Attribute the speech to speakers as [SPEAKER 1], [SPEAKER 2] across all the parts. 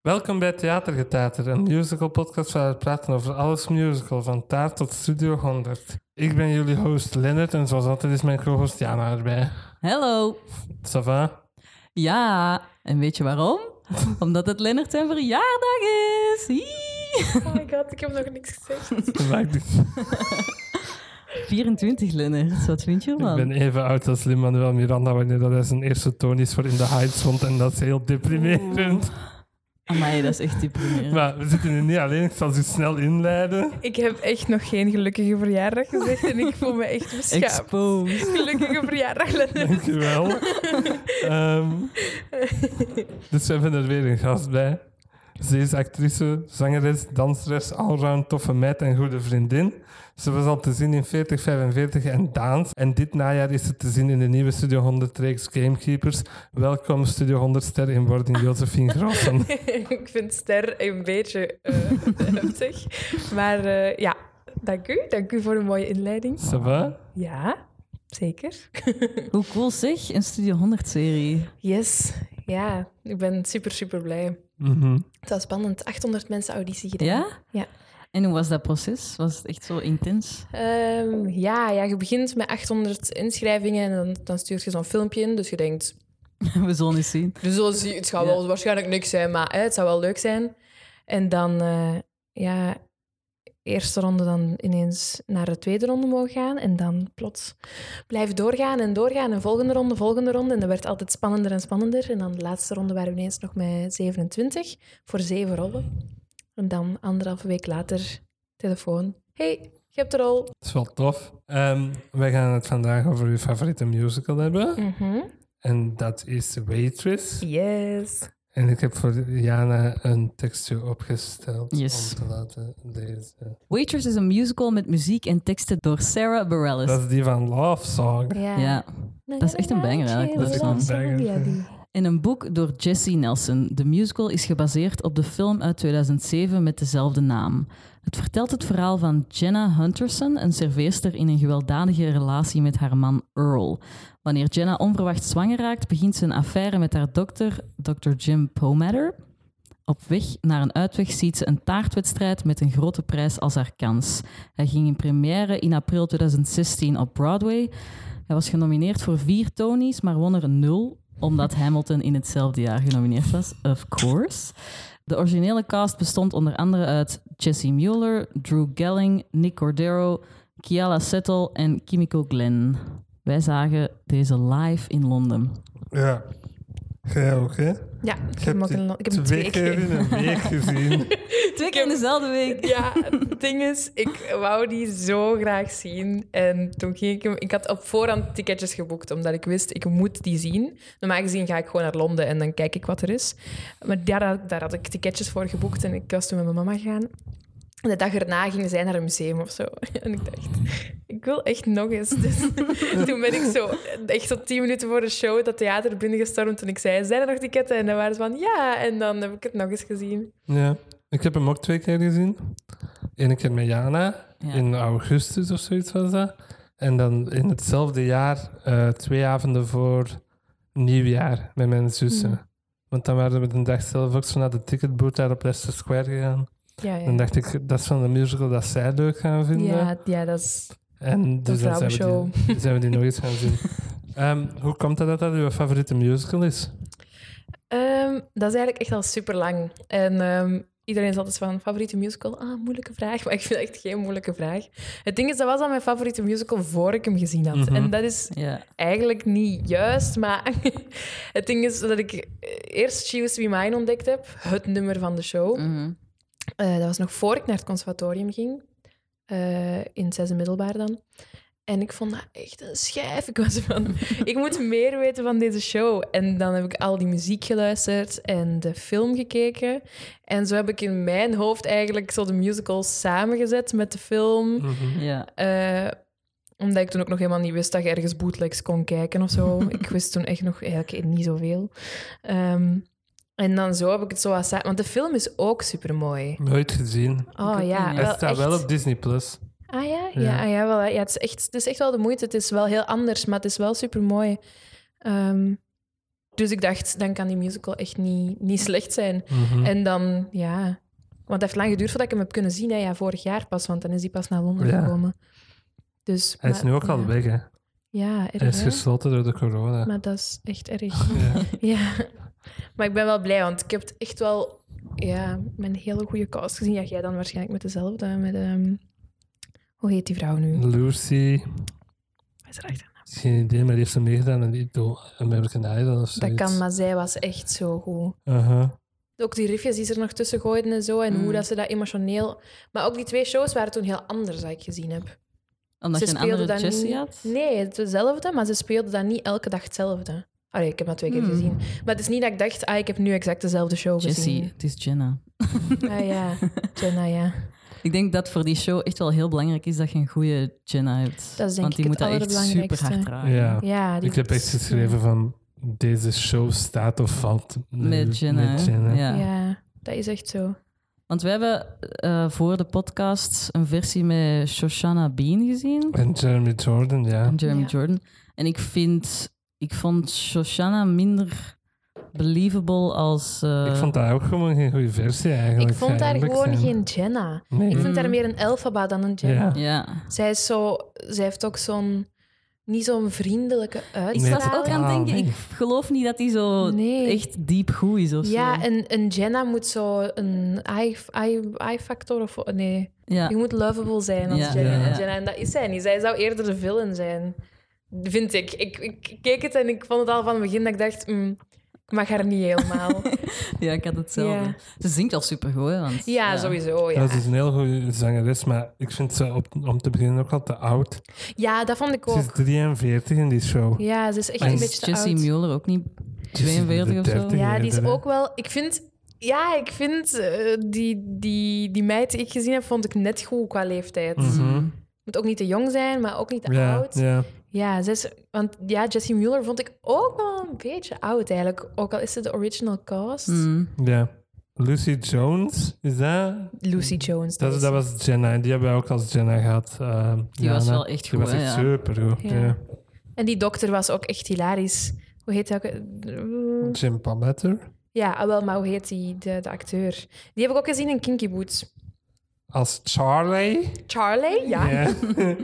[SPEAKER 1] Welkom bij Theatergetater, een musical podcast waar we praten over alles musical, van taart tot Studio 100. Ik ben jullie host Lennart en zoals altijd is mijn co-host Jana erbij.
[SPEAKER 2] Hallo.
[SPEAKER 1] Ça va?
[SPEAKER 2] Ja, en weet je waarom? Omdat het Lennart zijn verjaardag is. Hie.
[SPEAKER 3] Oh my god, ik heb nog niks gezegd.
[SPEAKER 1] Dat maakt niet-
[SPEAKER 2] 24 Lennart, wat vind je
[SPEAKER 1] Ik
[SPEAKER 2] ervan?
[SPEAKER 1] ben even oud als Lin-Manuel Miranda wanneer dat hij zijn eerste toon is voor In the Heights vond en dat is heel deprimerend.
[SPEAKER 2] Amai, dat is echt deprimerend.
[SPEAKER 1] Maar we zitten er niet alleen, ik zal ze snel inleiden.
[SPEAKER 3] Ik heb echt nog geen gelukkige verjaardag gezegd en ik voel me echt beschaamd.
[SPEAKER 2] Exposed.
[SPEAKER 3] Gelukkige verjaardag, Lennart.
[SPEAKER 1] Dankjewel. Ehm, dus we hebben er weer een gast bij. Ze is actrice, zangeres, danseres, allround toffe meid en goede vriendin. Ze was al te zien in 40, 45 en Daans. En dit najaar is ze te zien in de nieuwe Studio 100 reeks Gamekeepers. Welkom Studio 100 ster in wording Josephine Grossen.
[SPEAKER 3] ik vind ster een beetje eh, heftig. Maar eh, ja, dank u. Dank u voor een mooie inleiding.
[SPEAKER 1] Ça va?
[SPEAKER 3] Ja, zeker.
[SPEAKER 2] Hoe cool zeg, een Studio 100-serie.
[SPEAKER 3] Yes, ja. Ik ben super, super blij.
[SPEAKER 1] Mhm.
[SPEAKER 3] Het was spannend. 800 mensen auditie gedaan.
[SPEAKER 2] Ja?
[SPEAKER 3] Ja.
[SPEAKER 2] En hoe was dat proces? Was het echt zo intens?
[SPEAKER 3] Ehm, ja, ja, je begint met 800 inschrijvingen en dan, dan stuurt je zo'n filmpje in. Dus je denkt,
[SPEAKER 2] We zullen eens zien.
[SPEAKER 3] Dus zo zie, het gaat
[SPEAKER 2] Ja.
[SPEAKER 3] wel waarschijnlijk niks zijn, maar hè, het zou wel leuk zijn. En dan, eh, ja, eerste ronde dan ineens naar de tweede ronde mogen gaan. En dan plots blijven doorgaan en doorgaan. En volgende ronde, volgende ronde. En dat werd altijd spannender en spannender. En dan de laatste ronde waren we ineens nog met 27 voor zeven rollen. En dan anderhalve week later, telefoon. hey, je hebt de rol.
[SPEAKER 1] Dat is wel tof. Ehm, wij gaan het vandaag over uw favoriete musical hebben.
[SPEAKER 3] Mhm.
[SPEAKER 1] En dat is Waitress.
[SPEAKER 3] Yes.
[SPEAKER 1] En ik heb voor Jana een tekstje opgesteld
[SPEAKER 2] Yes.
[SPEAKER 1] om te laten lezen.
[SPEAKER 2] Waitress is een musical met muziek en teksten door Sarah Bareilles.
[SPEAKER 1] Dat is die van Love Song.
[SPEAKER 3] Ja.
[SPEAKER 2] Ja. Dat is echt een banger eigenlijk,
[SPEAKER 1] dat song.
[SPEAKER 3] Ja, die.
[SPEAKER 2] In een boek door Jesse Nelson. De musical is gebaseerd op de film uit 2007 met dezelfde naam. Het vertelt het verhaal van Jenna Hunterson, een serveerster in een gewelddadige relatie met haar man Earl. Wanneer Jenna onverwacht zwanger raakt, begint ze een affaire met haar dokter, Dr. Jim Pomatter. Op weg naar een uitweg ziet ze een taartwedstrijd met een grote prijs als haar kans. Hij ging in première in april 2016 op Broadway. Hij was genomineerd voor vier Tonys, maar won er nul, omdat Hamilton in hetzelfde jaar genomineerd was. Of course. De originele cast bestond onder andere uit Jesse Mueller, Drew Gelling, Nick Cordero, Kiala Settle en Kimiko Glenn. Wij zagen deze live in Londen.
[SPEAKER 1] Ja. Jij ook, hè?
[SPEAKER 3] Ja, ik heb hem ook een lo- ik heb hem
[SPEAKER 1] twee keer in een week gezien.
[SPEAKER 2] Twee
[SPEAKER 3] keer in
[SPEAKER 2] dezelfde week.
[SPEAKER 3] Ja, het ding is, ik wou die zo graag zien. En toen ging ik hem... Ik had op voorhand ticketjes geboekt, omdat ik wist, ik moet die zien. Normaal gezien ga ik gewoon naar Londen en dan kijk ik wat er is. Maar daar, had- daar had ik ticketjes voor geboekt en ik was toen met mijn mama gegaan. En de dag erna gingen zij naar een museum of zo. En ik dacht, ik wil echt nog eens. Dus toen ben ik zo, echt tot tien minuten voor de show, dat theater binnengestormd. En ik zei, zijn er nog tickets? En dan waren ze van, ja. En dan heb ik het nog eens gezien.
[SPEAKER 1] Ja. Ik heb hem ook twee keer gezien. Eén keer met Jana,
[SPEAKER 2] Ja.
[SPEAKER 1] in augustus of zoiets was dat. En dan in hetzelfde jaar, eh, twee avonden voor nieuwjaar, met mijn zussen.
[SPEAKER 3] Mhm.
[SPEAKER 1] Want dan waren we de dag zelf ook zo naar de ticketbooth daar op Leicester Square gegaan.
[SPEAKER 3] Ja, ja.
[SPEAKER 1] Dan dacht ik, dat is van de musical dat zij leuk gaan vinden.
[SPEAKER 3] Ja, ja, dat is...
[SPEAKER 1] En dus dan zijn we,
[SPEAKER 3] vrouwenshow.
[SPEAKER 1] die, zijn we die nog eens gaan zien. Ehm, hoe komt het dat dat uw favoriete musical is?
[SPEAKER 3] Ehm, dat is eigenlijk echt al super lang. En ehm, iedereen is altijd zo van favoriete musical. Ah, moeilijke vraag. Maar ik vind het echt geen moeilijke vraag. Het ding is, dat was al mijn favoriete musical voor ik hem gezien had.
[SPEAKER 1] Mhm.
[SPEAKER 3] En dat is
[SPEAKER 2] Ja.
[SPEAKER 3] eigenlijk niet juist, maar het ding is dat ik eerst She Used to Be Mine ontdekt heb, het nummer van de show.
[SPEAKER 2] Mhm.
[SPEAKER 3] Eh, dat was nog voor ik naar het conservatorium ging. Eh, in het zesde middelbaar dan. En ik vond dat echt een schijf. Ik was van, ik moet meer weten van deze show. En dan heb ik al die muziek geluisterd en de film gekeken. En zo heb ik in mijn hoofd eigenlijk zo de musical samengezet met de film.
[SPEAKER 2] Ja.
[SPEAKER 3] Eh, omdat ik toen ook nog helemaal niet wist dat je ergens bootlegs kon kijken of zo. ik wist toen echt nog eigenlijk niet zoveel. Ehm, en dan zo heb ik het zo als... Want de film is ook supermooi.
[SPEAKER 1] Nooit gezien.
[SPEAKER 3] Oh
[SPEAKER 2] ook
[SPEAKER 3] ja,
[SPEAKER 2] niet.
[SPEAKER 1] Hij
[SPEAKER 3] wel
[SPEAKER 1] staat
[SPEAKER 3] echt.
[SPEAKER 1] wel op Disney+. Plus.
[SPEAKER 3] Ah ja, ja,
[SPEAKER 1] Ja.
[SPEAKER 3] ah, ja, wel, hè. ja het, is echt, het is echt wel de moeite. Het is wel heel anders, maar het is wel super mooi. Dus ik dacht, dan kan die musical echt niet, niet slecht zijn.
[SPEAKER 1] Mhm.
[SPEAKER 3] En dan, ja... Want het heeft lang geduurd voordat ik hem heb kunnen zien. Hè. Ja, vorig jaar pas, want dan is hij pas naar Londen
[SPEAKER 1] Ja.
[SPEAKER 3] gekomen. Dus,
[SPEAKER 1] Hij is
[SPEAKER 3] maar-
[SPEAKER 1] nu ook al
[SPEAKER 3] ja.
[SPEAKER 1] weg, hè.
[SPEAKER 3] Ja,
[SPEAKER 1] Hij
[SPEAKER 3] erg,
[SPEAKER 1] is
[SPEAKER 3] hè.
[SPEAKER 1] gesloten door de corona.
[SPEAKER 3] Maar dat is echt erg.
[SPEAKER 1] Ja.
[SPEAKER 3] Ja, maar ik ben wel blij, want ik heb het echt wel ja, mijn hele goede cast gezien. Ja, jij dan waarschijnlijk met dezelfde. Met, ehm, hoe heet die vrouw nu?
[SPEAKER 1] Lucy,
[SPEAKER 3] Wat Is er echt een-
[SPEAKER 1] geen idee, maar die heeft ze meegedaan aan Idol, American Idol of
[SPEAKER 3] dat
[SPEAKER 1] zoiets.
[SPEAKER 3] kan, maar zij was echt zo goed.
[SPEAKER 1] Uh-huh.
[SPEAKER 3] Ook die riffjes die ze er nog tussen gooiden en zo, en
[SPEAKER 2] Mm.
[SPEAKER 3] hoe dat ze dat emotioneel... Maar ook die twee shows waren toen heel anders, dat ik gezien heb.
[SPEAKER 2] Omdat
[SPEAKER 3] ze
[SPEAKER 2] je een andere
[SPEAKER 3] dat
[SPEAKER 2] Jessie
[SPEAKER 3] niet...
[SPEAKER 2] had?
[SPEAKER 3] Nee, het was hetzelfde, maar ze speelden dat niet elke dag hetzelfde. Allee, ik heb dat twee keer
[SPEAKER 2] Hmm.
[SPEAKER 3] gezien. Maar het is niet dat ik dacht, ah, ik heb nu exact dezelfde show
[SPEAKER 2] Jessie,
[SPEAKER 3] gezien.
[SPEAKER 2] het is Jenna.
[SPEAKER 3] Ah ja, Jenna, ja.
[SPEAKER 2] Ik denk dat voor die show echt wel heel belangrijk is dat je een goede Jenna hebt.
[SPEAKER 3] Dat is
[SPEAKER 2] Want
[SPEAKER 3] denk
[SPEAKER 2] die
[SPEAKER 3] ik het
[SPEAKER 2] moet dat echt super
[SPEAKER 3] allerbelangrijkste.
[SPEAKER 2] hard dragen.
[SPEAKER 1] Ja.
[SPEAKER 3] Ja, die-
[SPEAKER 1] Ik heb echt geschreven van deze show staat of valt
[SPEAKER 2] Met Jenna.
[SPEAKER 1] met Jenna.
[SPEAKER 2] Ja.
[SPEAKER 3] Ja. dat is echt zo.
[SPEAKER 2] Want we hebben eh, voor de podcast een versie met Shoshana Bean gezien.
[SPEAKER 1] En Jeremy Jordan, ja.
[SPEAKER 2] En Jeremy
[SPEAKER 3] Ja.
[SPEAKER 2] Jordan. En ik vind... Ik vond Shoshana minder believable als... eh,
[SPEAKER 1] ik vond daar ook gewoon geen goede versie eigenlijk.
[SPEAKER 3] Ik vond
[SPEAKER 1] ga
[SPEAKER 3] daar
[SPEAKER 1] eerlijk
[SPEAKER 3] gewoon
[SPEAKER 1] zijn.
[SPEAKER 3] geen Jenna.
[SPEAKER 1] Nee.
[SPEAKER 3] Ik
[SPEAKER 2] Mm.
[SPEAKER 3] vind daar meer een Elphaba dan een Jenna.
[SPEAKER 1] Ja.
[SPEAKER 2] Ja.
[SPEAKER 3] Zij, is zo, zij heeft ook zo'n... Niet zo'n vriendelijke
[SPEAKER 2] Ik
[SPEAKER 1] Ah, Nee,
[SPEAKER 2] was
[SPEAKER 3] uitstraling.
[SPEAKER 2] ook aan het
[SPEAKER 1] totaal
[SPEAKER 2] denken, ik
[SPEAKER 1] niet.
[SPEAKER 2] geloof niet dat hij zo
[SPEAKER 3] Nee.
[SPEAKER 2] echt diep goed is of zo.
[SPEAKER 3] Ja, en, en Jenna moet zo een I-factor of... Nee,
[SPEAKER 2] Ja.
[SPEAKER 3] je moet lovable zijn als
[SPEAKER 2] Ja.
[SPEAKER 3] Jenna,
[SPEAKER 1] Ja.
[SPEAKER 3] Jenna. En dat is zij niet. Zij zou eerder de villain zijn. Vind ik. ik. Ik keek het en ik vond het al van het begin dat ik dacht... mm, ik mag haar niet helemaal.
[SPEAKER 2] Ja, ik had hetzelfde.
[SPEAKER 3] Ja.
[SPEAKER 2] Ze zingt wel supergoed, hè, want...
[SPEAKER 3] Ja, sowieso. Ja.
[SPEAKER 1] Dat is een heel goede zangeres, maar ik vind ze op, om te beginnen ook al te oud.
[SPEAKER 3] ja, dat vond ik
[SPEAKER 1] Ze is
[SPEAKER 3] ook.
[SPEAKER 1] 43 in die show.
[SPEAKER 3] Ja, ze is echt
[SPEAKER 1] Maar
[SPEAKER 3] een
[SPEAKER 2] Is
[SPEAKER 3] beetje te
[SPEAKER 2] Jessie
[SPEAKER 3] oud.
[SPEAKER 2] Mueller ook niet
[SPEAKER 1] Ze is in de
[SPEAKER 2] 42 of zo?
[SPEAKER 1] 30
[SPEAKER 3] Ja, die is
[SPEAKER 1] eerder, hè.
[SPEAKER 3] ook wel. Ik vind. Ja, ik vind eh, die, die, die meid die ik gezien heb, vond ik net goed qua leeftijd.
[SPEAKER 1] Mhm.
[SPEAKER 3] Moet ook niet te jong zijn, maar ook niet te
[SPEAKER 1] Ja,
[SPEAKER 3] oud. Ja,
[SPEAKER 1] ja.
[SPEAKER 3] ze is, want ja, Jessie Mueller vond ik ook wel een beetje oud eigenlijk. Ook al is ze de original cast.
[SPEAKER 2] Mm.
[SPEAKER 1] ja. Lucy Jones, is dat?
[SPEAKER 3] Lucy Jones. dus.
[SPEAKER 1] Dat, dat was Jenna, die hebben we ook als Jenna gehad. eh,
[SPEAKER 2] Die was
[SPEAKER 1] Jana.
[SPEAKER 2] wel echt
[SPEAKER 1] Die
[SPEAKER 2] goed,
[SPEAKER 1] was
[SPEAKER 2] hè,
[SPEAKER 1] echt
[SPEAKER 2] ja.
[SPEAKER 1] supergoed,
[SPEAKER 3] Ja.
[SPEAKER 1] ja.
[SPEAKER 3] En die dokter was ook echt hilarisch. Hoe heet dat?
[SPEAKER 1] Jim Palmetter
[SPEAKER 3] Ja, ah, wel, maar hoe heet die, de, de acteur? Die heb ik ook gezien in Kinky Boots.
[SPEAKER 1] als Charlie.
[SPEAKER 3] Charlie? ja.
[SPEAKER 1] Ja.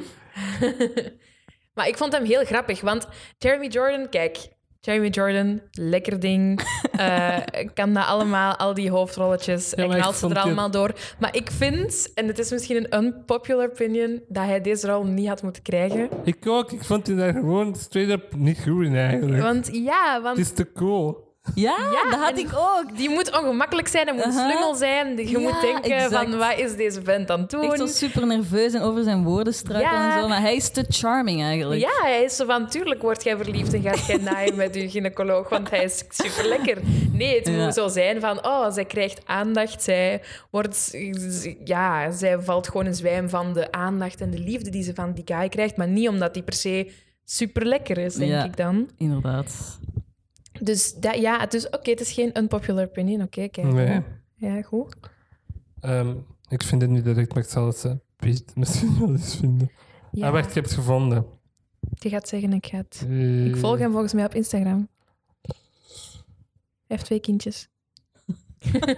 [SPEAKER 3] Maar ik vond hem heel grappig, want Jeremy Jordan, kijk, Jeremy Jordan, lekker ding. eh, kan dat allemaal, al die hoofdrolletjes.
[SPEAKER 1] maar
[SPEAKER 3] en
[SPEAKER 1] ik
[SPEAKER 3] knalt ze
[SPEAKER 1] vond
[SPEAKER 3] er
[SPEAKER 1] die-
[SPEAKER 3] allemaal door. Maar ik vind, en het is misschien een unpopular opinion, dat hij deze rol niet had moeten krijgen.
[SPEAKER 1] Ik ook, ik vond die daar gewoon straight up niet goed in eigenlijk.
[SPEAKER 3] Want ja,
[SPEAKER 1] Het
[SPEAKER 3] want
[SPEAKER 1] is te cool.
[SPEAKER 2] Ja,
[SPEAKER 3] Ja,
[SPEAKER 2] dat had
[SPEAKER 3] en-
[SPEAKER 2] ik ook.
[SPEAKER 3] die moet ongemakkelijk zijn, hij moet
[SPEAKER 2] Aha.
[SPEAKER 3] slungel zijn. Je
[SPEAKER 2] Ja,
[SPEAKER 3] moet denken
[SPEAKER 2] exact.
[SPEAKER 3] van, wat is deze vent aan het doen?
[SPEAKER 2] Echt zo super nerveus en over zijn woorden struikelen
[SPEAKER 3] Ja.
[SPEAKER 2] en zo. Maar hij is te charming eigenlijk.
[SPEAKER 3] Ja, hij is zo van, tuurlijk word jij verliefd en gaat jij naaien met je gynaecoloog, want hij is super lekker. Nee, het
[SPEAKER 2] Ja.
[SPEAKER 3] moet zo zijn van, oh, zij krijgt aandacht, zij wordt, ja, zij valt gewoon in zwijm van de aandacht en de liefde die ze van die guy krijgt, maar niet omdat hij per se super lekker is, denk
[SPEAKER 2] Ja.
[SPEAKER 3] ik dan.
[SPEAKER 2] Inderdaad.
[SPEAKER 3] Dus dat, ja, dus oké, het is geen unpopular opinion, oké, kijk.
[SPEAKER 1] Nee.
[SPEAKER 3] Ja, goed.
[SPEAKER 1] Ehm, ik vind het niet direct, maar ik zal het eh, Piet misschien wel eens vinden.
[SPEAKER 3] Ja,
[SPEAKER 1] Ah, wacht, ik heb het gevonden.
[SPEAKER 3] je gaat zeggen, ik ga het.
[SPEAKER 1] Eh,
[SPEAKER 3] Ik volg hem volgens mij op Instagram. Hij heeft twee kindjes.
[SPEAKER 1] Eh, Is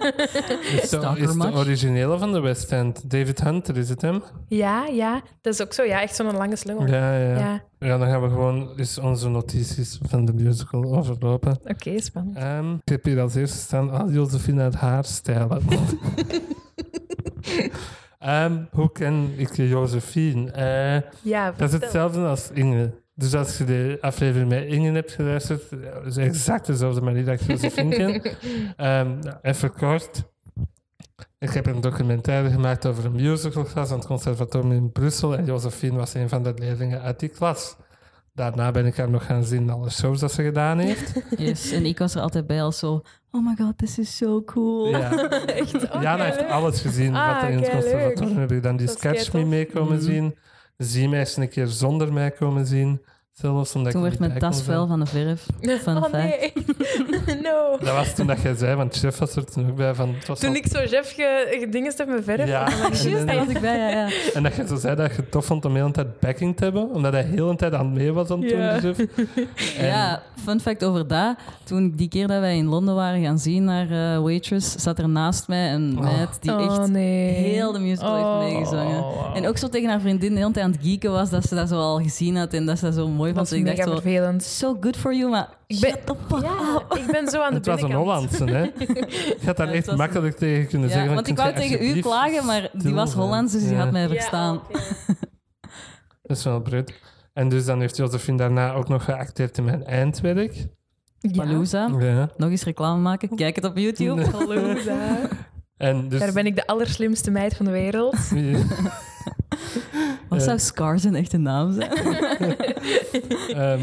[SPEAKER 1] de,
[SPEAKER 2] Stalker
[SPEAKER 1] is de
[SPEAKER 2] much?
[SPEAKER 1] originele van de West End. David Hunter, is het hem?
[SPEAKER 3] Ja, ja, dat is ook zo. Ja, echt zo'n lange slungel. Ja,
[SPEAKER 1] Ja, ja. ja. dan gaan we gewoon eens onze notities van de musical overlopen.
[SPEAKER 3] oké, spannend.
[SPEAKER 1] Ehm, ik heb hier als eerste staan, ah, Josephine uit haar stijlen. Ehm, hoe ken ik Josephine? Eh,
[SPEAKER 3] Ja,
[SPEAKER 1] dat is
[SPEAKER 3] vertel.
[SPEAKER 1] hetzelfde als Inge. Dus als je de aflevering met Inge hebt geluisterd, dat is exact dezelfde manier dat ik Josephine ken. Ehm, nou, even kort. Ik heb een documentaire gemaakt over een musicalklas aan het conservatorium in Brussel. En Josephine was een van de leerlingen uit die klas. Daarna ben ik haar nog gaan zien in alle shows dat ze gedaan heeft.
[SPEAKER 2] Yes. En ik was er altijd bij als zo... Oh my god, this is so cool.
[SPEAKER 1] Ja.
[SPEAKER 3] Echt, oh,
[SPEAKER 1] Jana heeft
[SPEAKER 3] keileuk.
[SPEAKER 1] alles gezien wat
[SPEAKER 3] Ah,
[SPEAKER 1] er in het
[SPEAKER 3] keileuk.
[SPEAKER 1] conservatorium heb ik dan die
[SPEAKER 3] Dat is Mm.
[SPEAKER 1] sketch
[SPEAKER 3] keitof.
[SPEAKER 1] mee komen
[SPEAKER 2] Mhm.
[SPEAKER 1] zien. Zie mij eens een keer zonder mij komen zien. Zelfs omdat
[SPEAKER 2] Toen
[SPEAKER 1] ik
[SPEAKER 2] werd
[SPEAKER 1] niet bij
[SPEAKER 2] mijn
[SPEAKER 1] kon
[SPEAKER 2] tas vuil
[SPEAKER 1] zijn.
[SPEAKER 2] van de verf. Fun
[SPEAKER 3] oh
[SPEAKER 2] fact.
[SPEAKER 3] nee, no.
[SPEAKER 1] Dat was toen dat jij zei, want chef was er toen ook bij. Van, het was
[SPEAKER 3] Toen
[SPEAKER 1] al-
[SPEAKER 3] ik zo Jeff ge, gedingest heb met verf.
[SPEAKER 1] Ja,
[SPEAKER 3] dan was ik,
[SPEAKER 1] en dan-
[SPEAKER 2] Juist, daar was ik bij, ja, ja.
[SPEAKER 1] En dat je zo zei dat je het tof vond om de hele tijd backing te hebben, omdat hij de hele tijd aan het mee was aan het
[SPEAKER 3] Ja.
[SPEAKER 1] doen, de chef. En
[SPEAKER 2] Ja, fun fact over dat. Toen ik die keer dat wij in Londen waren gaan zien naar eh, Waitress, zat er naast mij een
[SPEAKER 1] Oh.
[SPEAKER 2] meid die
[SPEAKER 3] oh
[SPEAKER 2] echt
[SPEAKER 3] nee. Oh.
[SPEAKER 2] heel de musical heeft meegezongen.
[SPEAKER 3] wow.
[SPEAKER 2] En ook zo tegen haar vriendin de hele tijd aan het geeken was dat ze dat zo al gezien had en dat ze dat zo mooi
[SPEAKER 3] Dat
[SPEAKER 2] vond.
[SPEAKER 3] was
[SPEAKER 2] Dus ik dacht
[SPEAKER 3] mega
[SPEAKER 2] zo,
[SPEAKER 3] vervelend.
[SPEAKER 2] so good for you, maar
[SPEAKER 3] Ik ben-
[SPEAKER 2] shut the fuck
[SPEAKER 3] Ja,
[SPEAKER 2] up.
[SPEAKER 3] ik ben zo aan de
[SPEAKER 1] het was een
[SPEAKER 3] binnenkant.
[SPEAKER 1] Hollandse, hè? Je had daar
[SPEAKER 2] Ja, het
[SPEAKER 1] echt
[SPEAKER 2] was
[SPEAKER 1] makkelijk tegen kunnen
[SPEAKER 2] Ja,
[SPEAKER 1] zeggen.
[SPEAKER 2] want ik
[SPEAKER 1] kunt
[SPEAKER 2] wou
[SPEAKER 1] je
[SPEAKER 2] tegen u
[SPEAKER 1] alsjeblieft
[SPEAKER 2] klagen, maar die
[SPEAKER 1] stil
[SPEAKER 2] was
[SPEAKER 1] zijn?
[SPEAKER 2] Hollands, dus die
[SPEAKER 1] Ja,
[SPEAKER 2] had mij
[SPEAKER 3] Ja,
[SPEAKER 2] verstaan.
[SPEAKER 3] oké.
[SPEAKER 1] Dat is wel breed. En dus dan heeft Josephine daarna ook nog geacteerd in mijn eindwerk.
[SPEAKER 3] Ja.
[SPEAKER 2] Palooza,
[SPEAKER 1] Ja.
[SPEAKER 2] nog eens reclame maken, kijk het op YouTube.
[SPEAKER 1] Nee.
[SPEAKER 3] Palooza.
[SPEAKER 1] En dus...
[SPEAKER 3] Daar ben ik de allerslimste meid van de wereld.
[SPEAKER 2] Wat
[SPEAKER 1] Ja.
[SPEAKER 2] zou Scar zijn echte naam zijn?
[SPEAKER 1] Ehm,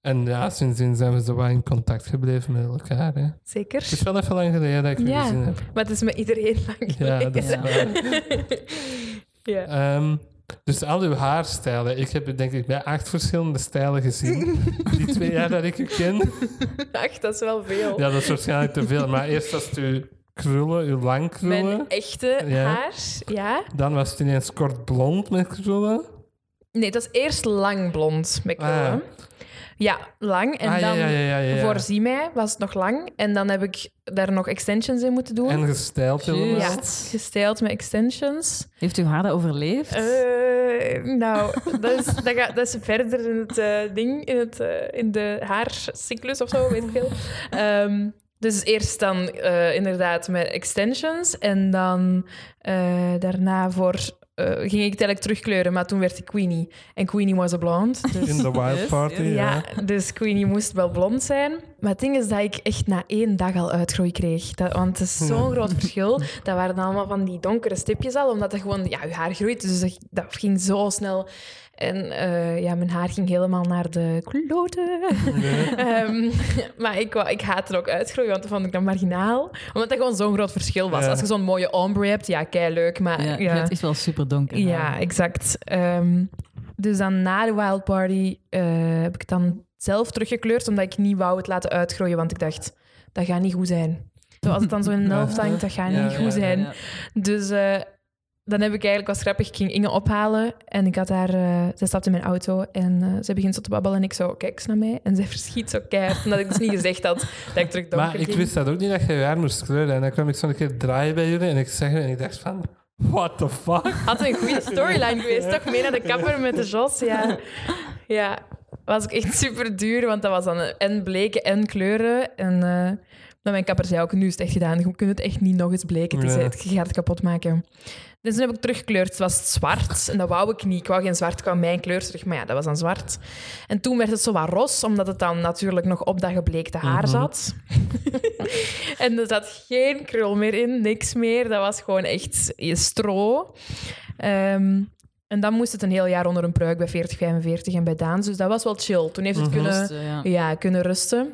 [SPEAKER 1] en ja, sindsdien zijn we zo wat in contact gebleven met elkaar. Hè.
[SPEAKER 3] Zeker.
[SPEAKER 1] Het is wel even lang geleden dat ik u
[SPEAKER 3] Ja.
[SPEAKER 1] gezien heb.
[SPEAKER 3] Maar het is met iedereen lang
[SPEAKER 1] Ja, dat is
[SPEAKER 2] Ja.
[SPEAKER 1] waar.
[SPEAKER 3] Ja.
[SPEAKER 1] Ehm, dus al uw haarstijlen. Ik heb u denk ik bij acht verschillende stijlen gezien. Die twee jaar dat ik u ken.
[SPEAKER 3] Ach, dat is wel veel.
[SPEAKER 1] Ja, dat is waarschijnlijk te veel. Maar eerst was het uw krullen, uw lang krullen.
[SPEAKER 3] Mijn echte
[SPEAKER 1] Ja.
[SPEAKER 3] haar, ja.
[SPEAKER 1] Dan was het ineens kort blond met krullen.
[SPEAKER 3] Nee, het was eerst lang blond met krullen.
[SPEAKER 1] Ah.
[SPEAKER 3] Ja, lang. En
[SPEAKER 1] Ah, ja,
[SPEAKER 3] dan
[SPEAKER 1] ja, ja, ja, ja.
[SPEAKER 3] voor Zie mij was het nog lang. En dan heb ik daar nog extensions in moeten doen.
[SPEAKER 1] En gestijld helemaal.
[SPEAKER 3] ja,
[SPEAKER 2] Juist.
[SPEAKER 3] gestyled met extensions.
[SPEAKER 2] Heeft uw haar dat overleefd?
[SPEAKER 3] Eh, nou, dat is, dat, gaat, dat is verder in het eh, ding, in, het, eh, in de haarcyclus of zo, weet ik veel. Ehm, dus eerst dan eh, inderdaad met extensions en dan eh, daarna voor, eh, ging ik telkens terugkleuren, maar toen werd ik Queenie. En Queenie was a blonde. Dus,
[SPEAKER 1] In de wild
[SPEAKER 2] Yes,
[SPEAKER 1] party,
[SPEAKER 2] yes.
[SPEAKER 1] ja.
[SPEAKER 3] ja, dus Queenie moest wel blond zijn. Maar het ding is dat ik echt na één dag al uitgroei kreeg. Dat, want het is zo'n groot verschil. Dat waren allemaal van die donkere stipjes al, omdat dat gewoon, ja, je haar groeit. Dus dat, dat ging zo snel. En eh, ja, mijn haar ging helemaal naar de kloten. Ehm, maar ik, wou- ik haatte ook uitgroeien, want dat vond ik dan marginaal. Omdat dat gewoon zo'n groot verschil was.
[SPEAKER 1] Ja.
[SPEAKER 3] Als je zo'n mooie ombre hebt, ja, kei leuk. Maar
[SPEAKER 2] Ja,
[SPEAKER 3] ja.
[SPEAKER 2] Het is wel super donker.
[SPEAKER 3] Ja, exact. Ehm, dus dan na de wild party eh, heb ik het dan zelf teruggekleurd, omdat ik niet wou het laten uitgroeien, want ik dacht, dat gaat niet goed zijn. Zoals het dan zo in de
[SPEAKER 1] Ja.
[SPEAKER 3] helft hangt, dat gaat
[SPEAKER 1] Ja,
[SPEAKER 3] niet
[SPEAKER 1] ja,
[SPEAKER 3] goed
[SPEAKER 1] ja,
[SPEAKER 3] zijn. Dus eh, dan heb ik eigenlijk, was grappig, ik ging Inge ophalen en ik had haar, eh zij stapt in mijn auto en eh, zij begint zo te babbelen en ik zo, kijk eens naar mij. En zij verschiet zo keihard, omdat ik dus niet gezegd had dat ik terug donker
[SPEAKER 1] Maar ik
[SPEAKER 3] ging.
[SPEAKER 1] wist dat ook niet dat je je haar moest kleuren. En dan kwam ik zo'n keer draaien bij jullie en ik zeg en ik dacht van... What the fuck?
[SPEAKER 3] Had een goede storyline geweest, toch? Mee naar de kapper met de Jos, ja. Ja, was ook echt super duur, want dat was dan en bleken en kleuren. En eh, maar mijn kapper zei ook, nu is het echt gedaan. Je kunt het echt niet nog eens bleken. Het is,
[SPEAKER 1] Ja.
[SPEAKER 3] het- je gaat het kapot maken. Dus toen heb ik teruggekleurd. Het was zwart en dat wou ik niet. Ik wou geen zwart, ik wou mijn kleur terug. Maar ja, dat was dan zwart. En toen werd het zo wat ros, omdat het dan natuurlijk nog op dat gebleekte haar zat. en er zat geen krul meer in, niks meer. Dat was gewoon echt stro. Ehm, en dan moest het een heel jaar onder een pruik bij 40, 45 en bij Daans. Dus dat was wel chill. Toen heeft
[SPEAKER 1] Mhm.
[SPEAKER 3] het kunnen,
[SPEAKER 2] ja.
[SPEAKER 3] ja, kunnen rusten.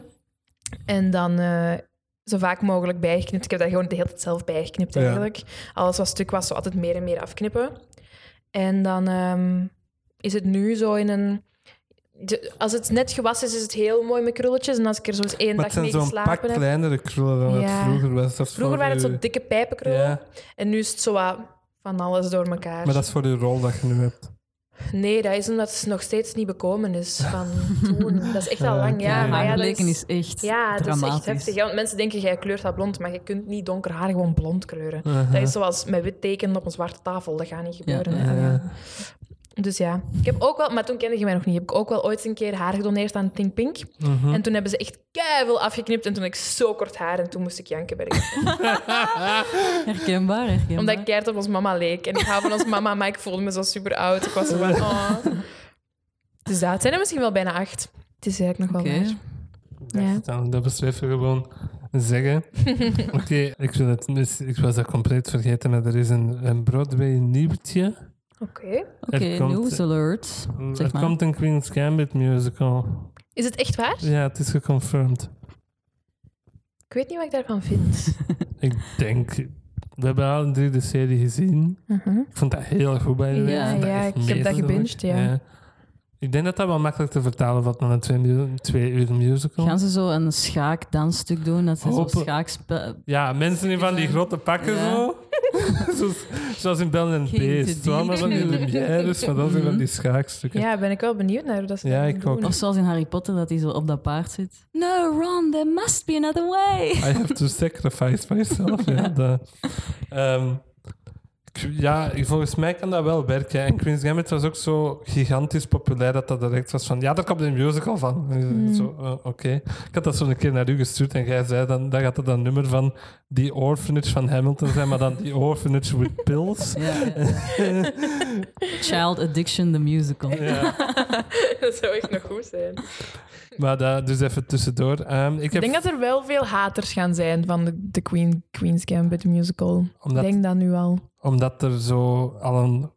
[SPEAKER 3] En dan eh, zo vaak mogelijk bijgeknipt. Ik heb daar gewoon de hele tijd zelf bijgeknipt
[SPEAKER 1] Ja.
[SPEAKER 3] eigenlijk. Alles wat stuk was, zo altijd meer en meer afknippen. En dan ehm, is het nu zo in een... de- als het net gewassen is, is het heel mooi met krulletjes. En als ik er zo eens één
[SPEAKER 1] Maar het
[SPEAKER 3] dag
[SPEAKER 1] zijn
[SPEAKER 3] mee
[SPEAKER 1] zo'n pak
[SPEAKER 3] geslapen heb...
[SPEAKER 1] kleinere krullen dan
[SPEAKER 3] Ja.
[SPEAKER 1] het vroeger was. Dat is
[SPEAKER 3] Vroeger
[SPEAKER 1] voor
[SPEAKER 3] waren het
[SPEAKER 1] uw-
[SPEAKER 3] zo dikke pijpenkrullen.
[SPEAKER 1] Ja,
[SPEAKER 3] En nu is het zo wat van alles door elkaar.
[SPEAKER 1] maar dat is voor de rol dat je nu hebt.
[SPEAKER 3] Nee, dat is omdat het nog steeds niet bekomen is van toen. Dat is echt al
[SPEAKER 1] Ah,
[SPEAKER 3] lang,
[SPEAKER 1] oké.
[SPEAKER 3] ja.
[SPEAKER 2] Haar
[SPEAKER 3] Maar ja, dat
[SPEAKER 2] bleken
[SPEAKER 3] is,
[SPEAKER 2] is echt
[SPEAKER 3] ja, dat is
[SPEAKER 2] dramatisch.
[SPEAKER 3] echt heftig. ja, want mensen denken, jij kleurt dat blond, maar je kunt niet donker haar gewoon blond kleuren. Dat is zoals met wit tekenen op een zwarte tafel. Dat gaat niet gebeuren.
[SPEAKER 2] Ja,
[SPEAKER 3] hè. Ah, ja. Dus ja, ik heb ook wel, maar toen kende je mij nog niet, heb ik ook wel ooit een keer haar gedoneerd aan Think Pink.
[SPEAKER 1] Mhm.
[SPEAKER 3] En toen hebben ze echt keihard afgeknipt en toen had ik zo kort haar en toen moest ik janken bij de
[SPEAKER 2] Herkenbaar, herkenbaar.
[SPEAKER 3] Omdat ik keihard op ons mama leek. En ik hou van ons mama, maar ik voelde me zo super oud. Ik was zo van, oh. Dus dat het zijn er misschien wel bijna acht. Het is eigenlijk nog wel
[SPEAKER 2] Oké.
[SPEAKER 3] waar.
[SPEAKER 1] Ik
[SPEAKER 3] Ja.
[SPEAKER 1] dacht dan, dat beschrijven we gewoon zeggen. Oké, ik wil het mis- ik was dat compleet vergeten, maar er is een, een Broadway nieuwtje.
[SPEAKER 3] Oké.
[SPEAKER 2] Oké,
[SPEAKER 1] Er komt-
[SPEAKER 2] news alert. Zeg
[SPEAKER 1] er
[SPEAKER 2] maar.
[SPEAKER 1] komt een Queen's Gambit musical.
[SPEAKER 3] Is het echt waar?
[SPEAKER 1] Ja, het is geconfirmed.
[SPEAKER 3] Ik weet niet wat ik daarvan vind.
[SPEAKER 1] Ik denk... We hebben alle drie de serie gezien.
[SPEAKER 3] Mhm.
[SPEAKER 1] Ik vond dat heel goed bij de
[SPEAKER 3] Ja,
[SPEAKER 1] way. Ik vond dat
[SPEAKER 3] ja,
[SPEAKER 1] echt
[SPEAKER 3] ik heb dat
[SPEAKER 1] meesterlijk.
[SPEAKER 3] gebinged, ja.
[SPEAKER 1] Ik denk dat dat wel makkelijk te vertalen valt naar een twee, mu- twee uur musical.
[SPEAKER 2] Gaan ze zo een schaakdansstuk doen? Dat ze zo'n
[SPEAKER 1] Hopen-
[SPEAKER 2] schaakspel...
[SPEAKER 1] Ja, mensen in van die
[SPEAKER 2] Ja.
[SPEAKER 1] grote pakken
[SPEAKER 2] Ja.
[SPEAKER 1] zo. Zoals- Zoals in Bel en
[SPEAKER 2] Geen
[SPEAKER 1] Beest.
[SPEAKER 2] te
[SPEAKER 1] Zo allemaal van die
[SPEAKER 2] dienen.
[SPEAKER 1] lumières, maar dat zijn van die schaakstukken.
[SPEAKER 3] Ja, ben ik wel benieuwd naar hoe dat ze
[SPEAKER 1] Ja,
[SPEAKER 3] dat
[SPEAKER 1] ik
[SPEAKER 3] doen.
[SPEAKER 1] ook.
[SPEAKER 2] Of zoals in Harry Potter, dat hij zo op dat paard zit. No, Ron, there must be another way.
[SPEAKER 1] I have to sacrifice myself. ja, dat. Ehm, ik- ja, ik- volgens mij kan dat wel werken. En Queen's Gambit was ook zo gigantisch populair dat dat direct was van... Ja, daar komt een musical van. En
[SPEAKER 2] Hmm.
[SPEAKER 1] Zo, eh, Oké. Ik had dat zo een keer naar u gestuurd en jij zei dan... Daar gaat dat een nummer van The Orphanage van Hamilton zijn, maar dan The Orphanage with Pills.
[SPEAKER 2] Ja, ja, ja. Child Addiction, the musical.
[SPEAKER 1] Ja.
[SPEAKER 3] dat zou echt nog goed zijn.
[SPEAKER 1] Maar dat, dus even tussendoor. Ehm, ik
[SPEAKER 3] Ik
[SPEAKER 1] heb,
[SPEAKER 3] denk dat er wel veel haters gaan zijn van de, de Queen, Queen's Gambit musical.
[SPEAKER 1] omdat,
[SPEAKER 3] Ik denk dat nu al.
[SPEAKER 1] omdat er zo al een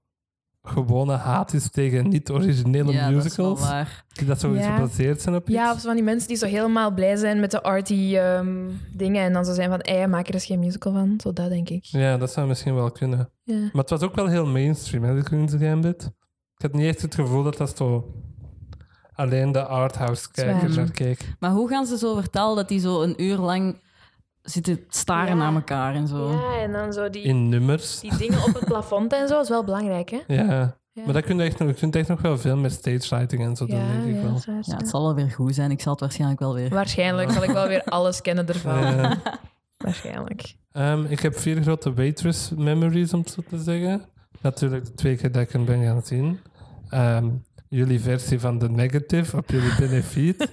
[SPEAKER 1] gewone haat is tegen niet-originele
[SPEAKER 2] Ja, dat is wel
[SPEAKER 1] musicals.
[SPEAKER 2] waar.
[SPEAKER 1] Die dat zo
[SPEAKER 3] Ja.
[SPEAKER 1] gebaseerd zijn op iets.
[SPEAKER 3] Ja, of zo van die mensen die zo helemaal blij zijn met de arty ehm, dingen. En dan zo zijn van, ei, maak er eens geen musical van. Zo dat denk ik.
[SPEAKER 1] Ja, dat zou misschien wel kunnen.
[SPEAKER 3] Ja.
[SPEAKER 1] Maar het was ook wel heel mainstream, hè, de Queen's Gambit. Ik had niet echt het gevoel dat dat zo... Alleen de arthouse-kijkers
[SPEAKER 3] Zwaar.
[SPEAKER 1] naar keek.
[SPEAKER 2] Maar hoe gaan ze zo vertalen dat die zo een uur lang zitten staren
[SPEAKER 3] Ja.
[SPEAKER 2] naar elkaar en zo?
[SPEAKER 3] Ja, en dan zo die,
[SPEAKER 1] In nummers.
[SPEAKER 3] die dingen op het plafond en zo is wel belangrijk, hè?
[SPEAKER 1] Ja.
[SPEAKER 3] Ja.
[SPEAKER 1] Maar dat kun je, echt, nog- je kunt echt nog wel veel met stage lighting en zo doen, denk ik wel.
[SPEAKER 3] dat is
[SPEAKER 2] Ja,
[SPEAKER 3] waar,
[SPEAKER 2] het
[SPEAKER 3] ja.
[SPEAKER 2] zal wel weer goed zijn. Ik zal het waarschijnlijk wel weer...
[SPEAKER 3] Waarschijnlijk zal ik wel weer alles kennen ervan.
[SPEAKER 1] Ja.
[SPEAKER 3] Waarschijnlijk.
[SPEAKER 1] Ehm, ik heb vier grote waitress memories, om het zo te zeggen. Natuurlijk de twee keer dat ik hem ben gaan zien. Ehm, jullie versie van de negative op jullie benefiet.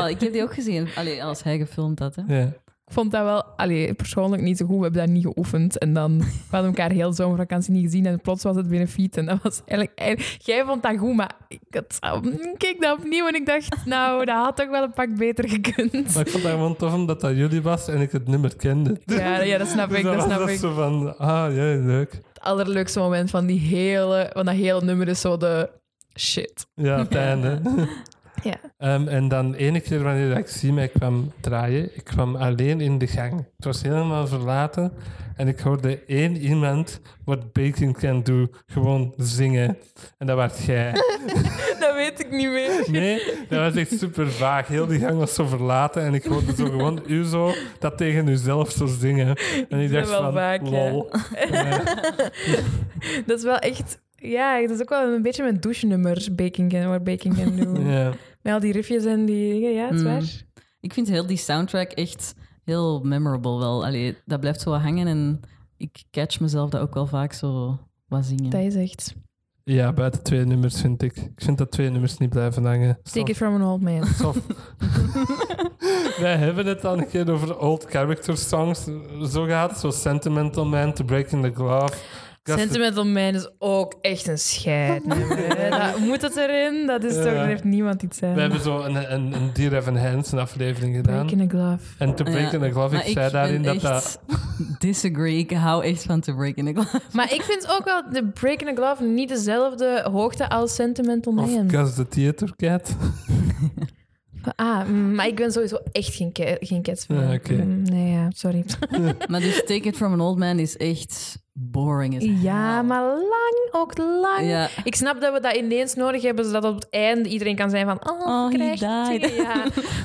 [SPEAKER 2] Oh, ik heb die ook gezien. Allee, als hij gefilmd had, hè.
[SPEAKER 1] ja.
[SPEAKER 3] Ik vond dat wel, allee, persoonlijk niet zo goed. We hebben dat niet geoefend. En dan, we hadden elkaar heel zomervakantie niet gezien. En plots was het benefiet. En dat was eigenlijk, eigenlijk- jij vond dat goed, maar ik had, ik keek dat opnieuw. En ik dacht, nou, dat had toch wel een pak beter gekund.
[SPEAKER 1] Maar ik vond dat gewoon tof omdat dat jullie was en ik het nummer kende.
[SPEAKER 3] Ja, ja dat snap
[SPEAKER 1] Dus
[SPEAKER 3] ik.
[SPEAKER 1] dan
[SPEAKER 3] Dat
[SPEAKER 1] was
[SPEAKER 3] snap
[SPEAKER 1] dat
[SPEAKER 3] ik.
[SPEAKER 1] zo van, ah ja, leuk.
[SPEAKER 3] Het allerleukste moment van, die hele, van dat hele nummer is zo de shit.
[SPEAKER 1] Ja, het einde.
[SPEAKER 3] Ja.
[SPEAKER 1] Ehm, en dan ene keer wanneer ik zie mij kwam draaien, ik kwam alleen in de gang. Het was helemaal verlaten en ik hoorde één iemand wat Baking Can Do gewoon zingen. En dat was jij.
[SPEAKER 3] Dat weet ik niet meer.
[SPEAKER 1] Nee, dat was echt super vaag. Heel die gang was zo verlaten en ik hoorde zo gewoon u zo dat tegen uzelf zo zingen. En ik
[SPEAKER 3] doe
[SPEAKER 1] dacht
[SPEAKER 3] wel
[SPEAKER 1] van,
[SPEAKER 3] vaak, ja.
[SPEAKER 1] lol. Ja.
[SPEAKER 3] Dat is wel echt... Ja, dat is ook wel een beetje mijn douchenummer, Baking Can, waar Baking Can doen.
[SPEAKER 1] Ja.
[SPEAKER 3] Met al die riffjes en die dingen, ja, het is
[SPEAKER 2] Mm.
[SPEAKER 3] waar.
[SPEAKER 2] Ik vind heel die soundtrack echt heel memorable wel. Allee, dat blijft zo wat hangen en ik catch mezelf dat ook wel vaak zo wat zingen.
[SPEAKER 3] Dat is echt...
[SPEAKER 1] ja, buiten twee nummers vind ik. Ik vind dat twee nummers niet blijven hangen.
[SPEAKER 3] Take it from an old man.
[SPEAKER 1] Sof. Wij hebben het al een keer over old character songs eh, zo gehad. Zo Sentimental Man, To Break in the Glove. Gust-
[SPEAKER 3] Sentimental Man is ook echt een scheidnummer. hè. Dat- Moet het erin? Dat is
[SPEAKER 1] Ja.
[SPEAKER 3] toch... Daar heeft niemand iets aan.
[SPEAKER 1] We hebben zo een, een, een Dear Evan Hansen aflevering gedaan.
[SPEAKER 3] Breaking a glove.
[SPEAKER 1] En To Break in the Glove, ik zei daarin dat dat...
[SPEAKER 2] Disagree, ik hou echt van To Break in the Glove.
[SPEAKER 3] Maar ik vind ook wel de Breaking a glove niet dezelfde hoogte als Sentimental
[SPEAKER 1] Of
[SPEAKER 3] Man.
[SPEAKER 1] Gus the Theater Cat.
[SPEAKER 3] Ah, mm, maar ik ben sowieso echt geen, ca- geen Cats-fan.
[SPEAKER 1] Ja, oké.
[SPEAKER 3] Mm, Nee, ja, sorry.
[SPEAKER 2] Maar dus Take It From An Old Man is echt boring as hell.
[SPEAKER 3] Ja, maar lang, ook lang.
[SPEAKER 2] Ja,
[SPEAKER 3] Ik snap dat we dat ineens nodig hebben, zodat op het einde iedereen kan zijn van... Oh,
[SPEAKER 2] Oh, he
[SPEAKER 3] krijgt hij.
[SPEAKER 2] died.
[SPEAKER 3] Ja.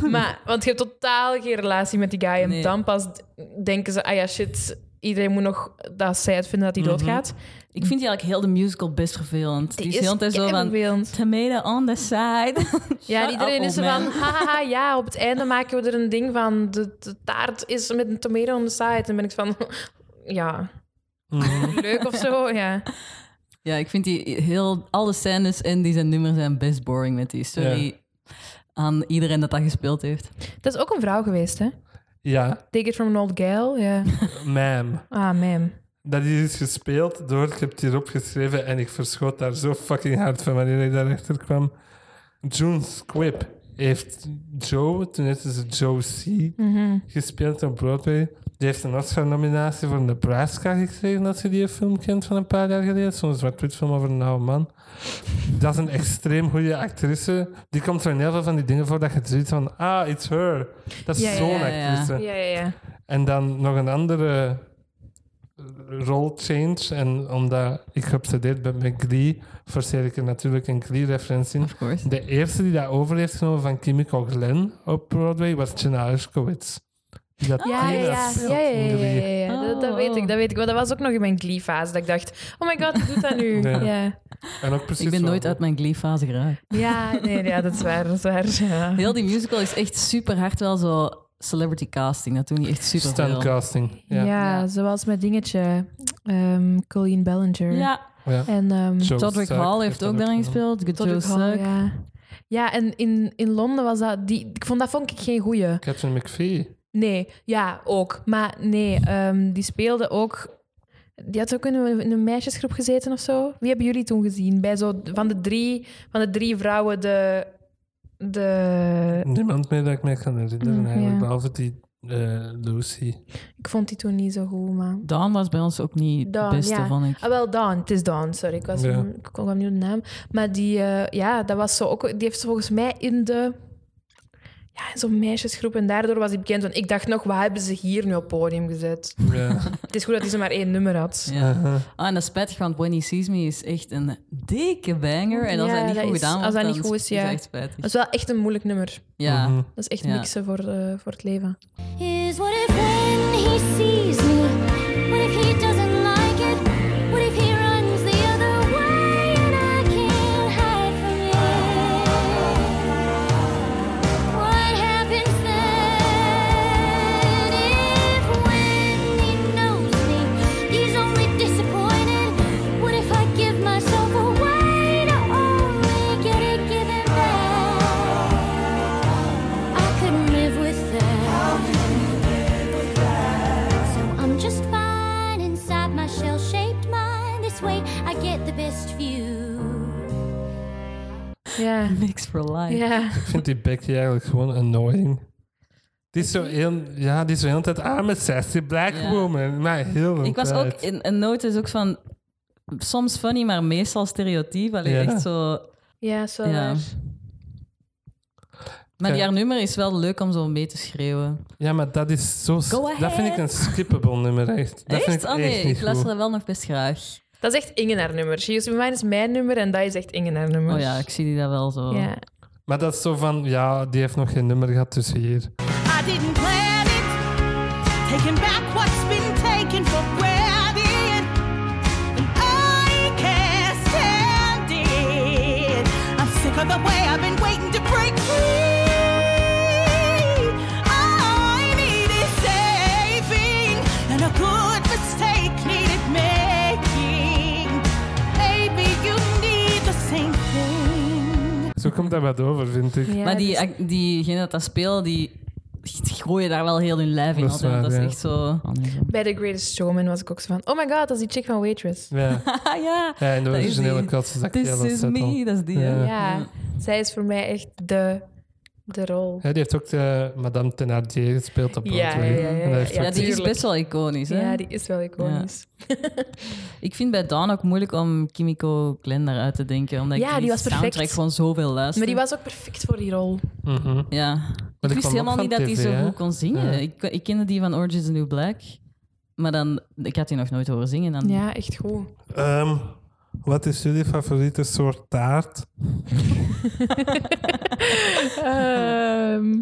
[SPEAKER 3] Maar, want je hebt totaal geen relatie met die guy. En
[SPEAKER 2] Nee.
[SPEAKER 3] dan pas d- denken ze, ah ja, shit, iedereen moet nog dat zij het vinden dat hij doodgaat.
[SPEAKER 2] ik vind Mhm. die eigenlijk heel de musical best vervelend. Die is heel de tijd zo van...
[SPEAKER 3] keivervelend.
[SPEAKER 2] Tomato on the side.
[SPEAKER 3] Ja,
[SPEAKER 2] Shut
[SPEAKER 3] en iedereen
[SPEAKER 2] up,
[SPEAKER 3] is er
[SPEAKER 2] old
[SPEAKER 3] van,
[SPEAKER 2] man.
[SPEAKER 3] haha, ja, op het einde maken we er een ding van. De, de taart is met een tomato on the side. En ben ik van, ja,
[SPEAKER 1] Mhm.
[SPEAKER 3] leuk of zo, ja.
[SPEAKER 2] Ja, ik vind die heel... Alle scènes en die zijn nummers zijn best boring met die. Sorry aan iedereen dat dat gespeeld heeft.
[SPEAKER 3] Dat is ook een vrouw geweest, hè?
[SPEAKER 1] Ja,
[SPEAKER 3] Take it from an old gal, ja.
[SPEAKER 1] ma'am.
[SPEAKER 3] Ah, man.
[SPEAKER 1] Dat is gespeeld door, ik heb het hier opgeschreven en ik verschoot daar zo fucking hard van wanneer ik daarachter kwam. June Squibb heeft Joe, toen heette ze Joe C,
[SPEAKER 3] Mhm.
[SPEAKER 1] gespeeld op Broadway. Die heeft een Oscar-nominatie voor Nebraska gekregen, als je die film kent van een paar jaar geleden. Zo'n zwart-wit film over een oude man. Dat is een extreem goede actrice. Die komt zo in heel veel van die dingen voor dat je zoiets van, ah, it's her. Dat is
[SPEAKER 3] Ja, ja,
[SPEAKER 1] zo'n
[SPEAKER 2] ja, ja.
[SPEAKER 1] actrice.
[SPEAKER 3] Ja, ja, ja.
[SPEAKER 1] En dan nog een andere eh, role change. En omdat ik geobsedeerd ben met Glee, forceer ik er natuurlijk een Glee-referentie in.
[SPEAKER 2] Of course.
[SPEAKER 1] De eerste die dat over heeft genomen van Kimiko Glenn op Broadway was Jenna Herskowitz. Die dat
[SPEAKER 3] Ja,
[SPEAKER 1] hier
[SPEAKER 3] Ah, ja, ja.
[SPEAKER 1] dat
[SPEAKER 3] ja, ja, ja,
[SPEAKER 1] Glee.
[SPEAKER 3] ja, ja. Dat, dat
[SPEAKER 2] Oh,
[SPEAKER 3] weet
[SPEAKER 2] oh.
[SPEAKER 3] ik, dat weet ik. Maar dat was ook nog in mijn glee-fase, dat ik dacht, oh my god, hoe doet dat nu?
[SPEAKER 1] Ja.
[SPEAKER 3] Ja, ja.
[SPEAKER 1] En ook precies
[SPEAKER 2] Ik ben
[SPEAKER 1] zo.
[SPEAKER 2] nooit uit mijn glee-fase geraakt.
[SPEAKER 3] nee, ja, dat is waar, dat is waar. Ja.
[SPEAKER 2] Heel die musical is echt super hard wel zo celebrity casting. Dat doen die echt super veel.
[SPEAKER 1] Stuntcasting.
[SPEAKER 3] Ja,
[SPEAKER 1] Ja. Ja.
[SPEAKER 3] zoals met dingetje, ehm, Colleen Ballinger.
[SPEAKER 2] Ja,
[SPEAKER 3] En ehm,
[SPEAKER 1] Joe
[SPEAKER 2] Todrick
[SPEAKER 1] Stark
[SPEAKER 2] Hall heeft ook daarin
[SPEAKER 1] gedaan.
[SPEAKER 2] gespeeld. Good Joe
[SPEAKER 3] Todrick Hall,
[SPEAKER 2] Suck.
[SPEAKER 3] ja. Ja, en in, in Londen was dat... Die, ik vond dat vond ik geen goeie.
[SPEAKER 1] Catherine McPhee.
[SPEAKER 3] Nee, ja, ook. Maar nee, ehm, die speelde ook... Die had ook in een, in een meisjesgroep gezeten of zo. Wie hebben jullie toen gezien? Bij zo, van, de drie, van de drie vrouwen de... de
[SPEAKER 1] Niemand meer dat ik me kan herinneren
[SPEAKER 3] Mm,
[SPEAKER 1] eigenlijk,
[SPEAKER 3] ja.
[SPEAKER 1] behalve die eh, Lucy.
[SPEAKER 3] ik vond die toen niet zo goed, maar...
[SPEAKER 2] Dawn was bij ons ook niet de
[SPEAKER 3] Dawn,
[SPEAKER 2] beste,
[SPEAKER 3] ja.
[SPEAKER 2] vond ik.
[SPEAKER 3] Ah, wel, Dawn. Het is Dawn, sorry. Ik, was,
[SPEAKER 1] Ja.
[SPEAKER 3] ik kwam niet op de naam. Maar die, eh, ja, dat was zo ook... Die heeft ze volgens mij in de... Ja, in zo'n meisjesgroep. En daardoor was hij bekend. Want ik dacht nog, wat hebben ze hier nu op het podium gezet?
[SPEAKER 1] Ja.
[SPEAKER 3] Het is goed dat hij ze maar één nummer had.
[SPEAKER 2] Ja.
[SPEAKER 1] Uh-huh.
[SPEAKER 2] Ah, en dat is spijtig, want When He Sees Me is echt een dikke banger. En als
[SPEAKER 3] Ja,
[SPEAKER 2] dat niet
[SPEAKER 3] dat
[SPEAKER 2] goed
[SPEAKER 3] is-
[SPEAKER 2] gedaan
[SPEAKER 3] als
[SPEAKER 2] wordt,
[SPEAKER 3] dat
[SPEAKER 2] dan
[SPEAKER 3] niet goed is, ja.
[SPEAKER 2] echt spijtig.
[SPEAKER 3] Dat is wel echt een moeilijk nummer.
[SPEAKER 2] Ja.
[SPEAKER 1] Mhm.
[SPEAKER 3] Dat is echt
[SPEAKER 2] Ja.
[SPEAKER 3] niksen voor, eh, voor het leven.
[SPEAKER 4] Here's what if when he sees me? What if he doesn't like it? What if he runs the other way and I can't hide from it? What happens then if when he knows me, he's only disappointed? What if I give myself away to only get it given back? I couldn't live with that. So I'm just fine inside my shell shaped mind. This way I get the best view.
[SPEAKER 3] Ja.
[SPEAKER 2] Mix for life.
[SPEAKER 3] Ja.
[SPEAKER 1] Ik vind die Becky eigenlijk gewoon annoying. Die is zo heel, ja, die is zo heel de tijd aan met sassy black
[SPEAKER 2] Ja.
[SPEAKER 1] woman. Maar heel de
[SPEAKER 2] Ik was ook
[SPEAKER 1] tijd.
[SPEAKER 2] in een noot is ook van soms funny, maar meestal stereotyp. Allee,
[SPEAKER 1] Ja.
[SPEAKER 2] echt zo.
[SPEAKER 3] Ja, zo.
[SPEAKER 2] Ja.
[SPEAKER 3] waar.
[SPEAKER 2] Maar die
[SPEAKER 1] Ja.
[SPEAKER 2] haar nummer is wel leuk om zo mee te schreeuwen.
[SPEAKER 1] Ja, maar dat is zo...
[SPEAKER 2] Go
[SPEAKER 1] Dat vind ik
[SPEAKER 2] ahead.
[SPEAKER 1] een skippable nummer, echt. Dat vind
[SPEAKER 2] echt?
[SPEAKER 1] ik
[SPEAKER 2] Oh nee,
[SPEAKER 1] echt niet
[SPEAKER 2] ik luister
[SPEAKER 1] goed.
[SPEAKER 2] dat wel nog best graag.
[SPEAKER 3] Dat is echt Inge haar nummer. She Used To Be Mine is mijn nummer en dat is echt Inge haar nummer.
[SPEAKER 2] Oh ja, ik zie die dat wel zo.
[SPEAKER 3] Ja.
[SPEAKER 1] Maar dat is zo van, ja, die heeft nog geen nummer gehad, dus hier.
[SPEAKER 5] I didn't plan it. Taking back what's been taken for granted. And I can't stand it. I'm sick of the way I've been waiting to break free. I needed saving, and a good mistake needed making. Maybe you need the same thing.
[SPEAKER 1] Zo komt dat wat over, vind ik.
[SPEAKER 3] Ja,
[SPEAKER 2] maar die,
[SPEAKER 3] dus-
[SPEAKER 2] ac- diegene dat dat speelt, die gooien daar wel heel hun lijf in.
[SPEAKER 1] Dat is
[SPEAKER 2] altijd.
[SPEAKER 1] waar,
[SPEAKER 2] dat is
[SPEAKER 1] ja.
[SPEAKER 2] echt zo.
[SPEAKER 3] Bij The Greatest Showman was ik ook zo van... Oh my god, dat is die chick van Waitress.
[SPEAKER 1] Ja,
[SPEAKER 2] Ah ja,
[SPEAKER 1] ja in de
[SPEAKER 2] Dat is
[SPEAKER 1] originele
[SPEAKER 2] die-
[SPEAKER 1] kast is dat
[SPEAKER 2] this
[SPEAKER 1] Kayla
[SPEAKER 2] is
[SPEAKER 1] Settle.
[SPEAKER 2] me, dat is die. hè?
[SPEAKER 1] Ja.
[SPEAKER 3] Ja. Zij is voor mij echt de, de rol.
[SPEAKER 1] Ja, die heeft ook de Madame Thénardier gespeeld op
[SPEAKER 3] Ja,
[SPEAKER 1] Broadway.
[SPEAKER 3] ja, ja, ja,
[SPEAKER 1] En dat heeft
[SPEAKER 3] ja.
[SPEAKER 2] Ja,
[SPEAKER 1] ook-
[SPEAKER 2] die is
[SPEAKER 3] tuurlijk.
[SPEAKER 2] best wel iconisch. Hè?
[SPEAKER 3] Ja, die is wel iconisch.
[SPEAKER 2] Ik vind bij Dawn ook moeilijk om Kimiko Glenn daaruit te denken. Omdat
[SPEAKER 3] Ja,
[SPEAKER 2] ik
[SPEAKER 3] die was perfect.
[SPEAKER 2] soundtrack gewoon zoveel luister.
[SPEAKER 3] Maar die was ook perfect voor die rol.
[SPEAKER 1] Mhm.
[SPEAKER 2] Ja.
[SPEAKER 1] die
[SPEAKER 2] Ik
[SPEAKER 1] kwam
[SPEAKER 2] wist
[SPEAKER 1] ook
[SPEAKER 2] helemaal
[SPEAKER 1] van
[SPEAKER 2] niet dat die
[SPEAKER 1] TV,
[SPEAKER 2] zo
[SPEAKER 1] hè?
[SPEAKER 2] goed kon zingen.
[SPEAKER 1] Ja.
[SPEAKER 2] Ik, ik kende die van Orange is the New Black. Maar dan, ik had die nog nooit horen zingen. Dan,
[SPEAKER 3] Ja, echt goed.
[SPEAKER 1] Ehm, wat is jullie favoriete soort taart?
[SPEAKER 3] Ehm,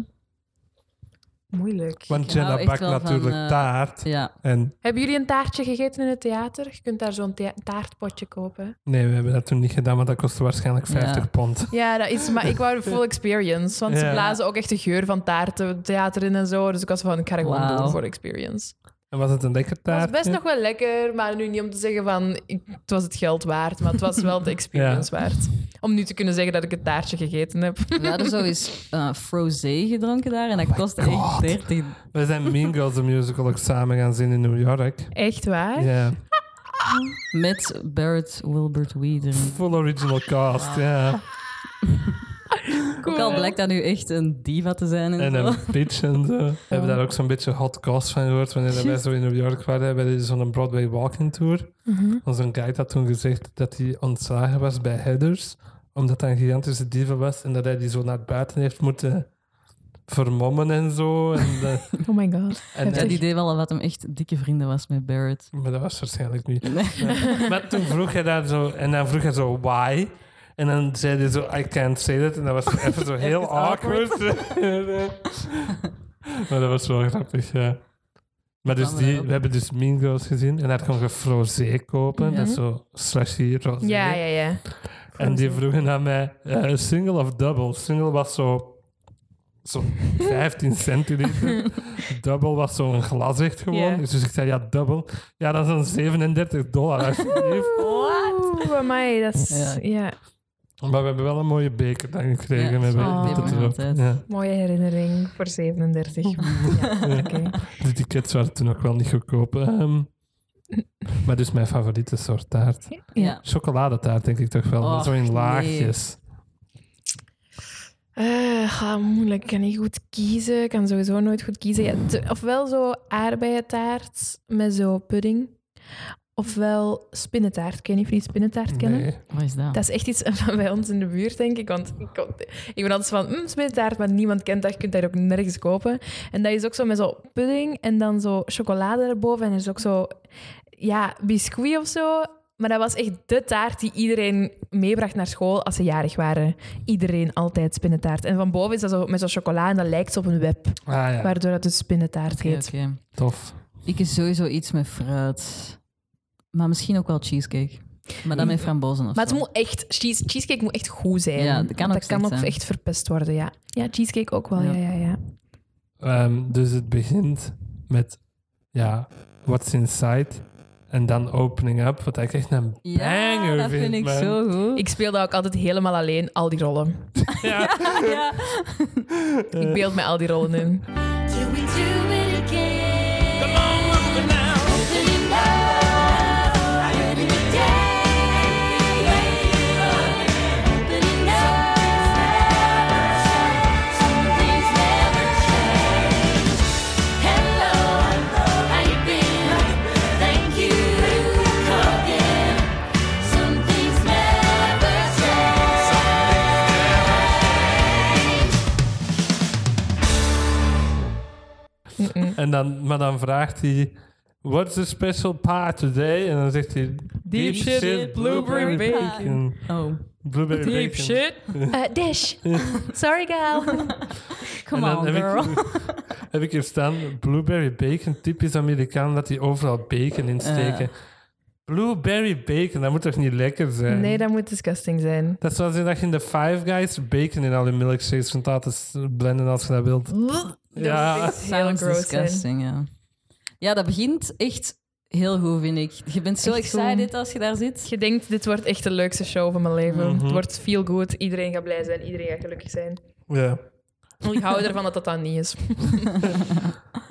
[SPEAKER 3] moeilijk.
[SPEAKER 1] Want
[SPEAKER 2] Ik hou
[SPEAKER 1] Jenna
[SPEAKER 2] echt
[SPEAKER 1] bakt
[SPEAKER 2] wel van,
[SPEAKER 1] natuurlijk
[SPEAKER 2] eh,
[SPEAKER 1] taart.
[SPEAKER 2] Ja.
[SPEAKER 1] En
[SPEAKER 3] Hebben jullie een taartje gegeten in het theater? Je kunt daar zo'n thea- taartpotje kopen.
[SPEAKER 1] nee, we hebben dat toen niet gedaan, maar dat kostte waarschijnlijk
[SPEAKER 2] Ja.
[SPEAKER 1] 50 pond.
[SPEAKER 3] Ja, dat is, maar ik wou de full experience. Want ze
[SPEAKER 1] Ja.
[SPEAKER 3] blazen ook echt de geur van taarten het theater in en zo. Dus ik was van, ik ga er gewoon
[SPEAKER 2] Wauw.
[SPEAKER 3] doen voor de experience.
[SPEAKER 1] En was het een lekker
[SPEAKER 3] Het
[SPEAKER 1] taart?
[SPEAKER 3] was best nog wel lekker, maar nu niet om te zeggen van, ik, het was het geld waard. Maar het was wel de experience waard. Om nu te kunnen zeggen dat ik het taartje gegeten heb.
[SPEAKER 2] We hadden zo eens eh Frosé gedronken daar. En dat kostte echt
[SPEAKER 1] Oh God.
[SPEAKER 2] 30.
[SPEAKER 1] We zijn Mean Girls, de musical, ook samen gaan zien in New York.
[SPEAKER 3] Echt waar?
[SPEAKER 1] Ja,
[SPEAKER 2] Met Barrett Wilbert Weed. erin.
[SPEAKER 1] full original cast, ja.
[SPEAKER 3] Cool.
[SPEAKER 2] Ook al blijkt dat nu echt een diva te zijn. En,
[SPEAKER 1] En
[SPEAKER 2] zo.
[SPEAKER 1] een pitch en zo. We hebben daar ook zo'n beetje hot cast van gehoord. Wanneer wij
[SPEAKER 2] Juist.
[SPEAKER 1] zo in New York waren, bij zo'n Broadway walking tour.
[SPEAKER 2] Mhm.
[SPEAKER 1] Onze guide had toen gezegd dat hij ontslagen was bij Headers, omdat hij een gigantische diva was en dat hij die zo naar buiten heeft moeten vermommen en zo. En, eh,
[SPEAKER 3] Oh my god.
[SPEAKER 1] en,
[SPEAKER 2] Ik had het idee wel wat hem echt dikke vrienden was met Barrett.
[SPEAKER 1] maar dat was waarschijnlijk niet.
[SPEAKER 2] Nee.
[SPEAKER 1] Ja. maar toen vroeg hij daar zo, en dan vroeg hij zo, why? En dan zei hij zo, I can't say that. En dat was even zo heel
[SPEAKER 2] Even
[SPEAKER 1] awkward. maar dat was wel grappig, ja. Maar dus
[SPEAKER 2] kan wel.
[SPEAKER 1] die, we hebben dus Mean Girls gezien. En daar kon je frosé kopen.
[SPEAKER 2] Ja.
[SPEAKER 1] Dat is zo slushy rosé.
[SPEAKER 3] Ja, ja, ja.
[SPEAKER 1] En die vroegen aan mij, eh, single of double? Single was zo... Zo 15 centiliter. Double was zo'n glas echt gewoon.
[SPEAKER 3] Ja.
[SPEAKER 1] Dus ik zei, ja, double. Ja, dat is dan 37 dollar, alsjeblieft.
[SPEAKER 3] Oeh, amai, dat is...
[SPEAKER 2] Ja.
[SPEAKER 3] Ja.
[SPEAKER 1] Maar we hebben wel een mooie beker dan gekregen
[SPEAKER 2] Ja, oh,
[SPEAKER 1] met,
[SPEAKER 2] zo'n
[SPEAKER 1] met het
[SPEAKER 3] beker
[SPEAKER 1] erop.
[SPEAKER 2] altijd.
[SPEAKER 1] Ja.
[SPEAKER 3] Mooie herinnering voor 37.
[SPEAKER 1] Ja.
[SPEAKER 3] Oké.
[SPEAKER 1] De tickets waren toen ook wel niet goedkoop. ehm. maar dus mijn favoriete soort taart.
[SPEAKER 2] Ja.
[SPEAKER 1] Chocoladetaart denk ik toch wel. maar
[SPEAKER 2] Och,
[SPEAKER 1] zo in
[SPEAKER 2] nee.
[SPEAKER 1] laagjes.
[SPEAKER 3] Eh, ah, moeilijk. Ik kan niet goed kiezen. Ik kan sowieso nooit goed kiezen. Ja, te- ofwel zo aardbeientaart met zo pudding. Ofwel spinnentaart. Ik weet niet of jullie spinnentaart kennen.
[SPEAKER 1] Nee.
[SPEAKER 2] Wat is dat?
[SPEAKER 3] Dat is echt iets van bij ons in de buurt, denk ik. Want ik, kon- ik ben altijd van, mm, spinnentaart, maar niemand kent dat. Je kunt dat ook nergens kopen. En dat is ook zo met zo pudding en dan zo chocolade erboven. En er is ook zo, ja, biscuit of zo. Maar dat was echt de taart die iedereen meebracht naar school als ze jarig waren. Iedereen altijd spinnentaart. En van boven is dat zo met zo'n chocola en dat lijkt op een web.
[SPEAKER 1] Ah ja,
[SPEAKER 3] Waardoor dat dus spinnentaart
[SPEAKER 2] Oké,
[SPEAKER 3] heet.
[SPEAKER 2] oké.
[SPEAKER 1] tof.
[SPEAKER 2] Ik is sowieso iets met fruit. Maar misschien ook wel cheesecake. Maar dan met frambozen of
[SPEAKER 3] Maar het
[SPEAKER 2] zo.
[SPEAKER 3] moet echt, cheese, cheesecake moet echt goed zijn.
[SPEAKER 2] Ja, dat kan
[SPEAKER 3] Want
[SPEAKER 2] ook
[SPEAKER 3] dat
[SPEAKER 2] slecht
[SPEAKER 3] kan ook
[SPEAKER 2] zijn.
[SPEAKER 3] echt verpest worden, ja. Ja, cheesecake ook wel,
[SPEAKER 2] Ja.
[SPEAKER 3] ja, ja, ja.
[SPEAKER 1] Ehm, dus het begint met ja, What's Inside en dan Opening Up, wat ik echt een
[SPEAKER 2] Ja,
[SPEAKER 1] banger
[SPEAKER 2] dat vind ik
[SPEAKER 1] man.
[SPEAKER 2] zo goed.
[SPEAKER 3] Ik speel dat ook altijd helemaal alleen, al die rollen.
[SPEAKER 1] Ja.
[SPEAKER 2] ja.
[SPEAKER 3] Ik beeld me al die rollen in.
[SPEAKER 4] Till we do it again.
[SPEAKER 5] Come on, move it now.
[SPEAKER 4] Opening up, opening the day. Opening up, some things never change. Hello, how you been? Thank you for calling. Some things never change.
[SPEAKER 1] En dan, maar dan vraagt hij, what's the special part today? En dan zegt hij, deep, shit, blueberry
[SPEAKER 2] blueberry
[SPEAKER 1] bacon.
[SPEAKER 2] Oh,
[SPEAKER 1] Blueberry bacon.
[SPEAKER 3] Eh, Dish. Sorry, gal.
[SPEAKER 1] En
[SPEAKER 2] come
[SPEAKER 1] dan
[SPEAKER 2] on
[SPEAKER 1] heb
[SPEAKER 2] girl.
[SPEAKER 1] Ik, heb ik hier staan, blueberry bacon, typisch Amerikaan, dat die overal bacon in steken. Blueberry bacon, dat moet toch niet lekker zijn?
[SPEAKER 3] Nee, dat moet disgusting zijn.
[SPEAKER 1] Dat is zoals in dat je in de Five Guys bacon in al je milkshakes kunt laten s- blenden als je dat wilt. Ja,
[SPEAKER 3] Heel
[SPEAKER 2] Sounds
[SPEAKER 3] gross zijn.
[SPEAKER 2] disgusting, ja. Ja, dat begint echt heel goed, vind ik. Je bent zo
[SPEAKER 3] Echt
[SPEAKER 2] excited als je daar zit.
[SPEAKER 3] Je denkt, dit wordt echt de leukste show van mijn leven. Het wordt feel good. Iedereen gaat blij zijn. Iedereen gaat gelukkig zijn.
[SPEAKER 1] ja.
[SPEAKER 3] Ik hou ervan dat dat dan niet is.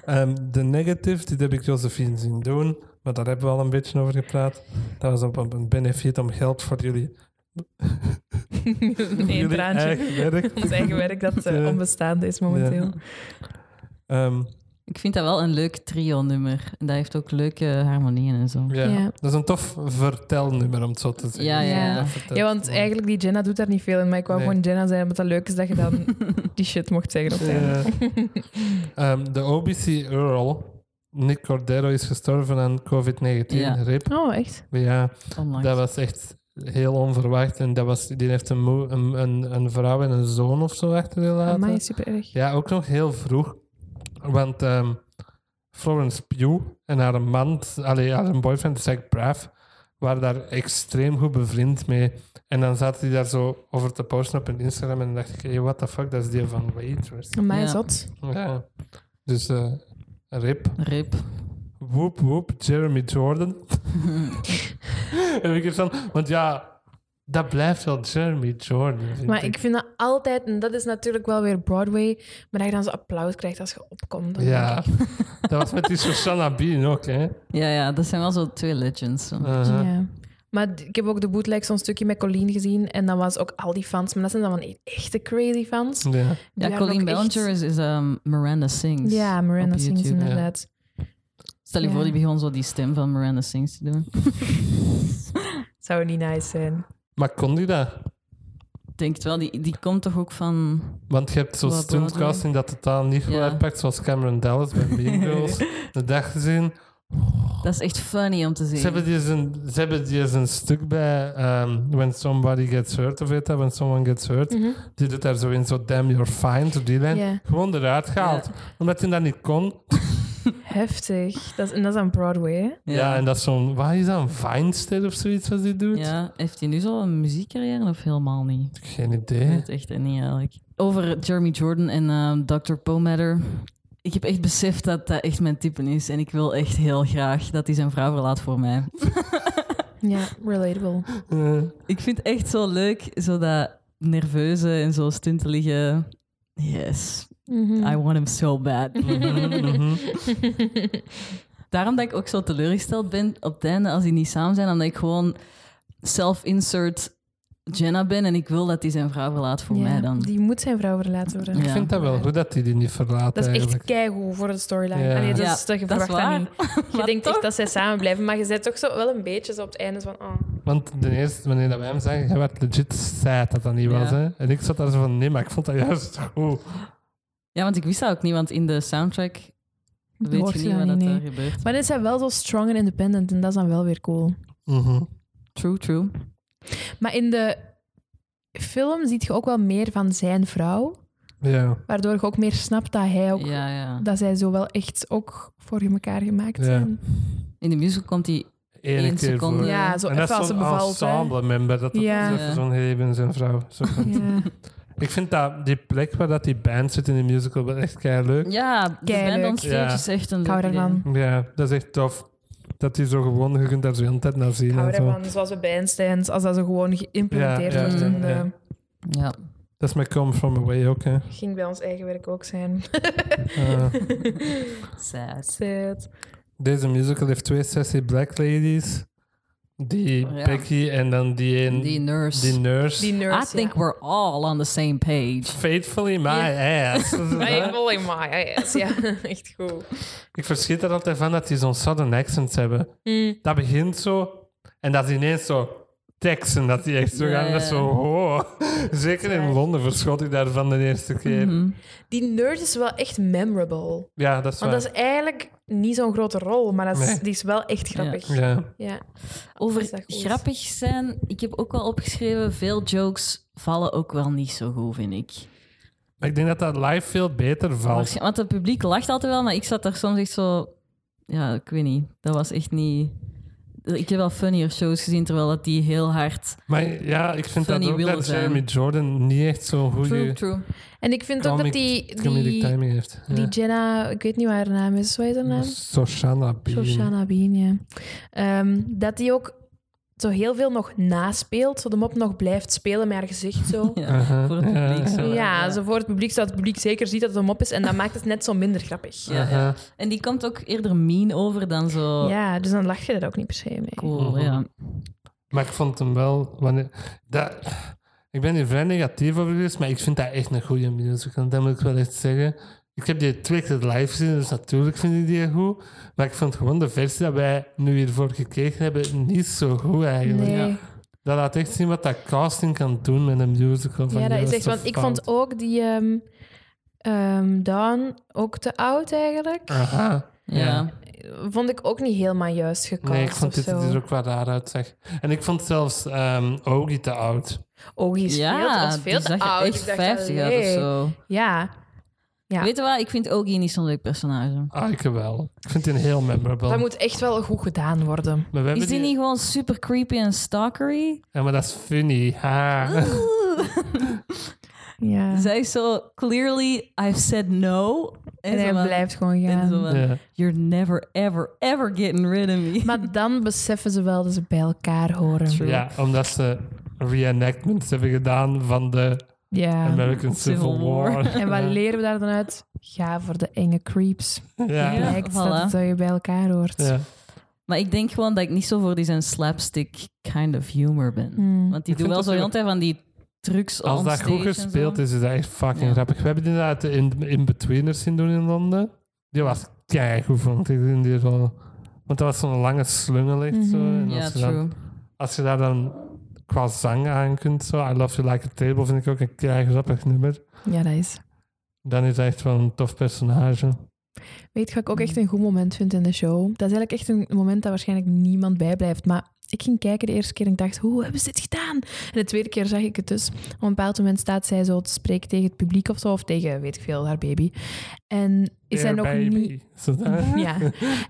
[SPEAKER 1] Ehm, de negative, dit heb ik Josephine zien doen, maar daar hebben we al een beetje over gepraat. Dat was op op een benefit om geld voor jullie, voor
[SPEAKER 3] Eén
[SPEAKER 1] jullie
[SPEAKER 3] traantje.
[SPEAKER 1] eigen werk.
[SPEAKER 3] Ons eigen werk dat eh,
[SPEAKER 1] Ja.
[SPEAKER 3] onbestaande is momenteel.
[SPEAKER 1] Ehm,
[SPEAKER 2] Ik vind dat wel een leuk trio-nummer. En dat heeft ook leuke harmonieën en zo.
[SPEAKER 1] ja.
[SPEAKER 3] Ja.
[SPEAKER 1] Dat is een tof vertelnummer, om het zo te zeggen.
[SPEAKER 2] Ja, ja,
[SPEAKER 3] ja.
[SPEAKER 1] Dat vertelt
[SPEAKER 3] Ja, want
[SPEAKER 1] gewoon.
[SPEAKER 3] eigenlijk die Jenna doet daar niet veel in. Maar ik wou
[SPEAKER 1] Nee.
[SPEAKER 3] gewoon Jenna zijn, omdat het leuk is dat je dan die shit mocht zeggen op het einde.
[SPEAKER 1] Ja. Ehm, de OBC Earl, Nick Cordero, is gestorven aan COVID-19.
[SPEAKER 2] Ja.
[SPEAKER 1] Rip.
[SPEAKER 3] Oh, echt?
[SPEAKER 1] Ja.
[SPEAKER 2] Onlangs.
[SPEAKER 1] Dat was echt heel onverwacht. En dat was, die heeft een, moe- een, een, een vrouw en een zoon of zo achter die laten.
[SPEAKER 3] Amai, super erg.
[SPEAKER 1] Ja, ook nog heel vroeg. Want ehm, Florence Pugh en haar man, allee, haar boyfriend Zach Braff, waren daar extreem goed bevriend mee. En dan zaten die daar zo over te posten op hun Instagram. En dan dacht ik, hey, what the fuck, dat is die van Waitress.
[SPEAKER 3] Amai,
[SPEAKER 2] Ja.
[SPEAKER 3] zot.
[SPEAKER 1] Ja. Dus eh, rip.
[SPEAKER 2] Rip.
[SPEAKER 1] Woep woep, Jeremy Jordan. en ik heb dan, want ja, dat blijft wel Jeremy Jordan. vind
[SPEAKER 3] Maar ik vind dat altijd, en dat is natuurlijk wel weer Broadway, maar dat je dan zo applaus krijgt als je opkomt. dan
[SPEAKER 1] Ja,
[SPEAKER 3] denk ik,
[SPEAKER 1] dat was met die Susanna Bean ook, hè?
[SPEAKER 2] Ja, ja, dat zijn wel zo twee legends. zo.
[SPEAKER 1] Uh-huh.
[SPEAKER 3] ja. Maar d- ik heb ook de bootleg zo'n stukje met Colleen gezien en dan was ook al die fans, maar dat zijn dan van e- echte crazy fans.
[SPEAKER 1] Ja.
[SPEAKER 3] Die
[SPEAKER 2] Ja,
[SPEAKER 3] waren
[SPEAKER 2] Colleen
[SPEAKER 3] ook echt-
[SPEAKER 2] Bellinger is, is ehm, Miranda Sings.
[SPEAKER 3] Ja, Miranda
[SPEAKER 2] op
[SPEAKER 3] Sings
[SPEAKER 2] YouTube.
[SPEAKER 3] inderdaad.
[SPEAKER 2] Stel je
[SPEAKER 3] Ja.
[SPEAKER 2] voor, die begon zo die stem van Miranda Sings te doen.
[SPEAKER 3] Zou niet nice zijn.
[SPEAKER 1] Maar kon die dat?
[SPEAKER 2] denk het wel. Die, die komt toch ook van...
[SPEAKER 1] Want je hebt zo'n
[SPEAKER 2] Wat
[SPEAKER 1] stuntcasting dat de taal niet goed
[SPEAKER 2] Ja.
[SPEAKER 1] uitpakt, zoals Cameron Dallas bij Mean Girls. De dag gezien.
[SPEAKER 2] Dat is echt funny om te zien.
[SPEAKER 1] Ze hebben die eens een, ze hebben die eens een stuk bij ehm, When Somebody Gets Hurt, of weet dat, When Someone Gets Hurt. Die doet daar zo in, zo damn you're fine, to die lijn.
[SPEAKER 3] Ja.
[SPEAKER 1] Gewoon eruit gehaald. Omdat hij dat niet kon.
[SPEAKER 3] Heftig. Dat is, en dat is aan Broadway, hè?
[SPEAKER 1] Ja, en dat is zo'n, wat is dat, een Feinstein of zoiets wat die doet?
[SPEAKER 2] Ja, heeft hij nu zo een muziekcarrière of helemaal niet?
[SPEAKER 1] Geen
[SPEAKER 2] Ik
[SPEAKER 1] idee.
[SPEAKER 2] weet het echt niet eigenlijk. Over Jeremy Jordan en ehm, Dr. Pomatter. Ik heb echt beseft dat dat echt mijn type is. En ik wil echt heel graag dat hij zijn vrouw verlaat voor mij.
[SPEAKER 3] Ja, relatable.
[SPEAKER 1] Eh,
[SPEAKER 2] Ik vind het echt zo leuk, zo dat nerveuze en zo stuntelige... Yes,
[SPEAKER 3] Mm. Mhm.
[SPEAKER 2] I want him so bad.
[SPEAKER 1] mhm.
[SPEAKER 2] Daarom dat ik ook zo teleurgesteld ben op het einde als die niet samen zijn. Omdat ik gewoon self-insert Jenna ben en ik wil dat hij zijn vrouw verlaat voor mij dan.
[SPEAKER 3] Die moet zijn vrouw verlaten worden.
[SPEAKER 1] Ik
[SPEAKER 2] Ja.
[SPEAKER 1] vind dat wel goed dat hij die niet verlaat
[SPEAKER 3] Dat is echt
[SPEAKER 1] eigenlijk.
[SPEAKER 3] keigoed voor de storyline.
[SPEAKER 1] Ja.
[SPEAKER 3] Allee, dat
[SPEAKER 2] Ja,
[SPEAKER 3] is, dat, je
[SPEAKER 2] dat is
[SPEAKER 3] verwacht dat
[SPEAKER 2] waar.
[SPEAKER 3] niet. Je
[SPEAKER 2] Maar
[SPEAKER 3] denkt
[SPEAKER 2] toch?
[SPEAKER 3] echt dat zij samen blijven, maar je bent toch zo wel een beetje zo op het einde van... Oh.
[SPEAKER 1] Want de eerste, wanneer dat wij hem zagen, jij werd legit sad dat dat niet
[SPEAKER 2] Ja.
[SPEAKER 1] was. Hè? En ik zat daar zo van, nee, maar ik vond dat juist goed.
[SPEAKER 2] Ja, want ik wist dat ook niet, want in de soundtrack weet
[SPEAKER 3] Hoort
[SPEAKER 2] je
[SPEAKER 3] je
[SPEAKER 2] niet
[SPEAKER 3] dat
[SPEAKER 2] wat dat
[SPEAKER 3] niet,
[SPEAKER 2] er
[SPEAKER 3] nee.
[SPEAKER 2] gebeurt.
[SPEAKER 3] Maar dit zijn wel zo strong en independent en dat is dan wel weer cool.
[SPEAKER 1] Mhm.
[SPEAKER 2] True, true.
[SPEAKER 3] Maar in de film ziet je ook wel meer van zijn vrouw,
[SPEAKER 1] Ja.
[SPEAKER 3] waardoor je ook meer snapt dat hij ook...
[SPEAKER 2] Ja, ja.
[SPEAKER 3] Dat zij zo wel echt ook voor elkaar gemaakt
[SPEAKER 1] Ja.
[SPEAKER 3] zijn.
[SPEAKER 2] In de musical komt hij...
[SPEAKER 1] Eén
[SPEAKER 2] Eén
[SPEAKER 1] keer
[SPEAKER 2] seconde.
[SPEAKER 1] voor.
[SPEAKER 2] Ja.
[SPEAKER 3] Ja, zo
[SPEAKER 1] en
[SPEAKER 3] even
[SPEAKER 1] dat is
[SPEAKER 3] als ze
[SPEAKER 1] zo'n
[SPEAKER 3] bevalt. hè.
[SPEAKER 1] ensemble member, dat het
[SPEAKER 3] Ja.
[SPEAKER 1] is even
[SPEAKER 2] Ja.
[SPEAKER 1] zo'n hele en zijn vrouw. Zo van-
[SPEAKER 3] Ja.
[SPEAKER 1] Ik vind dat die plek waar dat die band zit in de musical wel echt kei leuk.
[SPEAKER 2] Ja, de
[SPEAKER 3] Keileuk.
[SPEAKER 2] band on stage
[SPEAKER 1] Ja.
[SPEAKER 2] is echt een
[SPEAKER 3] Ik hou
[SPEAKER 2] leuk idee.
[SPEAKER 3] daarvan.
[SPEAKER 1] Ja, dat is echt tof. Dat die zo gewoon, je kunt daar zo heel de tijd naar zien.
[SPEAKER 3] Ik hou
[SPEAKER 1] en zo.
[SPEAKER 3] ervan, zoals bij bandstands, als dat zo gewoon geïmplementeerd
[SPEAKER 1] Ja,
[SPEAKER 2] ja,
[SPEAKER 3] wordt.
[SPEAKER 2] ja,
[SPEAKER 3] en,
[SPEAKER 1] ja.
[SPEAKER 3] eh,
[SPEAKER 2] Ja.
[SPEAKER 1] Dat is met Come From Away ook. Hè.
[SPEAKER 3] ging bij ons eigen werk ook zijn.
[SPEAKER 1] Eh,
[SPEAKER 2] Sad.
[SPEAKER 3] Sad.
[SPEAKER 1] deze musical heeft twee sessie Black Ladies. Die
[SPEAKER 3] Oh,
[SPEAKER 2] Ja.
[SPEAKER 1] Becky en dan die een,
[SPEAKER 2] Die nurse.
[SPEAKER 1] die nurse.
[SPEAKER 3] Die nurse,
[SPEAKER 2] I think
[SPEAKER 3] ja.
[SPEAKER 2] we're all on the same page.
[SPEAKER 1] Faithfully my ass. Dat is het, hè?
[SPEAKER 3] Ik wil in my ass, ja. Echt goed.
[SPEAKER 1] Ik verschiet er altijd van dat die zo'n southern accents hebben.
[SPEAKER 3] Mm.
[SPEAKER 1] Dat begint zo en dat is ineens zo Texan, dat die echt zo
[SPEAKER 2] Ja,
[SPEAKER 1] gaan. Dat is
[SPEAKER 2] ja.
[SPEAKER 1] zo, oh. Zeker in Londen verschot ik daarvan de eerste keer.
[SPEAKER 3] Mhm. Die nerd is wel echt memorable.
[SPEAKER 1] Ja, dat is waar.
[SPEAKER 3] Want dat is eigenlijk niet zo'n grote rol, maar dat is,
[SPEAKER 1] Nee.
[SPEAKER 3] die is wel echt grappig. Ja.
[SPEAKER 1] Ja.
[SPEAKER 3] Is dat
[SPEAKER 2] Over
[SPEAKER 3] goed?
[SPEAKER 2] grappig zijn, ik heb ook wel opgeschreven, veel jokes vallen ook wel niet zo goed, vind ik.
[SPEAKER 1] Maar ik denk dat dat live veel beter valt.
[SPEAKER 2] Waarschijn- Want het publiek lacht altijd wel, maar ik zat daar soms echt zo... Ja, ik weet niet. Dat was echt niet... Ik heb wel funnier shows gezien, terwijl dat die heel hard...
[SPEAKER 1] Maar ja, ik vind dat
[SPEAKER 2] Funny
[SPEAKER 1] ook
[SPEAKER 2] willen
[SPEAKER 1] dat
[SPEAKER 2] zijn.
[SPEAKER 1] Jeremy Jordan niet echt zo'n
[SPEAKER 2] True,
[SPEAKER 1] goede
[SPEAKER 2] true.
[SPEAKER 3] En ik vind ook
[SPEAKER 1] comic,
[SPEAKER 3] dat die,
[SPEAKER 1] comedic
[SPEAKER 3] die,
[SPEAKER 1] timing heeft.
[SPEAKER 3] die
[SPEAKER 1] Ja.
[SPEAKER 3] Jenna, ik weet niet wat haar naam is, wat is haar naam?
[SPEAKER 1] Shoshana Bean.
[SPEAKER 3] Shoshana Bean, ja. Ehm, dat die ook zo heel veel nog naspeelt, zo de mop nog blijft spelen met haar gezicht zo.
[SPEAKER 2] Ja,
[SPEAKER 1] Uh-huh,
[SPEAKER 2] Voor het
[SPEAKER 1] ja,
[SPEAKER 2] publiek
[SPEAKER 1] ja.
[SPEAKER 2] zo.
[SPEAKER 3] Ja, zo voor het publiek, zodat het publiek zeker ziet dat het een mop is. En dat maakt het net zo minder grappig.
[SPEAKER 2] Ja,
[SPEAKER 1] Uh-huh.
[SPEAKER 2] ja. En die komt ook eerder mean over dan zo...
[SPEAKER 1] Oh.
[SPEAKER 3] Ja, dus dan lach je er ook niet per se mee.
[SPEAKER 2] Cool, ja.
[SPEAKER 1] Maar ik vond hem wel. Wanneer, dat, ik ben hier vrij negatief over geweest, maar ik vind dat echt een goede musical. Dat moet ik wel echt zeggen. Ik heb die twee keer live gezien, dus natuurlijk vind ik die goed. Maar ik vond gewoon de versie dat wij nu hiervoor gekeken hebben niet zo goed eigenlijk.
[SPEAKER 3] Nee.
[SPEAKER 2] Ja.
[SPEAKER 3] Ja,
[SPEAKER 1] Dat laat echt zien wat dat casting kan doen met een musical. Van
[SPEAKER 3] dat is
[SPEAKER 1] juist
[SPEAKER 3] echt...
[SPEAKER 1] of
[SPEAKER 3] Want ik
[SPEAKER 1] fout.
[SPEAKER 3] vond ook die ehm ehm Dawn ook te oud eigenlijk.
[SPEAKER 1] Ah. Aha.
[SPEAKER 2] Ja.
[SPEAKER 3] Vond ik ook niet helemaal juist gecast
[SPEAKER 1] Nee, ik vond
[SPEAKER 3] of
[SPEAKER 1] dit
[SPEAKER 3] zo.
[SPEAKER 1] er ook wat raar uitzag. En ik vond zelfs ehm Ogie te oud.
[SPEAKER 3] Oh, die is veel, te- was veel
[SPEAKER 2] die
[SPEAKER 3] te
[SPEAKER 2] zag er
[SPEAKER 3] oud.
[SPEAKER 2] echt
[SPEAKER 3] Ik dacht,
[SPEAKER 2] 50 uit of
[SPEAKER 3] allee.
[SPEAKER 2] zo.
[SPEAKER 1] Oh.
[SPEAKER 3] Ja. Ja.
[SPEAKER 2] Weet je wat? Ik vind Ogie niet zo'n leuk personage.
[SPEAKER 1] Ah, ik wel. Ik vind die een heel memorable.
[SPEAKER 3] Dat moet echt wel goed gedaan worden.
[SPEAKER 1] Maar we hebben
[SPEAKER 2] Is die niet gewoon super creepy en stalkery?
[SPEAKER 1] Ja, maar dat is funny. Ha.
[SPEAKER 3] Ja.
[SPEAKER 2] Zij is zo, clearly I've said no.
[SPEAKER 3] En
[SPEAKER 2] zo
[SPEAKER 3] hij
[SPEAKER 2] van-
[SPEAKER 3] blijft gewoon
[SPEAKER 2] en zo
[SPEAKER 3] gaan.
[SPEAKER 2] van,
[SPEAKER 1] Ja.
[SPEAKER 2] You're never, ever, ever getting rid of me.
[SPEAKER 3] Maar dan beseffen ze wel dat ze bij elkaar horen.
[SPEAKER 2] True.
[SPEAKER 1] Ja, omdat ze reenactments hebben gedaan van de
[SPEAKER 3] Ja.
[SPEAKER 1] American Civil,
[SPEAKER 2] Civil War.
[SPEAKER 1] War.
[SPEAKER 3] En wat leren we daar dan uit? Ga voor de enge creeps.
[SPEAKER 1] ja. Ja.
[SPEAKER 3] Blijkt
[SPEAKER 2] voilà.
[SPEAKER 3] dat het zo je bij elkaar hoort.
[SPEAKER 1] Ja.
[SPEAKER 2] Maar ik denk gewoon dat ik niet zo voor die zijn slapstick kind of humor ben.
[SPEAKER 3] Hmm.
[SPEAKER 2] Want die
[SPEAKER 1] Ik vind
[SPEAKER 2] doen wel
[SPEAKER 1] dat
[SPEAKER 2] zo
[SPEAKER 1] ze-
[SPEAKER 2] heel de tijd van die trucs
[SPEAKER 1] Als dat
[SPEAKER 2] onstage
[SPEAKER 1] goed
[SPEAKER 2] en zo.
[SPEAKER 1] gespeeld is, is dat echt fucking
[SPEAKER 2] Ja.
[SPEAKER 1] grappig. We hebben die inderdaad de in- in-betweeners zien doen in Londen. Die was keigoed, vond ik, in die rol. Want dat was zo'n lange slungel echt zo.
[SPEAKER 3] Mhm.
[SPEAKER 1] En
[SPEAKER 2] Ja,
[SPEAKER 1] als, je dan,
[SPEAKER 2] true.
[SPEAKER 1] als je daar dan qua zang aan kunt. Zo. I Love You Like a Table vind ik ook een kei grappig nummer.
[SPEAKER 3] Ja, dat is.
[SPEAKER 1] Dan is hij echt wel een tof personage.
[SPEAKER 3] Weet je wat ik ook echt een goed moment vind in de show? Dat is eigenlijk echt een moment dat waarschijnlijk niemand bijblijft. Maar ik ging kijken de eerste keer en ik dacht, hoe hebben ze dit gedaan? En de tweede keer zag ik het dus. Op een bepaald moment staat zij zo te spreken tegen het publiek of zo. Of tegen, weet ik veel, haar baby. En is zij
[SPEAKER 1] Dear
[SPEAKER 3] nog
[SPEAKER 1] baby.
[SPEAKER 3] niet...
[SPEAKER 1] Zo dat-
[SPEAKER 3] Ja.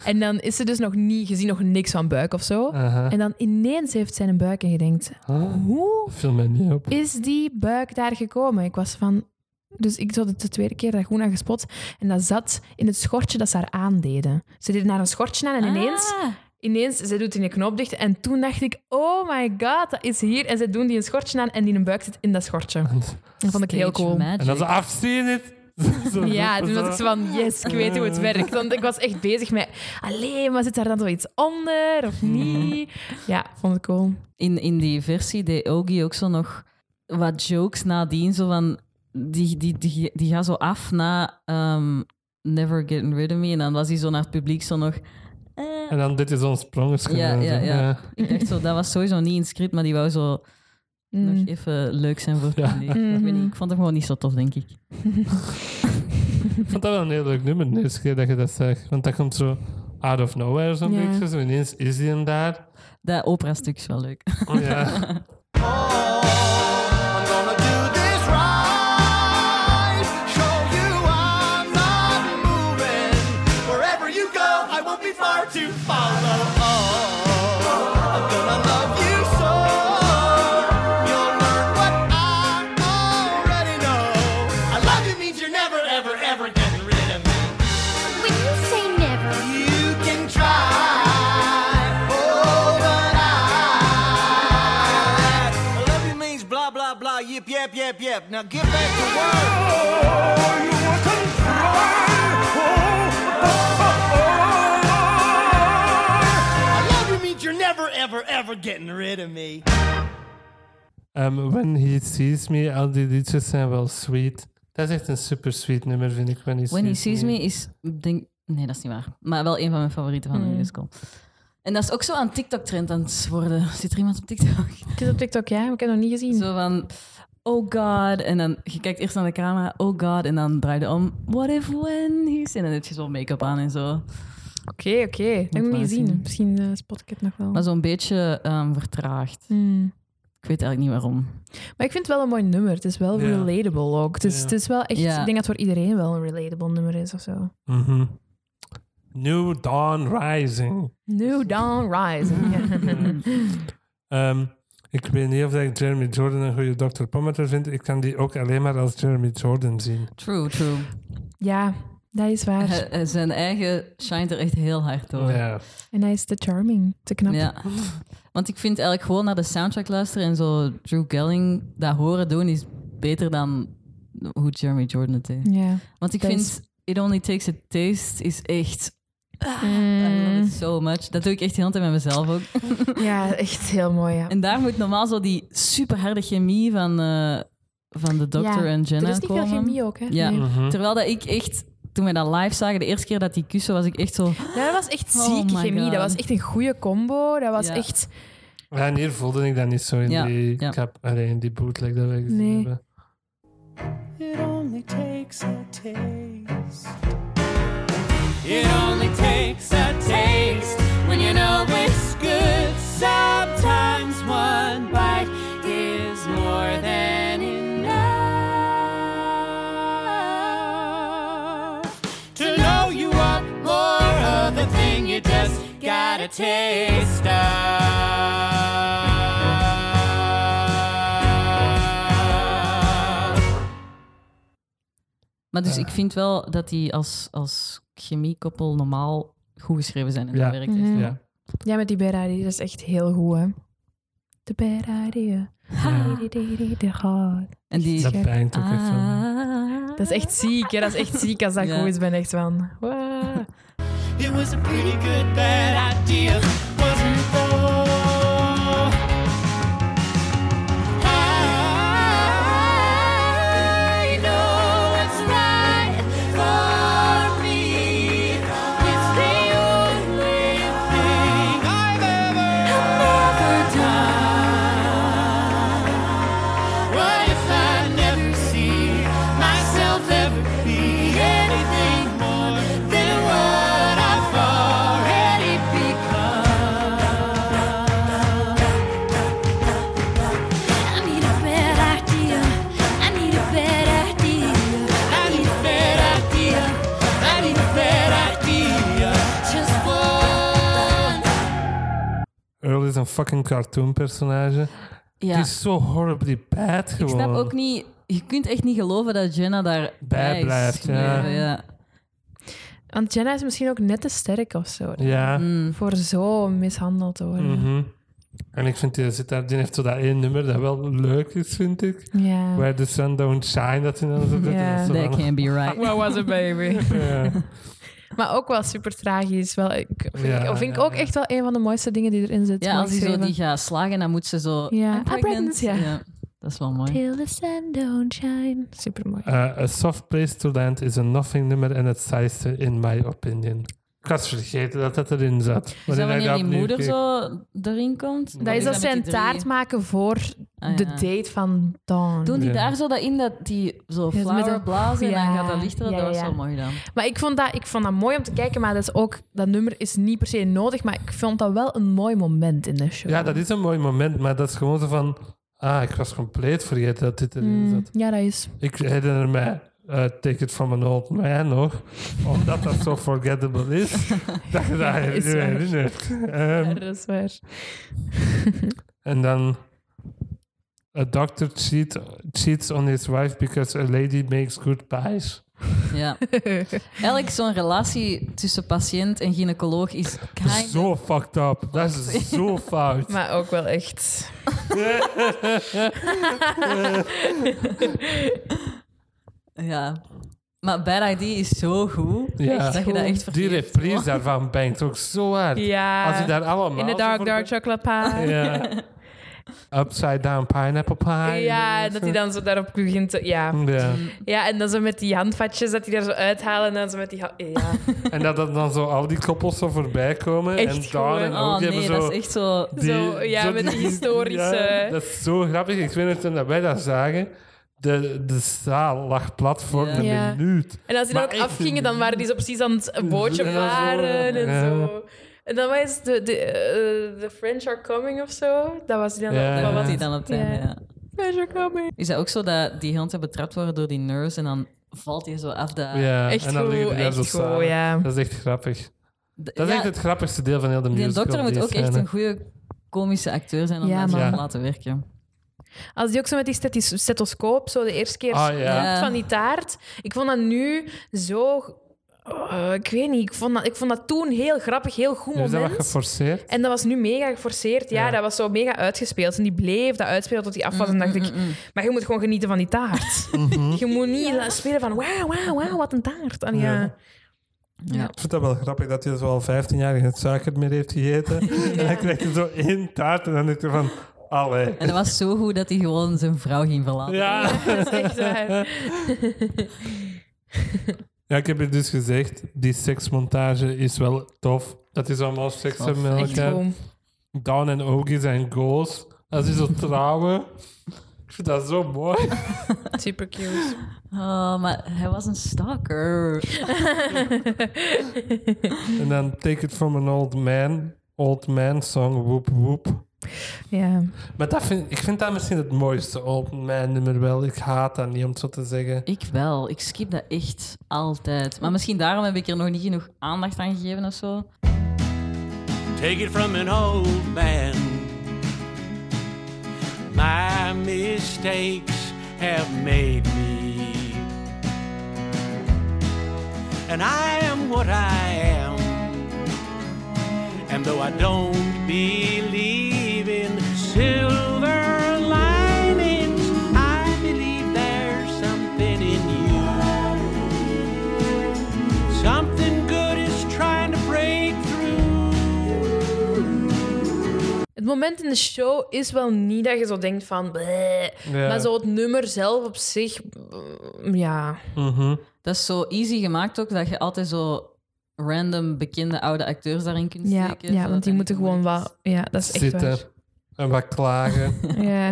[SPEAKER 3] En dan is ze dus nog niet gezien, nog niks van buik of zo.
[SPEAKER 1] Aha.
[SPEAKER 3] En dan ineens heeft zij een buik en je denkt,
[SPEAKER 1] Huh?
[SPEAKER 3] hoe
[SPEAKER 1] Viel mij niet op.
[SPEAKER 3] is die buik daar gekomen? Ik was van... Dus ik had het de tweede keer daar goed aan gespot. En dat zat in het schortje dat ze haar aandeden. Ze deden haar een schortje aan en ineens,
[SPEAKER 2] Ah,
[SPEAKER 3] ineens ze doet in een knop dicht. En toen dacht ik, oh my god, dat is hier. En ze doen die een schortje aan en die een buik zit in dat schortje. Dat vond ik heel
[SPEAKER 2] stage
[SPEAKER 3] cool.
[SPEAKER 1] En dan zo,
[SPEAKER 2] magic.
[SPEAKER 1] I've seen it! Zo
[SPEAKER 3] Ja,
[SPEAKER 1] roepen
[SPEAKER 3] toen was
[SPEAKER 1] zo.
[SPEAKER 3] ik zo van, yes, ik weet hoe het werkt. Want ik was echt bezig met, alleen maar zit daar dan zo iets onder of niet? Ja, vond ik cool.
[SPEAKER 2] In, in die versie deed Ogie ook zo nog wat jokes nadien. Zo van, die, die, die, die gaat zo af na ehm, Never Getting Rid of Me. En dan was hij zo naar het publiek zo nog... eh.
[SPEAKER 1] En dan dit is ons sprongetje.
[SPEAKER 2] Ja, ja,
[SPEAKER 1] Zo,
[SPEAKER 2] ja. Ik dacht zo, dat was sowieso niet in het script, maar die wou zo nog even leuk zijn voor het
[SPEAKER 1] Ja.
[SPEAKER 2] publiek. Ik, weet niet, ik vond hem gewoon niet zo tof, denk ik.
[SPEAKER 1] Ik vond dat wel een heel leuk nummer de eerste keer dat je dat zegt. Want dat komt zo out of nowhere zo'n
[SPEAKER 3] Ja.
[SPEAKER 1] beetje. Zo ineens is hij hem daar.
[SPEAKER 2] Dat opera-stuk is wel leuk.
[SPEAKER 1] Oh, ja.
[SPEAKER 6] I'm gonna do this right. Show you I'm not moving. Wherever you go, I won't be far to follow. Oh, I'm gonna love you so. You'll learn what I already know. I love you means you're never, ever, ever getting rid of me.
[SPEAKER 4] When you say never,
[SPEAKER 6] You can try. Oh, but I. I love you means blah, blah, blah, yip, yip, yip, yip. Now get back to work. I love you means you're never, ever, ever getting rid of me.
[SPEAKER 1] Ehm, When He Sees Me, al die liedjes zijn wel sweet. Dat is echt een super sweet nummer, vind ik. When He,
[SPEAKER 2] When He Sees Me is, denk, nee, dat is niet waar. Maar wel een van mijn favorieten van de musical. En dat is ook zo aan TikTok-trend aan het worden. Zit er iemand op TikTok?
[SPEAKER 3] Het is op TikTok, ja, maar ik heb het nog niet gezien.
[SPEAKER 2] Zo van, oh god. En dan, je kijkt eerst naar de camera, oh god. En dan draai je om, what if when he's... En dan heb je zo make-up aan en zo.
[SPEAKER 3] Oké, oké. Ik heb
[SPEAKER 2] Moet
[SPEAKER 3] het
[SPEAKER 2] maar
[SPEAKER 3] niet gezien.
[SPEAKER 2] zien.
[SPEAKER 3] Misschien eh, spot ik het nog wel.
[SPEAKER 2] Maar zo'n beetje ehm, vertraagd.
[SPEAKER 3] Hmm.
[SPEAKER 2] Ik weet eigenlijk niet waarom.
[SPEAKER 3] Maar ik vind het wel een mooi nummer. Het is wel
[SPEAKER 1] Ja.
[SPEAKER 3] relatable ook. Het is,
[SPEAKER 1] Ja.
[SPEAKER 3] het is wel echt...
[SPEAKER 2] Ja.
[SPEAKER 3] Ik denk dat het voor iedereen wel een relatable nummer is of zo.
[SPEAKER 1] Mhm. New Dawn Rising.
[SPEAKER 3] New Dawn Rising.
[SPEAKER 1] Ehm, ik weet niet of ik Jeremy Jordan een goede Dr. Pometer vind. Ik kan die ook alleen maar als Jeremy Jordan zien.
[SPEAKER 2] True, true.
[SPEAKER 3] ja, dat is waar.
[SPEAKER 2] Hij- hij- zijn eigen shine er echt heel hard door.
[SPEAKER 1] Ja.
[SPEAKER 3] En hij is te charming, te knap.
[SPEAKER 2] Ja. Want ik vind eigenlijk gewoon naar de soundtrack luisteren en zo Drew Gelling dat horen doen is beter dan hoe Jeremy Jordan het deed.
[SPEAKER 3] Ja.
[SPEAKER 2] Want ik
[SPEAKER 3] Dat
[SPEAKER 2] vind
[SPEAKER 3] is-
[SPEAKER 2] It Only Takes a Taste is echt... I
[SPEAKER 3] Mm.
[SPEAKER 2] love it so much. Dat doe ik echt de hele tijd met mezelf ook.
[SPEAKER 3] ja, echt heel mooi, ja.
[SPEAKER 2] En daar moet normaal zo die superharde chemie van, eh, van de dokter
[SPEAKER 3] Ja,
[SPEAKER 2] en Jenna
[SPEAKER 3] Er is niet
[SPEAKER 2] komen.
[SPEAKER 3] veel chemie ook, hè?
[SPEAKER 2] Ja.
[SPEAKER 3] Nee.
[SPEAKER 1] Mhm.
[SPEAKER 2] Terwijl dat ik echt, toen wij dat live zagen, de eerste keer dat die kussen, was ik echt zo...
[SPEAKER 3] Dat was echt
[SPEAKER 2] Oh
[SPEAKER 3] zieke
[SPEAKER 2] my
[SPEAKER 3] chemie.
[SPEAKER 2] God.
[SPEAKER 3] Dat was echt een goede combo. Dat was
[SPEAKER 2] Ja.
[SPEAKER 3] echt...
[SPEAKER 1] Ja, en hier voelde ik dat niet zo in
[SPEAKER 2] Ja,
[SPEAKER 1] die
[SPEAKER 2] ja.
[SPEAKER 1] cap, allee, in die bootleg dat wij gezien
[SPEAKER 3] Nee.
[SPEAKER 1] hebben.
[SPEAKER 6] It only takes a taste. It only takes a taste when you know it's good. Sometimes one bite is more than enough to know you want more of the thing you just got a taste of.
[SPEAKER 2] Maar dus ik vind wel dat die als, als chemiekoppel normaal goed geschreven zijn. En
[SPEAKER 1] Ja.
[SPEAKER 2] dat werkt echt.
[SPEAKER 3] Mhm.
[SPEAKER 1] Ja.
[SPEAKER 3] Ja, met die bad idea, dat is echt heel goed, hè. De bad idea. De god.
[SPEAKER 2] En die... Ah.
[SPEAKER 1] Dat pijnt ook echt van.
[SPEAKER 3] Dat is echt ziek, hè. Dat is echt ziek als dat
[SPEAKER 2] Ja.
[SPEAKER 3] goed is. ben ik echt van... wow.
[SPEAKER 6] It was a pretty good bad idea, wasn't it? though? I know it's right for me. It's the only thing I've ever, ever done.
[SPEAKER 1] is een fucking cartoonpersonage.
[SPEAKER 2] Ja.
[SPEAKER 1] Het is zo horribly bad
[SPEAKER 2] Ik
[SPEAKER 1] gewoon.
[SPEAKER 2] snap ook niet... Je kunt echt niet geloven dat Jenna daar
[SPEAKER 1] Bij
[SPEAKER 2] is.
[SPEAKER 1] blijft, ja.
[SPEAKER 2] Nee, ja.
[SPEAKER 3] Want Jenna is misschien ook net te sterk of zo.
[SPEAKER 1] Ja.
[SPEAKER 2] Hmm. Mm.
[SPEAKER 3] Voor zo mishandeld te worden.
[SPEAKER 1] mhm. En ik vind, die, zit daar, die heeft zo dat één nummer dat wel leuk is, vind ik.
[SPEAKER 2] Ah.
[SPEAKER 3] Ja.
[SPEAKER 1] Where the sun don't shine, dat hij dan zo doet.
[SPEAKER 3] Ja.
[SPEAKER 1] Dat is zo
[SPEAKER 2] That
[SPEAKER 1] van-
[SPEAKER 2] can be right.
[SPEAKER 3] What was a baby?
[SPEAKER 1] Ja.
[SPEAKER 3] maar ook wel super tragisch. Wel, ik, vind
[SPEAKER 1] Ja,
[SPEAKER 3] ik, of vind
[SPEAKER 1] ja,
[SPEAKER 3] ik ook
[SPEAKER 1] ja.
[SPEAKER 3] echt wel een van de mooiste dingen die erin zit.
[SPEAKER 2] Ja,
[SPEAKER 3] mooi
[SPEAKER 2] als hij zo
[SPEAKER 3] geschreven.
[SPEAKER 2] die gaat slagen, dan moet ze zo...
[SPEAKER 3] Ja.
[SPEAKER 2] I'm
[SPEAKER 3] I'm
[SPEAKER 2] pregnant.
[SPEAKER 3] pregnant, ja.
[SPEAKER 2] Dat is wel mooi.
[SPEAKER 3] Till the sun don't shine. Super mooi.
[SPEAKER 1] Eh, a soft place to land is een nothing nummer en het saaiste, in my opinion. Ik had vergeten dat dat erin zat.
[SPEAKER 2] Is dat
[SPEAKER 1] ik
[SPEAKER 2] wanneer
[SPEAKER 1] dat
[SPEAKER 2] die
[SPEAKER 1] opnieuw
[SPEAKER 2] moeder
[SPEAKER 1] keek.
[SPEAKER 2] zo erin komt?
[SPEAKER 1] Dat
[SPEAKER 3] dat is dat
[SPEAKER 2] met
[SPEAKER 3] ze een
[SPEAKER 2] die drie-
[SPEAKER 3] taart maken voor
[SPEAKER 2] Ah,
[SPEAKER 3] de
[SPEAKER 2] ja.
[SPEAKER 3] date van Dawn.
[SPEAKER 2] Doen die
[SPEAKER 1] Ja.
[SPEAKER 2] daar zo dat in, dat die zo
[SPEAKER 3] met
[SPEAKER 2] flower
[SPEAKER 3] dat-
[SPEAKER 2] blazen en dan
[SPEAKER 3] Ja,
[SPEAKER 2] gaat dat lichter?
[SPEAKER 3] ja,
[SPEAKER 2] dat was
[SPEAKER 3] ja.
[SPEAKER 2] zo mooi dan.
[SPEAKER 3] Maar ik vond, dat, ik vond dat mooi om te kijken, maar dat, is ook, dat nummer is niet per se nodig. Maar ik vond dat wel een mooi moment in de show.
[SPEAKER 1] Ja, dat is een mooi moment, maar dat is gewoon zo van... Ah, ik was compleet vergeten dat dit erin
[SPEAKER 2] Hmm.
[SPEAKER 3] Mm,
[SPEAKER 1] zat.
[SPEAKER 3] ja, dat is.
[SPEAKER 1] Ik herinner mij eh, Take It From An Old Man nog, omdat dat zo forgettable is, dat je dat
[SPEAKER 3] is
[SPEAKER 1] je
[SPEAKER 3] waar.
[SPEAKER 1] herinnert.
[SPEAKER 3] Ja,
[SPEAKER 1] Ehm,
[SPEAKER 3] dat is waar.
[SPEAKER 1] en dan... A doctor cheat, cheats on his wife because a lady makes good pies.
[SPEAKER 2] Ja. Elk zo'n relatie tussen patiënt en gynaecoloog is kind
[SPEAKER 1] Zo fucked up. Dat is zo fout.
[SPEAKER 3] Maar ook wel echt.
[SPEAKER 2] Ja. Maar Bad ID is zo goed.
[SPEAKER 1] Ja.
[SPEAKER 2] Dat je dat echt
[SPEAKER 1] Die
[SPEAKER 2] vergeet.
[SPEAKER 1] reprise daarvan bangt ook zo hard.
[SPEAKER 3] Ja.
[SPEAKER 1] Als je daar allemaal...
[SPEAKER 3] in de
[SPEAKER 1] zo
[SPEAKER 3] dark,
[SPEAKER 1] voor-
[SPEAKER 3] dark chocolate pie.
[SPEAKER 1] Ja. Upside down pineapple pie.
[SPEAKER 3] Ja, dat Mm. hij dan zo daarop begint te... Ja.
[SPEAKER 1] Ja.
[SPEAKER 3] ja, en dan zo met die handvatjes dat hij daar zo uithalen. En dan zo met die... ha- Ja.
[SPEAKER 1] En dat dan, dan zo al die koppels zo voorbij komen.
[SPEAKER 3] Echt
[SPEAKER 1] en daar en
[SPEAKER 3] gewoon.
[SPEAKER 1] ook
[SPEAKER 2] Oh
[SPEAKER 1] die
[SPEAKER 2] nee,
[SPEAKER 1] hebben
[SPEAKER 2] dat
[SPEAKER 1] zo...
[SPEAKER 2] is echt zo...
[SPEAKER 3] Zo, ja, met die
[SPEAKER 1] Ja,
[SPEAKER 3] historische-
[SPEAKER 1] dat is zo grappig. Ik weet nog toen dat wij dat zagen. De, de zaal lag plat voor
[SPEAKER 2] Ja.
[SPEAKER 1] een
[SPEAKER 3] Ja.
[SPEAKER 1] minuut.
[SPEAKER 3] En als die dan
[SPEAKER 1] Maar
[SPEAKER 3] ook
[SPEAKER 1] echt
[SPEAKER 3] afgingen, dan waren die zo precies aan het bootje
[SPEAKER 1] Ja, zo,
[SPEAKER 3] varen en
[SPEAKER 1] ja.
[SPEAKER 3] zo. En dan was de, de, eh, The French Are Coming of zo. Dat was die dan...
[SPEAKER 1] Ja.
[SPEAKER 3] wat
[SPEAKER 2] Dat
[SPEAKER 3] was
[SPEAKER 2] doet hij
[SPEAKER 3] het?
[SPEAKER 2] dan op het einde,
[SPEAKER 3] Ja.
[SPEAKER 2] ja.
[SPEAKER 3] French Are Coming.
[SPEAKER 2] Is dat ook zo dat die heel tijd betrapt worden door die nurse en dan valt hij zo af dat...
[SPEAKER 1] Ja,
[SPEAKER 3] Echt
[SPEAKER 1] en dan liggen
[SPEAKER 3] goed,
[SPEAKER 1] die daar
[SPEAKER 3] echt
[SPEAKER 1] zo
[SPEAKER 3] goed,
[SPEAKER 1] samen.
[SPEAKER 3] ja.
[SPEAKER 1] Dat is echt grappig.
[SPEAKER 2] D-
[SPEAKER 1] Dat is
[SPEAKER 2] ja,
[SPEAKER 1] echt het grappigste deel van heel de
[SPEAKER 2] Die
[SPEAKER 1] musical.
[SPEAKER 2] dokter moet
[SPEAKER 1] die
[SPEAKER 2] ook echt
[SPEAKER 1] scène.
[SPEAKER 2] een goede komische acteur zijn om
[SPEAKER 3] Ja,
[SPEAKER 2] dat zo
[SPEAKER 1] man.
[SPEAKER 2] te laten werken.
[SPEAKER 3] Als die ook zo met die stetis- stethoscoop, zo de eerste keer
[SPEAKER 1] Ah, ja.
[SPEAKER 2] Ja.
[SPEAKER 3] van die taart. Ik vond dat nu zo... eh, ik weet niet, ik vond, dat, ik vond dat toen heel grappig, heel goed
[SPEAKER 1] Hebben ze dat wat
[SPEAKER 3] moment.
[SPEAKER 1] geforceerd?
[SPEAKER 3] En dat was nu mega geforceerd. Ja,
[SPEAKER 1] Ja.
[SPEAKER 3] dat was zo mega uitgespeeld. En die bleef dat uitspelen tot die af was. en dacht ik, maar je moet gewoon genieten van die taart. Je moet niet la- spelen van, wauw, wauw, wauw, wat een taart. En ja.
[SPEAKER 1] Ja.
[SPEAKER 2] Ja.
[SPEAKER 1] Ik vind dat wel grappig dat hij zo al 15 jaar geen suiker meer heeft gegeten. En dan krijg je zo één taart en dan denk je van... Allee.
[SPEAKER 2] En dat was zo goed dat hij gewoon zijn vrouw ging verlaten.
[SPEAKER 1] Ja.
[SPEAKER 3] Dat is echt waar.
[SPEAKER 1] ja, ik heb je dus gezegd, die seksmontage is wel tof. Dat is allemaal seks
[SPEAKER 2] Tof.
[SPEAKER 1] hebben met
[SPEAKER 3] Echt
[SPEAKER 1] elkaar.
[SPEAKER 3] gewoon.
[SPEAKER 1] Down en Ogie zijn goals. Als die zo trouwen. Ik vind dat zo mooi.
[SPEAKER 3] Super cute.
[SPEAKER 2] Oh, maar hij was een stalker.
[SPEAKER 1] En dan Take It From An Old Man. Old Man song, woep woep.
[SPEAKER 3] Ja.
[SPEAKER 1] Maar dat vind, ik vind dat misschien het mooiste Old Man nummer wel. Ik haat dat niet, om het zo te zeggen.
[SPEAKER 2] Ik wel. Ik skip dat echt altijd. Maar misschien daarom heb ik er nog niet genoeg aandacht aan gegeven of zo.
[SPEAKER 7] Take it from an old man. My mistakes have made me. And I am what I am. And though I don't believe in silver linings, I believe there's something in you. Something good is trying to break through.
[SPEAKER 3] Het moment in de show is wel niet dat je zo denkt van... bleh.
[SPEAKER 1] Ja.
[SPEAKER 3] Maar zo het nummer zelf op zich... mm, Ja.
[SPEAKER 1] Mhm.
[SPEAKER 2] Dat is zo easy gemaakt ook, dat je altijd zo random bekende oude acteurs daarin kunt
[SPEAKER 3] Ja,
[SPEAKER 2] steken.
[SPEAKER 3] ja
[SPEAKER 2] zodat
[SPEAKER 3] want
[SPEAKER 2] dat
[SPEAKER 3] die moeten
[SPEAKER 2] niet
[SPEAKER 3] gewoon
[SPEAKER 2] moeilijk
[SPEAKER 3] wel... Ja, dat is echt
[SPEAKER 1] Zitten. En wat klagen.
[SPEAKER 3] waar. Ja.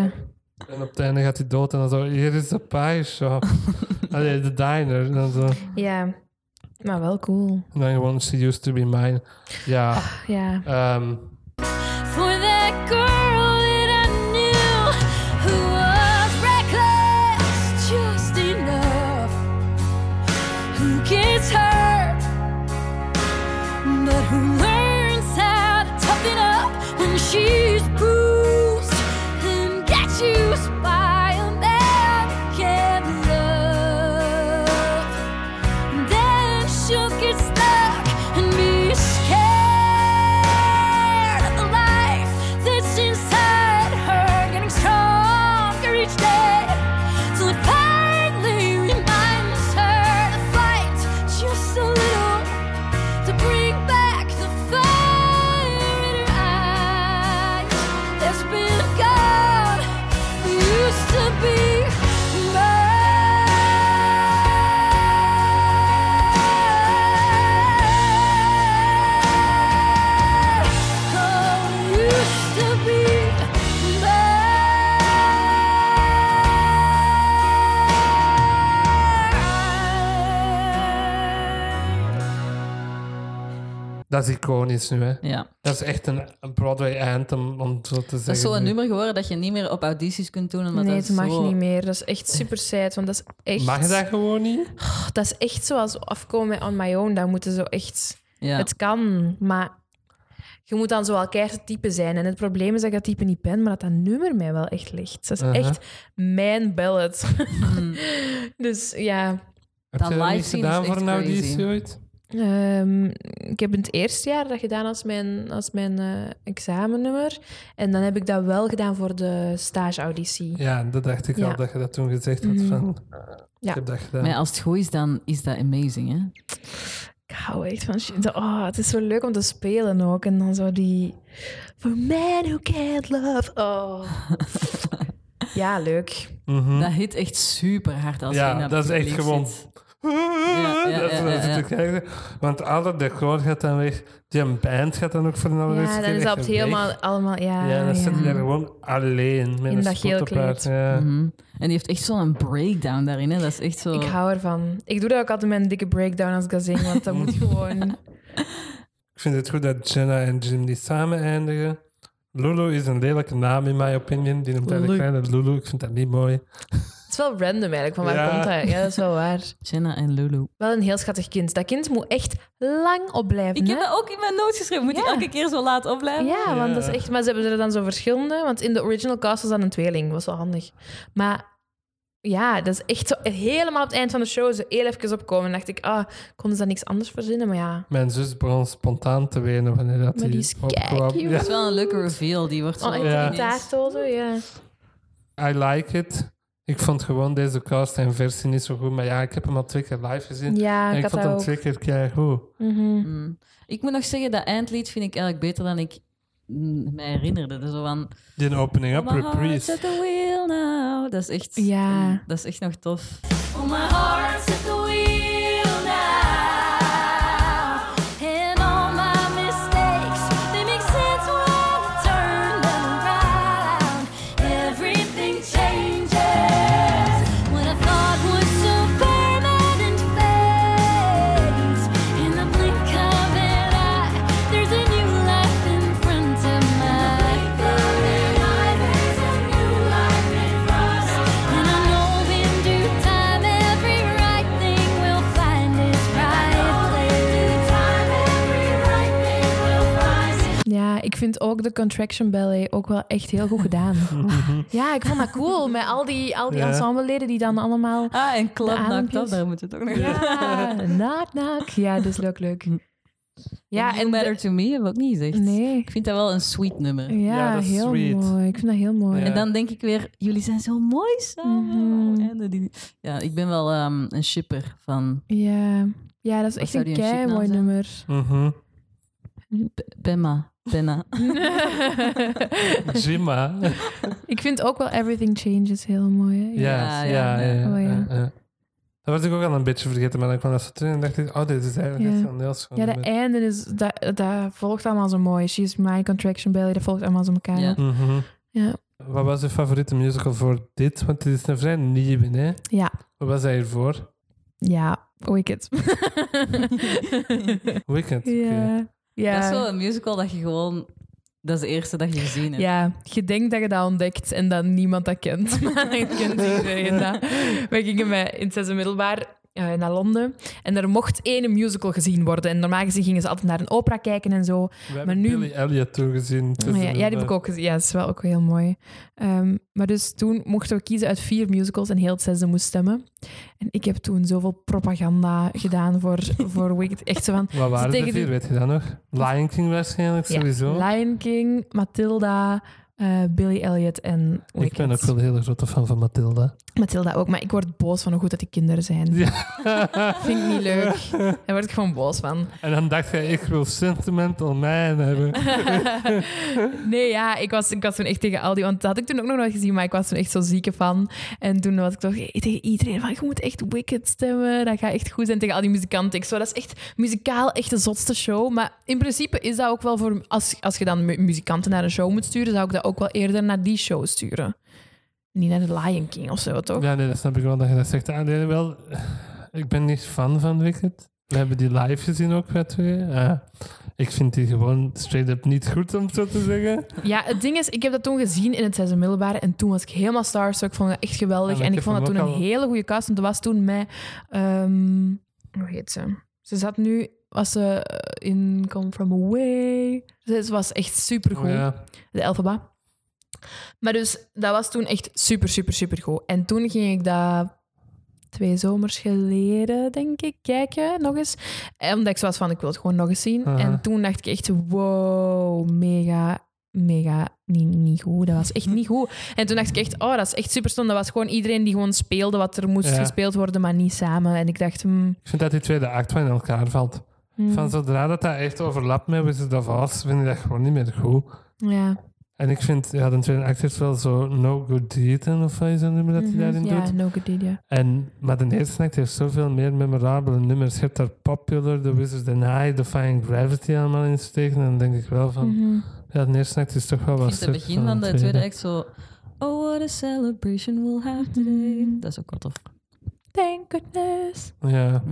[SPEAKER 1] En op het einde gaat hij dood en dan zo, hier is de pie shop. Allee, de diner. En dan, zo, en
[SPEAKER 3] ja. Maar wel cool.
[SPEAKER 1] dan gewoon, she used to be mine. Ja,
[SPEAKER 3] Ja.
[SPEAKER 1] ehm,
[SPEAKER 4] For that girl that I knew who was reckless, just enough. Who gets hurt, but who learns how to toughen up when she who's bruised and got used by American love. And then she'll get stuck and be scared of the life that's inside her, getting stronger each day. Till it finally reminds her to fight just a little to bring back the fire in her eyes. There's been a God who used to be mine. Oh, used to be mine.
[SPEAKER 1] Dat is iconisch nu, hè.
[SPEAKER 2] Ja.
[SPEAKER 1] Dat is echt een, een Broadway-anthem, om het zo te zeggen.
[SPEAKER 2] Dat is zo'n nummer geworden dat je niet meer op audities kunt doen. Omdat
[SPEAKER 3] Nee,
[SPEAKER 2] dat
[SPEAKER 3] het mag
[SPEAKER 2] zo-
[SPEAKER 3] niet meer. Dat is echt super sad, want dat is echt... Oh,
[SPEAKER 1] Mag je dat gewoon niet?
[SPEAKER 3] Dat is echt zoals afkomen met On My Own. Dat moeten zo echt...
[SPEAKER 2] Ja.
[SPEAKER 3] Het kan, maar je moet dan zo wel keihard het type zijn. En het probleem is dat ik dat type niet ben, maar dat dat nummer mij wel echt ligt. Dat is
[SPEAKER 1] Uh-huh.
[SPEAKER 3] echt mijn ballad. dus ja,
[SPEAKER 1] Heb
[SPEAKER 2] Dat
[SPEAKER 1] je dat
[SPEAKER 2] live
[SPEAKER 1] niet
[SPEAKER 2] zien is
[SPEAKER 1] gedaan voor
[SPEAKER 2] echt
[SPEAKER 1] een
[SPEAKER 2] crazy.
[SPEAKER 1] auditie ooit?
[SPEAKER 3] Ehm, ik heb in het eerste jaar dat gedaan als mijn, als mijn eh, examennummer. En dan heb ik dat wel gedaan voor de stageauditie.
[SPEAKER 1] Ja, dat dacht ik
[SPEAKER 3] Ja.
[SPEAKER 1] al, dat je dat toen gezegd had.
[SPEAKER 3] Mhm.
[SPEAKER 1] Van,
[SPEAKER 3] Ja.
[SPEAKER 1] Ik heb dat gedaan.
[SPEAKER 2] Maar als het goed is, dan is dat amazing, hè?
[SPEAKER 3] Ik hou echt van shit. Oh, het is zo leuk om te spelen ook. En dan zo die... For men who can't love. Oh. ja, leuk.
[SPEAKER 1] Mhm.
[SPEAKER 2] Dat hit echt super hard als
[SPEAKER 1] Ja,
[SPEAKER 2] je in dat
[SPEAKER 1] dat is echt
[SPEAKER 2] publiek
[SPEAKER 1] gewoon-
[SPEAKER 2] zit.
[SPEAKER 1] Dat
[SPEAKER 2] ja,
[SPEAKER 1] is
[SPEAKER 2] ja,
[SPEAKER 1] wat
[SPEAKER 2] ja,
[SPEAKER 1] ze
[SPEAKER 2] ja.
[SPEAKER 1] te krijgen. Want alle decor gaat dan weg. Die band gaat dan ook voor een allereerste
[SPEAKER 3] Ja,
[SPEAKER 1] keer
[SPEAKER 3] dan is
[SPEAKER 1] echt
[SPEAKER 3] dat op het
[SPEAKER 1] weg.
[SPEAKER 3] helemaal allemaal... Ja,
[SPEAKER 1] ja, dan zit hij
[SPEAKER 3] ja.
[SPEAKER 1] daar gewoon alleen met
[SPEAKER 3] In
[SPEAKER 1] een
[SPEAKER 3] dat geel
[SPEAKER 1] spot op haar.
[SPEAKER 3] kleed.
[SPEAKER 1] Ja.
[SPEAKER 2] Mhm. En die heeft echt zo'n breakdown daarin, hè? Dat is echt zo...
[SPEAKER 3] Ik hou ervan. Ik doe dat ook altijd met een dikke breakdown als ik dat zing, want dat moet gewoon...
[SPEAKER 1] Ik vind het goed dat Jenna en Jim die samen eindigen. Lulu is een lelijke naam in mijn opinion. Die noemt haar de
[SPEAKER 2] Lulu.
[SPEAKER 1] kleine Lulu. Ik vind dat niet mooi.
[SPEAKER 3] Het is wel random eigenlijk, van waar
[SPEAKER 1] Ja.
[SPEAKER 3] komt dat? Ja, dat is wel waar.
[SPEAKER 2] Jenna en Lulu.
[SPEAKER 3] Wel een heel schattig kind. Dat kind moet echt lang op blijven.
[SPEAKER 2] Ik
[SPEAKER 3] hè?
[SPEAKER 2] heb dat ook in mijn notes geschreven. Moet ik
[SPEAKER 3] Ja.
[SPEAKER 2] elke keer zo laat opblijven?
[SPEAKER 3] Ja, want dat
[SPEAKER 1] Ja.
[SPEAKER 3] is echt... Maar ze hebben er dan zo verschillende. Want in de original cast was dan een tweeling. was wel handig. Maar ja, dat is echt zo... Helemaal op het eind van de show zo heel even opkomen. En dacht ik, ah, konden ze dan niks anders verzinnen? Maar ja...
[SPEAKER 1] Mijn zus begon spontaan te wenen wanneer dat
[SPEAKER 3] Maar die is
[SPEAKER 1] opkwam.
[SPEAKER 3] kei-cute.
[SPEAKER 1] Ja.
[SPEAKER 2] Dat is wel een leuke reveal. Die wordt zo...
[SPEAKER 3] Oh, en
[SPEAKER 1] Ja.
[SPEAKER 3] die gitaartoon zo, ja.
[SPEAKER 1] I like it. Ik vond gewoon deze cast en versie niet zo goed. Maar ja, ik heb hem al twee keer live gezien.
[SPEAKER 3] Ja,
[SPEAKER 1] en
[SPEAKER 3] ik
[SPEAKER 1] ik
[SPEAKER 3] had
[SPEAKER 1] vond
[SPEAKER 3] dat
[SPEAKER 1] hem
[SPEAKER 3] ook.
[SPEAKER 1] twee keer keigoed.
[SPEAKER 3] Mhm.
[SPEAKER 2] Mm. Ik moet nog zeggen, dat eindlied vind ik eigenlijk beter dan ik mm, mij herinnerde. Dus zo van...
[SPEAKER 1] Die opening up
[SPEAKER 2] My heart's
[SPEAKER 1] reprise.
[SPEAKER 2] at the wheel now. Dat is echt...
[SPEAKER 3] Ja.
[SPEAKER 2] mm, Dat is echt nog tof.
[SPEAKER 4] Oh, my heart's at the wheel now. And all my mistakes, they make sense when I turn them around. Everything changes. What I thought was so permanent fades. In the blink of an eye, there's a new life in front of my there's a new life in front of and I know in due time every right thing will find its right place.
[SPEAKER 3] Ja, ik vind ook de Contraction Ballet ook wel echt heel goed gedaan. ja, ik vond dat cool. Met al die, al die
[SPEAKER 1] Ja.
[SPEAKER 3] ensembleleden die dan allemaal...
[SPEAKER 2] Ah, en Club
[SPEAKER 3] De
[SPEAKER 2] Knocked Up,
[SPEAKER 3] adempjes.
[SPEAKER 2] daar moeten we het ook nog
[SPEAKER 3] Ja, knock, knock. Ja, dat is leuk, leuk. Ja,
[SPEAKER 2] You
[SPEAKER 3] en...
[SPEAKER 2] Matter
[SPEAKER 3] de-
[SPEAKER 2] to Me hebben we ook niet gezegd.
[SPEAKER 3] Nee.
[SPEAKER 2] Ik vind dat wel een sweet nummer.
[SPEAKER 3] Ja,
[SPEAKER 1] Ja, dat is
[SPEAKER 3] heel
[SPEAKER 1] sweet.
[SPEAKER 3] mooi. Ik vind dat heel mooi.
[SPEAKER 1] Ja.
[SPEAKER 2] En dan denk ik weer, jullie zijn zo mooi samen.
[SPEAKER 3] Mhm.
[SPEAKER 2] En dat die- Ja, ik ben wel ehm, een shipper van
[SPEAKER 3] Ja, ja dat is echt
[SPEAKER 2] zou
[SPEAKER 3] een
[SPEAKER 2] die een
[SPEAKER 3] kei mooi
[SPEAKER 2] chipnaam zijn?
[SPEAKER 3] nummer.
[SPEAKER 1] Mhm.
[SPEAKER 2] P- Pemma. Penna.
[SPEAKER 1] Jima.
[SPEAKER 3] ik vind ook wel Everything Changes heel mooi. Hè?
[SPEAKER 1] Ja,
[SPEAKER 2] Ja,
[SPEAKER 1] ja,
[SPEAKER 2] ja,
[SPEAKER 1] ja.
[SPEAKER 3] ja. Oh, ja.
[SPEAKER 1] ja, ja. Dat was ik ook al een beetje vergeten, maar dan kwam dat zo terug en dacht ik, oh, dit is eigenlijk
[SPEAKER 3] Ja.
[SPEAKER 1] echt een heel schoon
[SPEAKER 3] Ja, dat
[SPEAKER 1] nummer.
[SPEAKER 3] einde is, dat, dat volgt allemaal zo mooi. She's My Contraction Belly, dat volgt allemaal zo elkaar.
[SPEAKER 2] Ja.
[SPEAKER 3] op.
[SPEAKER 1] Mhm.
[SPEAKER 3] Ja.
[SPEAKER 1] Wat was je favoriete musical voor dit? Want dit is een vrij nieuwe, hè?
[SPEAKER 3] Ja.
[SPEAKER 1] Wat was hij hiervoor?
[SPEAKER 3] ja, Wicked.
[SPEAKER 1] Weekend. oké.
[SPEAKER 3] ja. ja.
[SPEAKER 2] Dat is wel een musical dat je gewoon... Dat is de eerste dat je gezien hebt.
[SPEAKER 3] Ja, je denkt dat je dat ontdekt en dat niemand dat kent. Maar dan kent iedereen dat. We gingen met, in het zesde middelbaar eh, naar Londen. En er mocht één musical gezien worden. En normaal gezien gingen ze altijd naar een opera kijken en zo.
[SPEAKER 1] We hebben
[SPEAKER 3] Maar nu-
[SPEAKER 1] Billy Elliot toen gezien. Het is
[SPEAKER 3] Maar Oh ja, ja, die
[SPEAKER 1] een,
[SPEAKER 3] heb ik ook gezien. Ja, dat is wel ook heel mooi. Ehm, maar dus toen mochten we kiezen uit vier musicals en heel het zesde moest stemmen. En ik heb toen zoveel propaganda gedaan voor, voor Wicked. Echt zo van...
[SPEAKER 1] eh, Wat waren de
[SPEAKER 3] tegen
[SPEAKER 1] vier,
[SPEAKER 3] die-
[SPEAKER 1] weet je dat nog? Lion King waarschijnlijk,
[SPEAKER 3] ja,
[SPEAKER 1] sowieso.
[SPEAKER 3] Lion King, Matilda, eh, Billy Elliot en Wicked.
[SPEAKER 1] ik ben ook wel een hele grote fan van Matilda.
[SPEAKER 3] Matilda ook, maar ik word boos van hoe goed dat die kinderen zijn. Vind ik niet leuk. Daar word ik gewoon boos van.
[SPEAKER 1] En dan dacht jij, ik wil Sentimental Man hebben.
[SPEAKER 3] nee, ja, ik was, ik was toen echt tegen al die... Want dat had ik toen ook nog nooit gezien, maar ik was toen echt zo zieke van. En toen was ik toch tegen iedereen van, je moet echt Wicked stemmen. Dat gaat echt goed zijn tegen al die muzikanten. Ik zo, dat is echt muzikaal echt de zotste show. Maar in principe is dat ook wel voor... Als, als je dan mu- muzikanten naar een show moet sturen, zou ik dat ook wel eerder naar die show sturen. Niet naar de Lion King of zo, toch?
[SPEAKER 1] Ja, nee, dat snap ik wel dat je dat zegt. Ah, nee, wel, ik ben niet fan van Wicked. We hebben die live gezien ook met twee. Ah, ik vind die gewoon straight up niet goed, om het zo te zeggen.
[SPEAKER 3] Ja, het ding is, ik heb dat toen gezien in het zesde middelbare en toen was ik helemaal starstruck. Ik vond dat echt geweldig
[SPEAKER 1] Ja,
[SPEAKER 3] en
[SPEAKER 1] ik heb
[SPEAKER 3] ik vond dat
[SPEAKER 1] hem
[SPEAKER 3] toen
[SPEAKER 1] ook
[SPEAKER 3] een
[SPEAKER 1] al-
[SPEAKER 3] hele goede cast. Want er was toen met... ehm, hoe heet ze? Ze zat nu... Was ze eh, in Come From Away? Ze ze was echt supergoed.
[SPEAKER 1] Oh, ja.
[SPEAKER 3] De Elfaba. Maar dus, dat was toen echt super, super, super goed. En toen ging ik dat twee zomers geleden, denk ik, kijken nog eens. En Omdat ik zo was van, ik wil het gewoon nog eens zien.
[SPEAKER 1] Aha.
[SPEAKER 3] En toen dacht ik echt, wow, mega, mega, niet, niet goed. Dat was echt niet goed. En toen dacht ik echt, oh, dat is echt super stom. Dat was gewoon iedereen die gewoon speelde wat er moest
[SPEAKER 1] Ja.
[SPEAKER 3] gespeeld worden, maar niet samen. En ik dacht, hmm,
[SPEAKER 1] Ik vind dat die tweede act van elkaar valt.
[SPEAKER 3] hmm,
[SPEAKER 1] Van zodra dat, dat echt overlapt met Wizard of Oz, vind ik dat gewoon niet meer goed.
[SPEAKER 3] ja.
[SPEAKER 1] En ik vind, ja, de tweede act heeft wel zo No Good Deed of wat is dat nummer dat hij
[SPEAKER 3] Mhm.
[SPEAKER 1] daarin
[SPEAKER 3] ja,
[SPEAKER 1] doet.
[SPEAKER 3] no good idea.
[SPEAKER 1] En, maar de eerste act heeft zoveel meer memorabele nummers. Je hebt daar Popular, The Wizard and I, Defying Gravity allemaal in steken. En dan denk ik wel van,
[SPEAKER 3] Mhm.
[SPEAKER 1] ja, de eerste act is toch wel wat
[SPEAKER 2] Het
[SPEAKER 1] stuk
[SPEAKER 2] begin van de tweede act zo... Oh, what a celebration we'll
[SPEAKER 3] Mhm.
[SPEAKER 2] have today. Dat is ook wat tof.
[SPEAKER 3] Thank goodness.
[SPEAKER 1] Ja.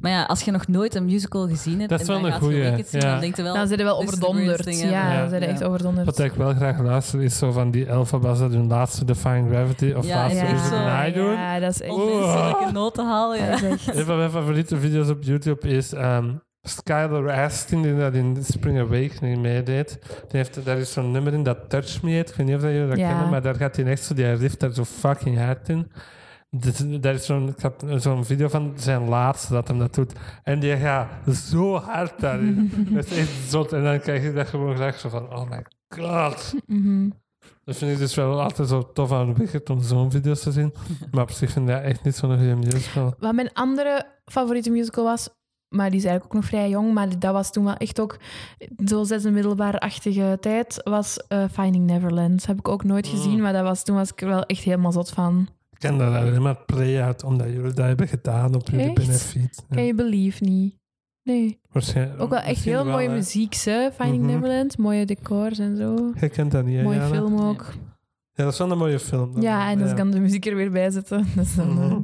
[SPEAKER 2] Maar ja, als je nog nooit een musical gezien hebt...
[SPEAKER 1] Dat is
[SPEAKER 2] en
[SPEAKER 1] wel
[SPEAKER 2] dan
[SPEAKER 1] een
[SPEAKER 2] gaat je
[SPEAKER 1] goeie,
[SPEAKER 2] Wicked zien,
[SPEAKER 1] ja.
[SPEAKER 2] Dan denk je wel...
[SPEAKER 3] Dan zijn ze wel
[SPEAKER 2] This is the
[SPEAKER 3] overdonderd.
[SPEAKER 2] greatest thing
[SPEAKER 3] Ja,
[SPEAKER 2] ever.
[SPEAKER 3] dan zijn ze
[SPEAKER 2] Ja.
[SPEAKER 3] echt overdonderd.
[SPEAKER 1] Wat ik wel graag luister is zo van die Elfabas dat hun laatste Defying Gravity of
[SPEAKER 2] Ja,
[SPEAKER 1] laatste
[SPEAKER 2] ja.
[SPEAKER 1] Wizard and I doen.
[SPEAKER 3] Ja, dat is
[SPEAKER 2] oh,
[SPEAKER 3] echt...
[SPEAKER 1] Oeh.
[SPEAKER 2] Onmenselijke noten halen, ja.
[SPEAKER 3] dat is echt-
[SPEAKER 1] Een van mijn favoriete video's op YouTube is ehm Skylar Astin, die dat in Spring Awakening meedeed. Die heeft, daar is zo'n nummer in dat Touch Me heet. Ik weet niet of dat jullie dat
[SPEAKER 3] Ja.
[SPEAKER 1] kennen, maar daar gaat hij echt zo, die rift daar zo fucking hard in. Dus, daar is zo'n ik had zo'n video van zijn laatste dat hem dat doet. En die gaat zo hard daarin. dat is echt zot. En dan krijg je dat gewoon graag zo van, oh my god.
[SPEAKER 3] Mhm.
[SPEAKER 1] Dat vind ik dus wel altijd zo tof aan Wicked om zo'n video's te zien. Maar op zich vind ik dat echt niet zo'n goede musical.
[SPEAKER 3] Wat mijn andere favoriete musical was, maar die is eigenlijk ook nog vrij jong, maar dat was toen wel echt ook zo'n zesde middelbaarachtige tijd, was eh, Finding Neverland. Heb ik ook
[SPEAKER 1] Oh.
[SPEAKER 3] nooit gezien, maar dat was, toen was ik er wel echt helemaal zot van.
[SPEAKER 1] Ik ken daar alleen maar play uit, omdat jullie dat hebben gedaan op jullie
[SPEAKER 3] Echt?
[SPEAKER 1] benefiet. Ja,
[SPEAKER 3] Can you believe niet? Nee.
[SPEAKER 1] waarschijnlijk-
[SPEAKER 3] Ook wel echt
[SPEAKER 1] misschien
[SPEAKER 3] heel
[SPEAKER 1] wel,
[SPEAKER 3] mooie
[SPEAKER 1] hè.
[SPEAKER 3] muziek, hè? Finding
[SPEAKER 1] Mhm.
[SPEAKER 3] Neverland. Mooie decors en zo.
[SPEAKER 1] Je kent dat niet, hè,
[SPEAKER 3] Mooie
[SPEAKER 1] Jana?
[SPEAKER 3] film ook.
[SPEAKER 1] Ja, dat is wel een mooie film. dan.
[SPEAKER 3] Ja, en dus ik kan de muziek er weer bij zetten. Dat is dan, eh,
[SPEAKER 1] Mhm.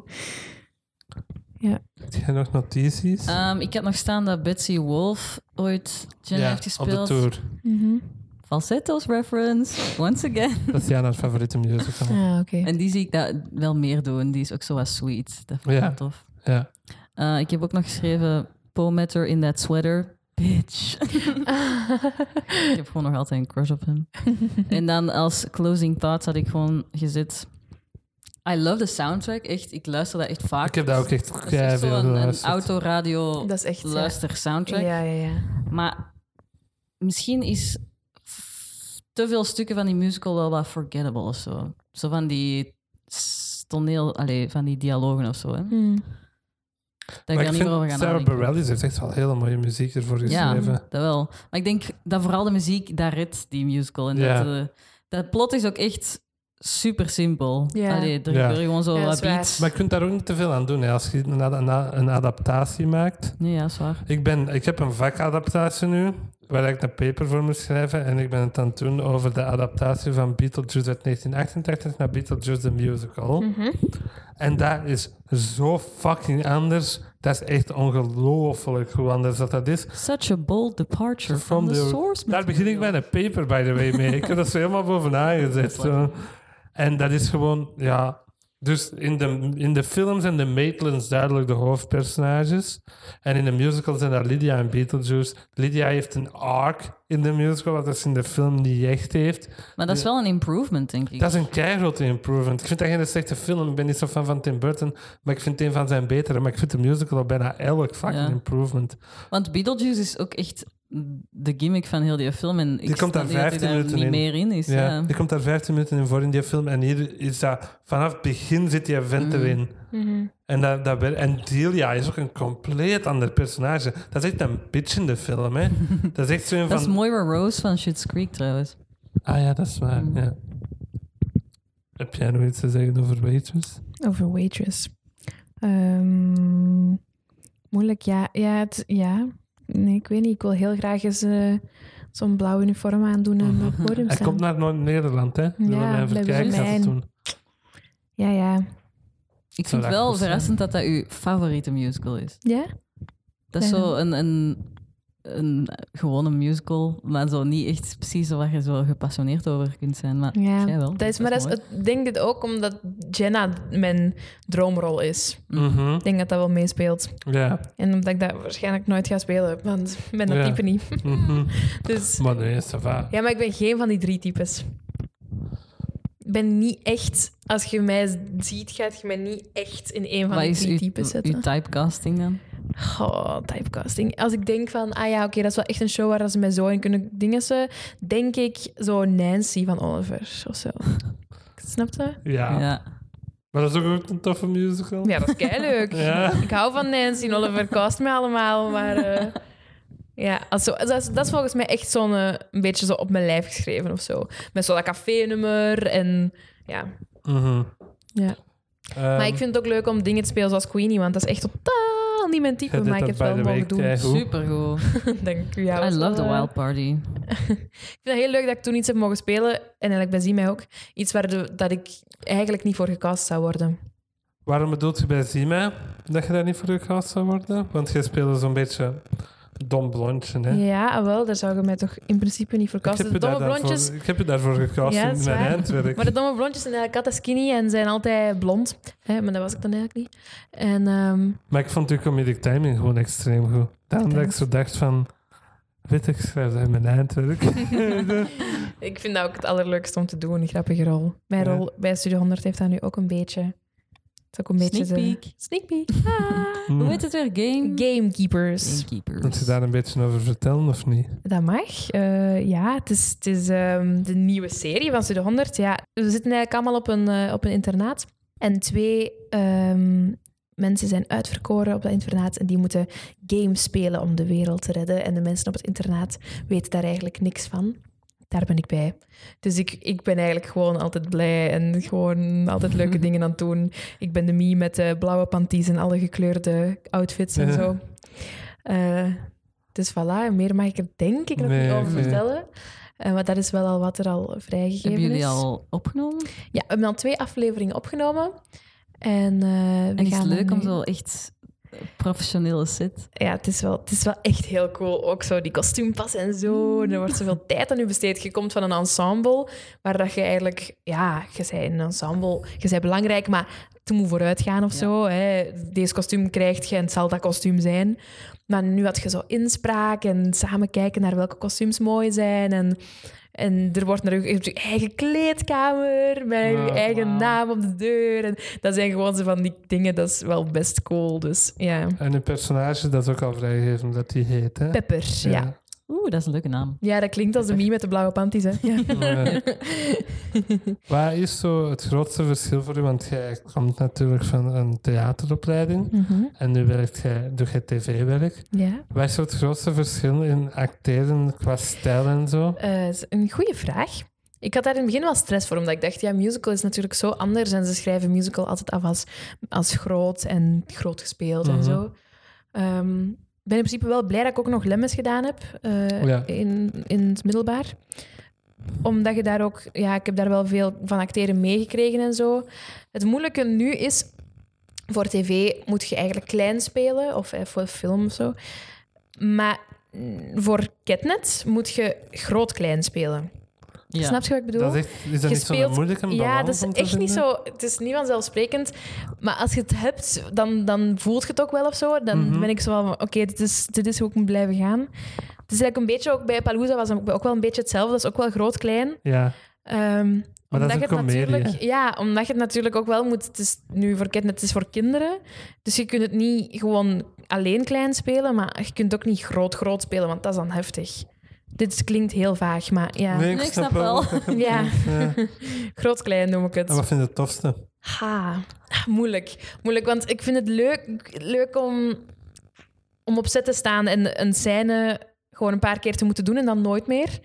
[SPEAKER 3] ja.
[SPEAKER 1] Heb jij nog notities?
[SPEAKER 2] Ehm, ik had nog staan dat Betsy Wolf ooit Jenna heeft
[SPEAKER 1] op de
[SPEAKER 2] gespeeld.
[SPEAKER 1] tour.
[SPEAKER 3] mhm.
[SPEAKER 2] Falsettos reference, once again.
[SPEAKER 1] Dat is Jana's favoriete musical.
[SPEAKER 3] Ah, oké.
[SPEAKER 2] En die zie ik dat wel meer doen. Die is ook zo wat sweet. Dat vind
[SPEAKER 1] Ja.
[SPEAKER 2] ik wel tof.
[SPEAKER 1] ja.
[SPEAKER 2] Eh, ik heb ook nog geschreven... Paul Matter in that sweater. Bitch. ik heb gewoon nog altijd een crush op hem. en dan als closing thoughts had ik gewoon gezet... I love the soundtrack. Echt, ik luister dat echt vaak.
[SPEAKER 1] Ik heb daar ook echt
[SPEAKER 2] Dat is echt
[SPEAKER 1] keiveel
[SPEAKER 2] zo'n een
[SPEAKER 1] geluisterd.
[SPEAKER 2] autoradio
[SPEAKER 3] Dat is echt, ja.
[SPEAKER 2] luister soundtrack.
[SPEAKER 3] Ja, ja, ja.
[SPEAKER 2] Maar misschien is f- te veel stukken van die musical wel wat forgettable of zo. Zo van die s- toneel, allee, van die dialogen of zo. Hè?
[SPEAKER 3] Hmm.
[SPEAKER 2] Dat
[SPEAKER 1] Maar
[SPEAKER 2] ik daar
[SPEAKER 1] ik
[SPEAKER 2] niet meer over
[SPEAKER 1] vind
[SPEAKER 2] gaan
[SPEAKER 1] Sarah
[SPEAKER 2] nadenken.
[SPEAKER 1] Bareilles heeft echt wel hele mooie muziek ervoor
[SPEAKER 2] Ja,
[SPEAKER 1] geschreven.
[SPEAKER 2] dat wel. Maar ik denk dat vooral de muziek, daar redt die musical. En
[SPEAKER 1] Ja.
[SPEAKER 2] dat, eh, dat plot is ook echt super simpel.
[SPEAKER 3] Ja.
[SPEAKER 2] Allee, er
[SPEAKER 1] Ja.
[SPEAKER 2] gebeuren gewoon zo
[SPEAKER 3] Ja, dat
[SPEAKER 2] wat
[SPEAKER 3] is waar.
[SPEAKER 2] beats.
[SPEAKER 1] Maar je kunt daar ook niet te veel aan doen. Hè. Als je een, ad- een a- een adaptatie maakt,
[SPEAKER 2] Nee, ja, is waar.
[SPEAKER 1] Ik, ben, ik heb een vakadaptatie nu, waar ik een paper voor moet schrijven. En ik ben het aan het doen over de adaptatie van Beetlejuice uit 1988 naar Beetlejuice the Musical. En dat is zo fucking anders. Dat is echt ongelooflijk hoe anders dat dat is.
[SPEAKER 2] Such a bold departure from, the, source
[SPEAKER 1] Daar begin ik
[SPEAKER 2] material.
[SPEAKER 1] met een paper, by the way, mee. ik heb dat zo helemaal bovenaan gezet. zo. En dat is gewoon, ja... Dus in de, in de film zijn de Maitlands duidelijk de hoofdpersonages. En in de musical zijn dat Lydia en Beetlejuice. Lydia heeft een arc in de musical, wat ze in de film niet echt heeft.
[SPEAKER 2] Maar dat is wel een improvement, denk ik.
[SPEAKER 1] Dat is een keigrote improvement. Ik vind dat geen slechte film. Ik ben niet zo fan van Tim Burton, maar ik vind het een van zijn betere. Maar ik vind de musical al bijna elk vak
[SPEAKER 2] Ja.
[SPEAKER 1] een improvement.
[SPEAKER 2] Want Beetlejuice is ook echt de gimmick van heel die film. En ik
[SPEAKER 1] Die komt daar
[SPEAKER 2] snap niet dat hij
[SPEAKER 1] 15 minuten
[SPEAKER 2] niet
[SPEAKER 1] in.
[SPEAKER 2] meer in is.
[SPEAKER 1] Ja,
[SPEAKER 2] Ja.
[SPEAKER 1] Die komt daar 15 minuten in voor in die film. En hier is dat vanaf het begin zit die
[SPEAKER 3] Mm.
[SPEAKER 1] vent erin.
[SPEAKER 3] Mhm.
[SPEAKER 1] En, dat, dat, wer- en Delia is ook een compleet ander personage. Dat is echt een bitch in de film. Hè. dat is echt zo een
[SPEAKER 2] Dat is
[SPEAKER 1] van.
[SPEAKER 2] Moira Rose van Schitt's Creek, trouwens.
[SPEAKER 1] Ah ja, dat is waar.
[SPEAKER 3] Mm.
[SPEAKER 1] Ja. Heb jij nog iets te zeggen over Waitress?
[SPEAKER 3] Over waitress. Ehm, moeilijk, ja. Ja, het- ja. Nee, ik weet niet. Ik wil heel graag eens eh, zo'n blauw uniform aandoen en op het podium
[SPEAKER 1] Hij
[SPEAKER 3] staan.
[SPEAKER 1] komt naar Noord-Nederland, hè? Zullen
[SPEAKER 3] Ja,
[SPEAKER 1] we even
[SPEAKER 3] blijven
[SPEAKER 1] kijken
[SPEAKER 3] ze
[SPEAKER 1] wat ze
[SPEAKER 3] mijn-
[SPEAKER 1] doen?
[SPEAKER 3] Ja, ja.
[SPEAKER 2] Ik
[SPEAKER 1] Zou
[SPEAKER 2] vind
[SPEAKER 1] dat
[SPEAKER 2] wel
[SPEAKER 1] goed zijn?
[SPEAKER 2] verrassend dat dat uw favoriete musical is.
[SPEAKER 3] Ja?
[SPEAKER 2] Dat is
[SPEAKER 3] Ja.
[SPEAKER 2] zo een, een, een gewone musical, maar zo niet echt precies waar je zo gepassioneerd over kunt zijn. Maar
[SPEAKER 3] Ja.
[SPEAKER 2] jij wel.
[SPEAKER 3] Dat is, maar dat is,
[SPEAKER 2] mooi.
[SPEAKER 3] ik denk dit ook omdat Jenna mijn droomrol is.
[SPEAKER 1] Mhm,
[SPEAKER 3] Ik denk dat dat wel meespeelt.
[SPEAKER 1] Ja.
[SPEAKER 3] En omdat ik dat waarschijnlijk nooit ga spelen, want ik ben dat
[SPEAKER 1] Ja.
[SPEAKER 3] type niet.
[SPEAKER 1] mhm.
[SPEAKER 3] Dus
[SPEAKER 1] Maar nee, ça va.
[SPEAKER 3] ja, maar ik ben geen van die drie types. Ik ben niet echt, als je mij ziet, gaat je mij niet echt in een van
[SPEAKER 2] Wat
[SPEAKER 3] die
[SPEAKER 2] is
[SPEAKER 3] drie
[SPEAKER 2] uw,
[SPEAKER 3] types zetten.
[SPEAKER 2] uw typecasting dan?
[SPEAKER 3] Goh, typecasting. Als ik denk van, ah ja, oké, dat is wel echt een show waar ze mij zo in kunnen dingessen, denk ik zo Nancy van Oliver of zo. Snap je?
[SPEAKER 1] Ja.
[SPEAKER 2] Ja.
[SPEAKER 1] Maar dat is ook een toffe musical.
[SPEAKER 3] Ja, dat is leuk.
[SPEAKER 1] Ja.
[SPEAKER 3] Ik hou van Nancy en Oliver Cast me allemaal, maar... eh, ja, als zo- dat, is, dat is volgens mij echt zo'n eh, een beetje zo op mijn lijf geschreven of zo. Met zo dat café-nummer en... Ja.
[SPEAKER 1] Mhm.
[SPEAKER 3] ja.
[SPEAKER 1] Ehm,
[SPEAKER 3] maar ik vind het ook leuk om dingen te spelen zoals Queenie, want dat is echt totaal niet mijn type,
[SPEAKER 1] Jij deed
[SPEAKER 3] maar ik
[SPEAKER 1] dat
[SPEAKER 3] heb het
[SPEAKER 1] by
[SPEAKER 3] wel
[SPEAKER 1] the way
[SPEAKER 3] mogen doen.
[SPEAKER 1] keigoed.
[SPEAKER 2] Supergoed.
[SPEAKER 3] Dank u. Ja,
[SPEAKER 2] I
[SPEAKER 3] was
[SPEAKER 2] love the
[SPEAKER 3] wel, eh,
[SPEAKER 2] wild
[SPEAKER 1] Mm.
[SPEAKER 2] party.
[SPEAKER 3] Ik vind het heel leuk dat ik toen iets heb mogen spelen, en eigenlijk bij Zie mij ook, iets waar de- dat ik eigenlijk niet voor gecast zou worden.
[SPEAKER 1] Waarom bedoelt je bij Zima dat je daar niet voor gecast zou worden? Want jij speelde zo'n beetje dom blondje, hè?
[SPEAKER 3] Ja, ah, wel, daar zou je mij toch in principe niet voor
[SPEAKER 1] Ik
[SPEAKER 3] casten.
[SPEAKER 1] heb,
[SPEAKER 3] De
[SPEAKER 1] je daar
[SPEAKER 3] domme
[SPEAKER 1] daarvoor-
[SPEAKER 3] blondjes...
[SPEAKER 1] ik heb je daarvoor gecast
[SPEAKER 3] Ja, dat
[SPEAKER 1] in
[SPEAKER 3] is
[SPEAKER 1] mijn
[SPEAKER 3] waar.
[SPEAKER 1] eindwerk.
[SPEAKER 3] Maar de domme blondjes zijn eigenlijk altijd skinny en zijn altijd blond. Hè, maar dat was ik dan eigenlijk niet. En ehm,
[SPEAKER 1] Maar ik vond uw comedic timing gewoon extreem goed. Daarom dat ik zo dacht van... Weet ik, schrijf dat in mijn eindwerk.
[SPEAKER 3] ik vind dat ook het allerleukste om te doen, een grappige rol. Mijn
[SPEAKER 1] Ja.
[SPEAKER 3] rol bij Studio 100 heeft dat nu ook een beetje... Het is ook een beetje
[SPEAKER 2] Sneak
[SPEAKER 3] de-
[SPEAKER 2] peek.
[SPEAKER 3] Sneak peek. Ah.
[SPEAKER 2] Hoe heet het weer? Game?
[SPEAKER 3] Gamekeepers.
[SPEAKER 2] Gamekeepers.
[SPEAKER 1] Moet je daar een beetje over vertellen, of niet?
[SPEAKER 3] Dat mag. Eh, ja, het is, het is ehm, de nieuwe serie van Studio 100. Ja, we zitten eigenlijk allemaal op een, eh, op een internaat. En twee ehm, mensen zijn uitverkoren op dat internaat. En die moeten games spelen om de wereld te redden. En de mensen op het internaat weten daar eigenlijk niks van. Daar ben ik bij. Dus ik, ik ben eigenlijk gewoon altijd blij en gewoon altijd leuke dingen aan het doen. Ik ben de Mie met de blauwe panties en alle gekleurde outfits en
[SPEAKER 1] Ja.
[SPEAKER 3] zo. Eh, dus voilà, meer mag ik er denk ik nog
[SPEAKER 1] Nee,
[SPEAKER 3] niet over
[SPEAKER 1] nee.
[SPEAKER 3] vertellen. Eh, maar dat is wel al wat er al vrijgegeven
[SPEAKER 2] Hebben
[SPEAKER 3] is.
[SPEAKER 2] jullie al opgenomen?
[SPEAKER 3] Ja, we hebben al twee afleveringen opgenomen. En, eh, we
[SPEAKER 2] En is het
[SPEAKER 3] gaan
[SPEAKER 2] leuk
[SPEAKER 3] dan
[SPEAKER 2] om
[SPEAKER 3] nu-
[SPEAKER 2] zo echt eh, professionele set?
[SPEAKER 3] Ja, het is, wel, het is wel echt heel cool. Ook zo die kostuumpassen en zo. En Er wordt zoveel tijd aan u besteed. Je komt van een ensemble waar dat je eigenlijk... Ja, je bent een ensemble. Je bent belangrijk, maar het moet vooruit gaan of zo. Hè. Deze kostuum krijgt je en het zal dat kostuum zijn. Maar nu had je zo inspraak en samen kijken naar welke kostuums mooi zijn. En, en er wordt naar je, je hebt je eigen kleedkamer met je
[SPEAKER 1] Wow.
[SPEAKER 3] eigen naam op de deur. En dat zijn gewoon zo van die dingen. Dat is wel best cool. Dus ja...
[SPEAKER 1] En een personage, dat is ook al vrijgegeven, dat die heet, hè?
[SPEAKER 3] Pepper, ja.
[SPEAKER 2] Oeh, dat is een leuke naam.
[SPEAKER 3] Ja, dat klinkt als de mie met de blauwe panties, hè? Ja.
[SPEAKER 1] Ja. Wat eh, is zo het grootste verschil voor u? Want jij komt natuurlijk van een theateropleiding
[SPEAKER 3] Mhm.
[SPEAKER 1] en nu werkt jij, doe jij tv-werk.
[SPEAKER 3] ja.
[SPEAKER 1] Wat is zo het grootste verschil in acteren qua stijl en zo?
[SPEAKER 3] Eh, is een goede vraag. Ik had daar in het begin wel stress voor, omdat ik dacht, ja, musical is natuurlijk zo anders. En ze schrijven musical altijd af als, als groot en groot gespeeld
[SPEAKER 1] Mhm.
[SPEAKER 3] en zo. Ehm, ik ben in principe wel blij dat ik ook nog lemmes gedaan heb eh,
[SPEAKER 1] Oh Ja.
[SPEAKER 3] in, in het middelbaar. Omdat je daar ook... Ja, ik heb daar wel veel van acteren meegekregen en zo. Het moeilijke nu is... Voor tv moet je eigenlijk klein spelen, of eh, voor film of zo. Maar mm, voor Catnet moet je groot-klein spelen.
[SPEAKER 2] Ja.
[SPEAKER 3] Snap je wat ik bedoel?
[SPEAKER 1] Dat is, echt, is dat
[SPEAKER 3] Je
[SPEAKER 1] niet zo'n
[SPEAKER 3] speelt-
[SPEAKER 1] moeilijke balans
[SPEAKER 3] Ja, dat is
[SPEAKER 1] om te
[SPEAKER 3] echt niet
[SPEAKER 1] vinden?
[SPEAKER 3] zo... Het is niet vanzelfsprekend. Maar als je het hebt, dan, dan voelt je het ook wel of zo. Dan
[SPEAKER 1] Mhm.
[SPEAKER 3] ben ik zo van, oké, dit, is, dit is hoe ik moet blijven gaan. Het is eigenlijk een beetje ook bij Palooza was het ook wel een beetje hetzelfde. Dat is ook wel groot-klein.
[SPEAKER 1] Ja,
[SPEAKER 3] Ehm,
[SPEAKER 1] Maar dat is
[SPEAKER 3] omdat
[SPEAKER 1] een
[SPEAKER 3] je het
[SPEAKER 1] komedie,
[SPEAKER 3] natuurlijk, Ja, omdat je het natuurlijk ook wel moet... Het is nu voor kinderen, het is voor kinderen. Dus je kunt het niet gewoon alleen klein spelen, maar je kunt het ook niet groot-groot spelen, want dat is dan heftig. Dit klinkt heel vaag, maar ja.
[SPEAKER 1] Nee,
[SPEAKER 2] Nee, ik snap wel.
[SPEAKER 1] wat je
[SPEAKER 3] Ja.
[SPEAKER 1] bedoelt, ja. Ah,
[SPEAKER 3] Groot-klein noem ik het.
[SPEAKER 1] En wat vind je het tofste?
[SPEAKER 3] Ha, ah, moeilijk. Moeilijk, want ik vind het leuk, leuk om, om op set te staan en een scène gewoon een paar keer te moeten doen en dan nooit meer.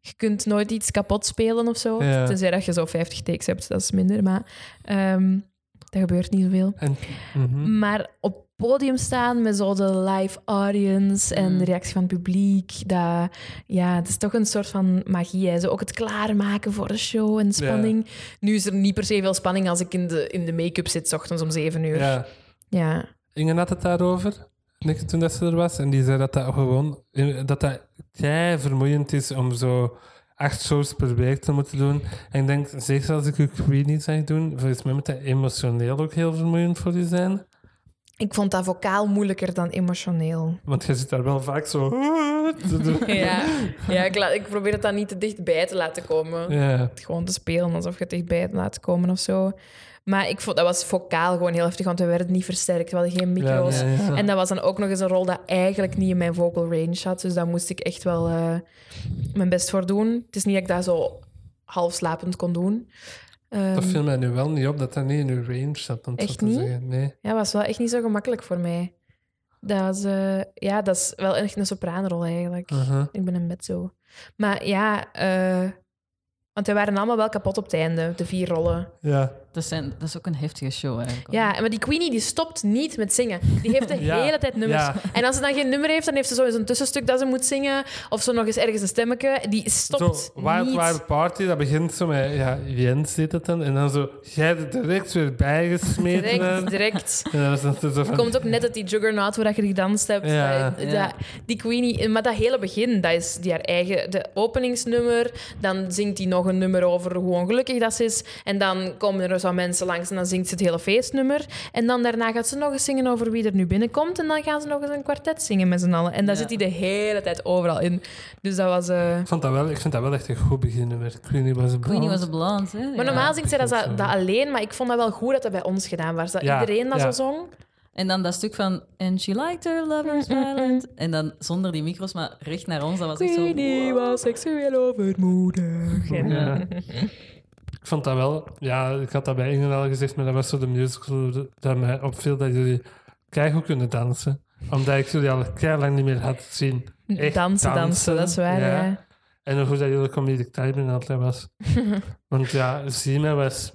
[SPEAKER 3] Je kunt nooit iets kapot spelen of zo.
[SPEAKER 1] Ja.
[SPEAKER 3] Tenzij dat je zo 50 takes hebt, dat is minder. Maar ehm, dat gebeurt niet zoveel.
[SPEAKER 1] En, mhm.
[SPEAKER 3] Maar op podium staan met zo de live audience
[SPEAKER 1] Hm.
[SPEAKER 3] en de reactie van het publiek. Dat, ja, het is toch een soort van magie. Hè. Zo ook het klaarmaken voor de show en de
[SPEAKER 1] Ja.
[SPEAKER 3] spanning. Nu is er niet per se veel spanning als ik in de, in de make-up zit, 's ochtends om zeven uur. Ja.
[SPEAKER 1] Ja. Inge had het daarover, niks toen dat ze er was. En die zei dat dat gewoon dat dat kei vermoeiend is om zo acht shows per week te moeten doen. En ik denk, zeker als ik een Queenie zag doen, volgens mij moet dat emotioneel ook heel vermoeiend voor je zijn.
[SPEAKER 3] Ik vond dat vocaal moeilijker dan emotioneel.
[SPEAKER 1] Want je zit daar wel vaak zo... te doen.
[SPEAKER 3] Ja, ja ik, la- ik probeer het dan niet te dichtbij te laten komen.
[SPEAKER 1] Ja.
[SPEAKER 3] gewoon te spelen alsof je het dichtbij het laat komen of zo. Maar ik vond dat was vocaal gewoon heel heftig, want we werden niet versterkt. We hadden geen micro's.
[SPEAKER 1] Ja, ja, ja.
[SPEAKER 3] En dat was dan ook nog eens een rol dat eigenlijk niet in mijn vocal range had. Dus daar moest ik echt wel eh, mijn best voor doen. Het is niet dat ik dat zo half slapend kon doen. Ehm,
[SPEAKER 1] Dat viel mij nu wel niet op, dat dat niet in uw range zat, om het
[SPEAKER 3] Echt
[SPEAKER 1] zo te
[SPEAKER 3] niet?
[SPEAKER 1] zeggen. Nee.
[SPEAKER 3] ja, was wel echt niet zo gemakkelijk voor mij. Dat was, eh, ja, dat is wel echt een sopraanrol eigenlijk.
[SPEAKER 1] Uh-huh.
[SPEAKER 3] Ik ben een mezzo. Maar ja, eh, want we waren allemaal wel kapot op het einde, de vier rollen.
[SPEAKER 1] Ja.
[SPEAKER 2] Dat, zijn, dat is ook een heftige show eigenlijk.
[SPEAKER 3] Ja, maar die Queenie die stopt niet met zingen. Die heeft de
[SPEAKER 1] Ja,
[SPEAKER 3] hele tijd nummers.
[SPEAKER 1] ja.
[SPEAKER 3] En als ze dan geen nummer heeft, dan heeft ze zo eens een tussenstuk dat ze moet zingen. Of zo nog eens ergens een stemmetje. Die stopt
[SPEAKER 1] Zo, Wild
[SPEAKER 3] niet.
[SPEAKER 1] Wild Party, dat begint zo met... Ja, Jens deed het dan. En dan zo, jij er direct weer bijgesmeten.
[SPEAKER 3] Direct,
[SPEAKER 1] werd.
[SPEAKER 3] direct.
[SPEAKER 1] En dan is dat zo
[SPEAKER 3] Er
[SPEAKER 1] van...
[SPEAKER 3] komt ook net uit die juggernaut waar je gedanst hebt.
[SPEAKER 1] Ja.
[SPEAKER 3] Dat-
[SPEAKER 2] Ja.
[SPEAKER 3] dat- die Queenie, maar dat hele begin, dat is die haar eigen de openingsnummer. Dan zingt hij nog een nummer over hoe ongelukkig dat ze is. En dan komen er zo mensen langs en dan zingt ze het hele feestnummer. En dan daarna gaat ze nog eens zingen over wie er nu binnenkomt. En dan gaan ze nog eens een kwartet zingen met z'n allen. En daar
[SPEAKER 2] Ja.
[SPEAKER 3] zit hij de hele tijd overal in. Dus dat was... eh,
[SPEAKER 1] Ik, vond dat wel, ik vind dat wel echt een goed beginnummer. Queenie was een
[SPEAKER 2] Queenie was
[SPEAKER 1] blond.
[SPEAKER 2] een balans, hè?
[SPEAKER 3] Maar
[SPEAKER 2] Ja.
[SPEAKER 3] normaal zingt zij dat,
[SPEAKER 1] ik ook
[SPEAKER 3] dat alleen, maar ik vond dat wel goed dat dat bij ons gedaan was. Dat
[SPEAKER 1] Ja,
[SPEAKER 3] iedereen dat
[SPEAKER 1] ja.
[SPEAKER 3] zo zong.
[SPEAKER 2] En dan dat stuk van... And she liked her lover's
[SPEAKER 3] Mm,
[SPEAKER 2] violent. En dan zonder die micro's, maar recht naar ons. Dat was echt zo...
[SPEAKER 3] Queenie was seksueel overmoedig.
[SPEAKER 1] Ja. Ik vond dat wel... Ja, ik had dat bij Inge al gezegd, maar dat was zo de musical dat mij opviel dat jullie keigoed kunnen dansen. Omdat ik jullie al kei lang niet meer had zien. Echt
[SPEAKER 3] dansen, dansen, dat is waar, ja.
[SPEAKER 1] En hoe goed dat jullie comedic timing altijd was. Want ja, Sina was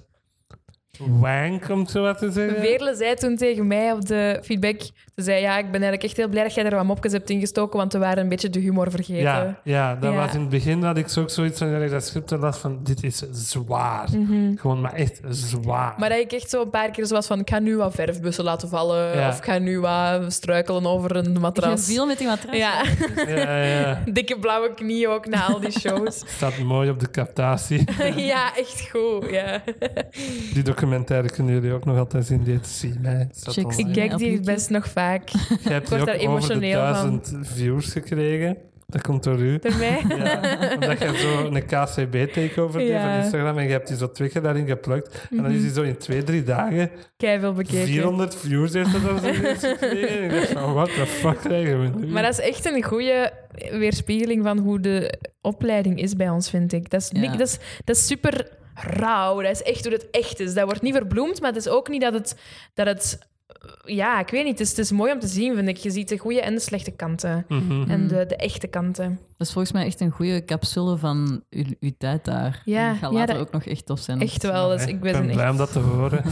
[SPEAKER 1] wank, om het zo wat te zeggen.
[SPEAKER 3] Veerle zei toen tegen mij op de feedback... Ze zei, ja, ik ben eigenlijk echt heel blij dat jij er wat mopjes hebt ingestoken, want we waren een beetje de humor vergeten.
[SPEAKER 1] Ja, ja, dat
[SPEAKER 3] Ja.
[SPEAKER 1] was in het begin dat ik zo ook zoiets van dat ik dat script las van dit is zwaar. Gewoon, maar echt zwaar.
[SPEAKER 3] Mhm. Maar dat ik echt zo een paar keer zo was van... Ik ga nu wat verfbussen laten vallen.
[SPEAKER 1] Ja.
[SPEAKER 3] Of ik ga nu wat struikelen over een
[SPEAKER 2] Ik heb
[SPEAKER 3] matras.
[SPEAKER 2] veel met die matras.
[SPEAKER 3] Ja,
[SPEAKER 1] ja, ja, ja.
[SPEAKER 3] dikke blauwe knieën ook na al die shows.
[SPEAKER 1] Staat mooi op de captatie.
[SPEAKER 3] ja, echt goed, ja.
[SPEAKER 1] Die documentaire kunnen jullie ook nog altijd zien. Dit zie mij. Staat
[SPEAKER 2] Check
[SPEAKER 1] online.
[SPEAKER 3] Ik
[SPEAKER 2] kijk die
[SPEAKER 3] kijk die
[SPEAKER 2] YouTube?
[SPEAKER 3] best
[SPEAKER 2] best
[SPEAKER 3] nog vaak.
[SPEAKER 1] Je hebt die
[SPEAKER 3] word
[SPEAKER 1] ook
[SPEAKER 3] daar
[SPEAKER 1] over de
[SPEAKER 3] emotioneel van.
[SPEAKER 1] duizend views gekregen. Dat komt door u.
[SPEAKER 3] Door mij.
[SPEAKER 1] Ja, omdat je zo een KCB-takeover deed
[SPEAKER 3] Ja. Mhm.
[SPEAKER 1] van Instagram en je hebt die zo twee keer daarin geplukt. En dan is die zo in twee, drie dagen
[SPEAKER 3] Kei veel bekeken.
[SPEAKER 1] 400 views heeft dat dan zo gekregen. En ik dacht van, what the fuck krijgen we nu?
[SPEAKER 3] Maar dat is echt een goede weerspiegeling van hoe de opleiding is bij ons, vind ik. Dat is, niet-
[SPEAKER 2] Ja.
[SPEAKER 3] dat is, dat is super rauw. Dat is echt hoe het echt is. Dat wordt niet verbloemd, maar het is ook niet dat het... Dat het ja, ik weet niet. Het is, het is mooi om te zien, vind ik. Je ziet de goede en de slechte kanten.
[SPEAKER 1] Mhm.
[SPEAKER 3] En de, de echte kanten.
[SPEAKER 2] Dat is volgens mij echt een goede capsule van uw, uw tijd daar.
[SPEAKER 3] Ja,
[SPEAKER 2] En dat gaat
[SPEAKER 3] ja,
[SPEAKER 2] later
[SPEAKER 3] dat-
[SPEAKER 2] ook nog echt tof zijn. om
[SPEAKER 3] Echt
[SPEAKER 2] te
[SPEAKER 3] wel. Dus
[SPEAKER 1] Nee,
[SPEAKER 3] ik ben,
[SPEAKER 1] ben blij
[SPEAKER 3] echt...
[SPEAKER 1] om dat te horen.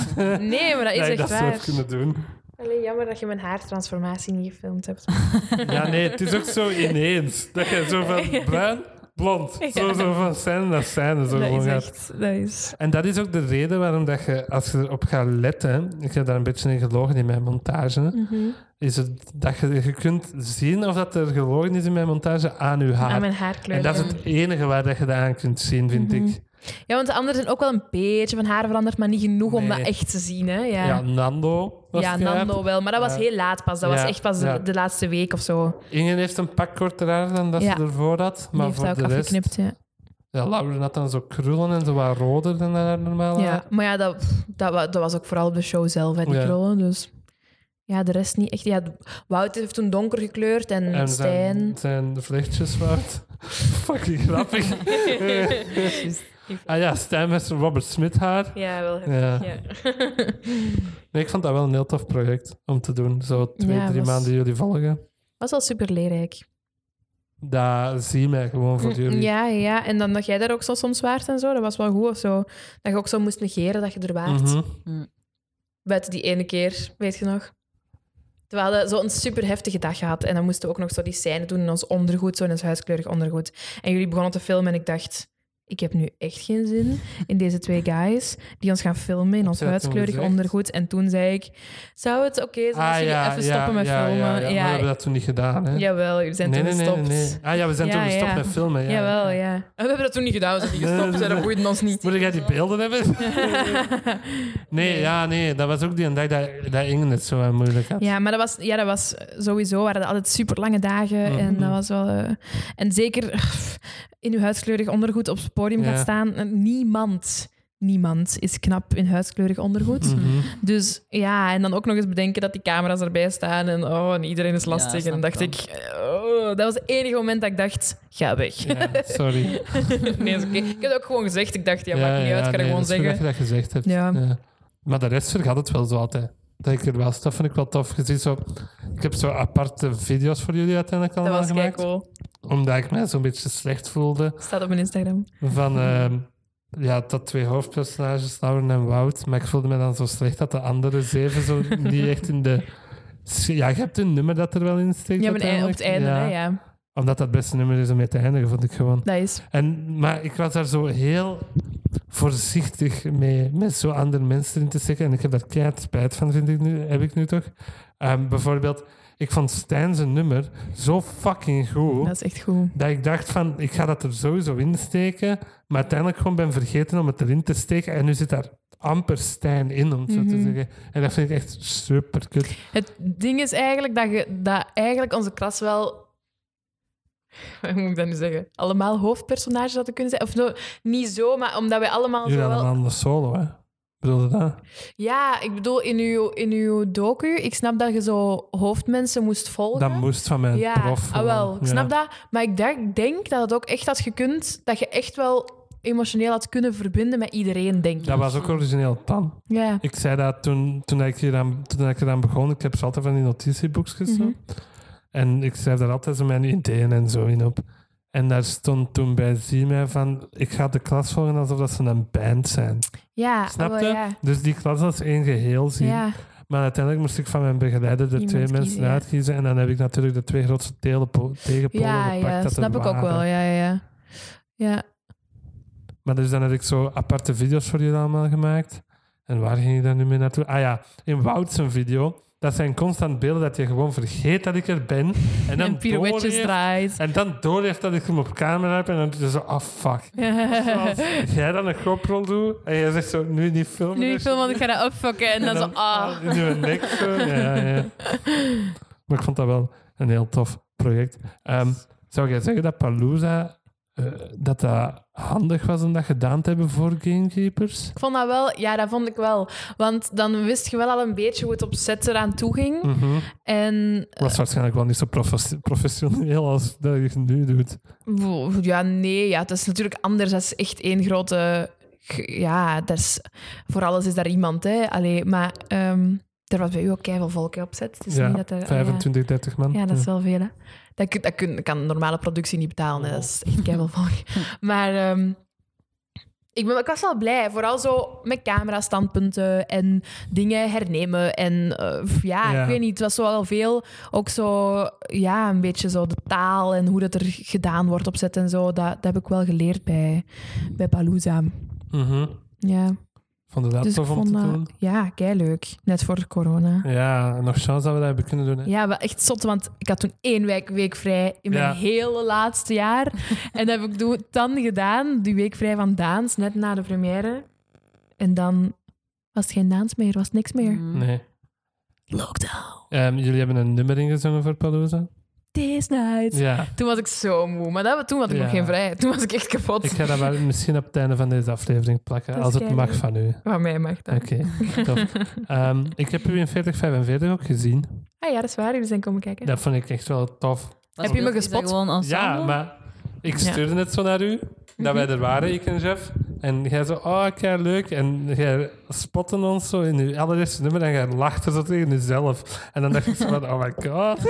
[SPEAKER 3] Nee, maar dat is
[SPEAKER 1] dat je
[SPEAKER 3] echt
[SPEAKER 1] dat zo hebt
[SPEAKER 3] waar.
[SPEAKER 1] kunnen doen.
[SPEAKER 3] Alleen jammer dat je mijn haartransformatie niet gefilmd hebt.
[SPEAKER 1] Ja, nee, het is ook zo ineens. Dat je zo van bruin blond. Zo,
[SPEAKER 3] Ja.
[SPEAKER 1] zo van scène naar scène. Zo
[SPEAKER 3] dat
[SPEAKER 1] gewoon
[SPEAKER 3] is
[SPEAKER 1] gaat.
[SPEAKER 3] echt... Dat is...
[SPEAKER 1] En dat is ook de reden waarom dat je, als je erop gaat letten, ik heb daar een beetje in gelogen in mijn montage,
[SPEAKER 3] Mhm.
[SPEAKER 1] is het dat je, je kunt zien of dat er gelogen is in mijn montage aan je haar.
[SPEAKER 3] Aan mijn Mhm. haarkleur.
[SPEAKER 1] en dat is
[SPEAKER 3] ja.
[SPEAKER 1] het enige waar dat je dat aan kunt zien, vind ik.
[SPEAKER 3] Ja, want de anderen zijn ook wel een beetje van haar veranderd, maar niet genoeg om
[SPEAKER 1] Nee.
[SPEAKER 3] dat echt te zien. Hè? Ja,
[SPEAKER 1] Ja,
[SPEAKER 3] ja,
[SPEAKER 1] Nando was het, ja.
[SPEAKER 3] Nando wel. Maar dat was
[SPEAKER 1] Ja.
[SPEAKER 3] heel laat pas. Dat
[SPEAKER 1] Ja,
[SPEAKER 3] was echt pas
[SPEAKER 1] ja.
[SPEAKER 3] de, de laatste week of zo.
[SPEAKER 1] Inge heeft een pak korter haar dan dat
[SPEAKER 3] Ja.
[SPEAKER 1] ze ervoor had.
[SPEAKER 3] Die
[SPEAKER 1] Maar
[SPEAKER 3] heeft
[SPEAKER 1] voor
[SPEAKER 3] dat
[SPEAKER 1] de
[SPEAKER 3] ook
[SPEAKER 1] rest...
[SPEAKER 3] afgeknipt, ja.
[SPEAKER 1] Ja, Lauren had dan zo krullen en zo wat roder dan haar normaal
[SPEAKER 3] ja. Maar ja, dat, pff, dat, wa- dat was ook vooral op de show zelf, hè, die
[SPEAKER 1] Ja.
[SPEAKER 3] krullen. Dus ja, de rest niet echt. Ja, Wout heeft toen donker gekleurd en,
[SPEAKER 1] En zijn,
[SPEAKER 3] Stijn...
[SPEAKER 1] zijn vlechtjes waard. Fucking grappig. ah ja, Stijn met zijn Robert Smith haar.
[SPEAKER 3] Ja, wel.
[SPEAKER 1] Ja.
[SPEAKER 3] Ja.
[SPEAKER 1] Nee, ik vond dat wel een heel tof project om te doen. Zo twee,
[SPEAKER 3] Ja,
[SPEAKER 1] drie
[SPEAKER 3] was-
[SPEAKER 1] maanden jullie volgen.
[SPEAKER 3] was wel super leerrijk.
[SPEAKER 1] Daar zie je mij gewoon voor jullie.
[SPEAKER 3] Mm, Ja, ja. En dan dat jij daar ook zo soms waart en zo, dat was wel goed of zo. Dat je ook zo moest negeren dat je er waart.
[SPEAKER 1] Mhm.
[SPEAKER 3] Buiten die ene keer, weet je nog? We hadden zo'n super heftige dag gehad. En dan moesten we ook nog zo die scène doen in ons ondergoed, zo in ons huiskleurig ondergoed. En jullie begonnen te filmen en ik dacht... Ik heb nu echt geen zin in deze twee guys die ons gaan filmen in ons
[SPEAKER 1] je dat toen
[SPEAKER 3] huiskleurig
[SPEAKER 1] gezegd?
[SPEAKER 3] ondergoed. En toen zei ik, zou het oké zijn als
[SPEAKER 1] Ah
[SPEAKER 3] jullie
[SPEAKER 1] ja,
[SPEAKER 3] even
[SPEAKER 1] ja,
[SPEAKER 3] stoppen met
[SPEAKER 1] ja,
[SPEAKER 3] filmen?
[SPEAKER 1] Ja, ja, Maar we
[SPEAKER 3] Ja,
[SPEAKER 1] hebben dat toen niet gedaan. Hè?
[SPEAKER 3] Jawel, jullie zijn
[SPEAKER 1] nee,
[SPEAKER 3] toen
[SPEAKER 1] nee, nee,
[SPEAKER 3] gestopt.
[SPEAKER 1] nee, nee. Ah ja, we zijn
[SPEAKER 3] Ja,
[SPEAKER 1] toen gestopt
[SPEAKER 3] ja.
[SPEAKER 1] met filmen. Ja.
[SPEAKER 3] Jawel, ja. En We hebben dat toen niet gedaan, we zijn niet gestopt,
[SPEAKER 1] nee,
[SPEAKER 3] dus dat
[SPEAKER 1] nee.
[SPEAKER 3] boeide ons niet.
[SPEAKER 1] Moet jij die beelden hebben? nee, ja, nee. Dat was ook die dag dat, dat Inge het zo eh, moeilijk had.
[SPEAKER 3] Ja, maar dat was, ja, dat was eh, sowieso, waren dat altijd super lange dagen.
[SPEAKER 1] Mm.
[SPEAKER 3] En dat was wel. eh, en zeker eh, in uw huidskleurig ondergoed op het podium
[SPEAKER 1] Ja.
[SPEAKER 3] gaat staan. eh, Niemand, niemand is knap in huidskleurig ondergoed.
[SPEAKER 1] Mhm.
[SPEAKER 3] Dus ja, en dan ook nog eens bedenken dat die camera's erbij staan. En oh, en iedereen is lastig. en
[SPEAKER 2] snap
[SPEAKER 3] dan dacht
[SPEAKER 2] ik
[SPEAKER 3] ik, oh, dat was het enige moment dat ik dacht, ga weg.
[SPEAKER 1] Ja, sorry.
[SPEAKER 3] nee, is oké. Ik heb het ook gewoon gezegd. Ik dacht, ja, maakt niet uit, kan
[SPEAKER 1] nee,
[SPEAKER 3] ik gewoon
[SPEAKER 1] dat is goed
[SPEAKER 3] zeggen.
[SPEAKER 1] dat je dat gezegd hebt.
[SPEAKER 3] Ja.
[SPEAKER 1] Maar de rest vergat het wel zo altijd. Dat ik er wel, dat vind ik wel tof. Je ziet zo, ik heb zo aparte video's voor jullie uiteindelijk
[SPEAKER 3] Dat
[SPEAKER 1] allemaal
[SPEAKER 3] was kijk
[SPEAKER 1] gemaakt.
[SPEAKER 3] cool.
[SPEAKER 1] Omdat ik mij zo'n beetje slecht voelde.
[SPEAKER 3] Staat op mijn Instagram.
[SPEAKER 1] Van, ehm, ja, dat twee hoofdpersonages, Lauren en Wout. Maar ik voelde me dan zo slecht dat de andere zeven zo niet echt in de... Ja, je hebt een nummer dat er wel in steekt.
[SPEAKER 3] Ja, maar op het
[SPEAKER 1] uiteindelijk.
[SPEAKER 3] einde,
[SPEAKER 1] Ja.
[SPEAKER 3] hè, ja.
[SPEAKER 1] Omdat dat het beste nummer is om mee te eindigen, vond ik gewoon.
[SPEAKER 3] Dat is.
[SPEAKER 1] En, maar ik was daar zo heel voorzichtig mee, met zo andere mensen in te steken. En ik heb daar keihard spijt van, vind ik nu, heb ik nu toch. Ehm, bijvoorbeeld, ik vond Stijn zijn nummer zo fucking goed,
[SPEAKER 3] Dat is echt goed.
[SPEAKER 1] dat ik dacht van, ik ga dat er sowieso in steken. Maar uiteindelijk gewoon ben vergeten om het erin te steken. En nu zit daar amper Stijn in, om het zo
[SPEAKER 3] Mhm.
[SPEAKER 1] te zeggen. En dat vind ik echt super kut.
[SPEAKER 3] Het ding is eigenlijk dat, je, dat eigenlijk onze klas wel. Hoe moet ik dat nu zeggen? Allemaal hoofdpersonages hadden kunnen zijn. Of zo, niet zo, maar omdat wij allemaal
[SPEAKER 1] Jullie
[SPEAKER 3] zo
[SPEAKER 1] hadden
[SPEAKER 3] wel.
[SPEAKER 1] een andere solo, hè? Bedoel je dat?
[SPEAKER 3] Ja, ik bedoel, in uw, in uw docu, ik snap dat je zo hoofdmensen moest volgen.
[SPEAKER 1] Dat moest van mijn
[SPEAKER 3] ja,
[SPEAKER 1] prof.
[SPEAKER 3] ah, wel, ik
[SPEAKER 1] Ja.
[SPEAKER 3] snap dat. Maar ik denk, denk dat het ook echt had gekund, dat je echt wel emotioneel had kunnen verbinden met iedereen, denk ik.
[SPEAKER 1] Dat was ook origineel plan.
[SPEAKER 3] Ja.
[SPEAKER 1] Ik zei dat toen, toen, ik, hier aan, toen ik eraan begon. Ik heb ze altijd van die notitieboekjes. zo.
[SPEAKER 3] Mhm.
[SPEAKER 1] En ik schrijf daar altijd zo mijn ideeën en zo in op. En daar stond toen bij Zie mij van... Ik ga de klas volgen alsof dat ze een band zijn.
[SPEAKER 3] Ja,
[SPEAKER 1] Snap
[SPEAKER 3] ah,
[SPEAKER 1] je?
[SPEAKER 3] wel, ja.
[SPEAKER 1] Dus die klas als één geheel zien.
[SPEAKER 3] Ja,
[SPEAKER 1] Maar uiteindelijk moest ik van mijn begeleider de
[SPEAKER 3] Iemand
[SPEAKER 1] twee mensen
[SPEAKER 3] kiezen, ja.
[SPEAKER 1] uitkiezen. En dan heb ik natuurlijk de twee grootste telepo- tegenpolen
[SPEAKER 3] ja,
[SPEAKER 1] gepakt.
[SPEAKER 3] ja
[SPEAKER 1] dat er
[SPEAKER 3] snap ik ook
[SPEAKER 1] waren.
[SPEAKER 3] wel. Ja, ja, ja. ja.
[SPEAKER 1] Maar dus dan heb ik zo aparte video's voor jullie allemaal gemaakt. En waar ging je daar nu mee naartoe? Ah ja, in Wout zijn video. Dat zijn constant beelden dat je gewoon vergeet dat ik er ben. En dan
[SPEAKER 3] en pirouetjes
[SPEAKER 1] doorheeft-
[SPEAKER 3] draait.
[SPEAKER 1] En dan doorheeft dat ik hem op camera heb. En dan is het zo, ah fuck. Zoals jij dan een GoPro doet. En jij zegt zo, nu niet filmen. dus."
[SPEAKER 3] nu ik film, want ik ga dat opfokken. En dan zo, ah.
[SPEAKER 1] In je nek zo. eh, Ja, ja. Maar ik vond dat wel een heel tof project. Ehm, zou jij zeggen dat Palooza... eh, dat dat handig was om dat gedaan te hebben voor gamekeepers?
[SPEAKER 3] Ik vond dat wel, ja, dat vond ik wel. Want dan wist je wel al een beetje hoe het op set eraan toe ging.
[SPEAKER 1] Mhm.
[SPEAKER 3] En
[SPEAKER 1] was waarschijnlijk wel niet zo profes- professioneel als dat je het nu doet.
[SPEAKER 3] Oeh, Ja, nee, ja, het is natuurlijk anders. Dat is echt één grote. g- Ja, dat is, voor alles is daar iemand. Hè. Allee, maar ehm, er was bij u ook keihard volk hè, op zet. Het is
[SPEAKER 1] ja,
[SPEAKER 3] niet dat er, ah,
[SPEAKER 1] 25, 30 man.
[SPEAKER 3] Ja. ja, dat is wel veel. Hè. Dat, kun- dat kun- kan een normale productie niet betalen. Hè. Dat is echt keihard volk. Maar ehm, Ik, ben, ik was wel blij, vooral zo met camerastandpunten en dingen hernemen. En eh, pff, ja,
[SPEAKER 1] Ja.
[SPEAKER 3] ik weet niet, het was zo wel veel. Ook zo, ja, een beetje zo de taal en hoe dat er gedaan wordt op set en zo. Dat, dat heb ik wel geleerd bij, bij Palooza.
[SPEAKER 1] Mhm.
[SPEAKER 3] Ja,
[SPEAKER 1] Vond je dat
[SPEAKER 3] dus ik
[SPEAKER 1] tof om te
[SPEAKER 3] vond dat
[SPEAKER 1] doen?
[SPEAKER 3] ja, leuk. Net voor corona.
[SPEAKER 1] Ja, en nog chance dat we dat hebben kunnen doen. Hè?
[SPEAKER 3] Ja, wel echt zot, want ik had toen één week, week vrij in mijn
[SPEAKER 1] Ja.
[SPEAKER 3] hele laatste jaar. en dat heb ik doe- dan gedaan, die week vrij van Daans, net na de première. En dan was het geen Daans meer, was het niks meer.
[SPEAKER 2] Mm.
[SPEAKER 1] Nee.
[SPEAKER 3] Lockdown,
[SPEAKER 1] Ehm, jullie hebben een nummer ingezongen voor Palooza?
[SPEAKER 3] this night.
[SPEAKER 1] Ja.
[SPEAKER 3] Toen was ik zo moe, maar dat, toen had ik
[SPEAKER 1] Ja.
[SPEAKER 3] nog geen vrij. Toen was ik echt kapot.
[SPEAKER 1] Ik ga dat wel misschien op het einde van deze aflevering plakken,
[SPEAKER 3] Dat
[SPEAKER 1] als het
[SPEAKER 3] jij
[SPEAKER 1] mag
[SPEAKER 3] doet.
[SPEAKER 1] van u.
[SPEAKER 3] Van mij mag dat.
[SPEAKER 1] Oké, tof. Ehm, ik heb u in 4045 ook gezien.
[SPEAKER 3] Ah ja, dat is waar, jullie zijn komen kijken.
[SPEAKER 1] Dat vond ik echt wel tof.
[SPEAKER 2] Wat
[SPEAKER 3] Heb je me
[SPEAKER 2] speelt- is dat
[SPEAKER 3] gespot?
[SPEAKER 2] Gewoon ensemble?
[SPEAKER 1] Ja, maar ik stuurde het zo naar u,
[SPEAKER 3] Mhm.
[SPEAKER 1] dat wij er waren, ik en Jeff. En jij zo, oh, kijk, leuk. En jij spotte ons zo in uw allereerste nummer en jij lachte zo tegen jezelf. En dan dacht ik zo van, oh my god.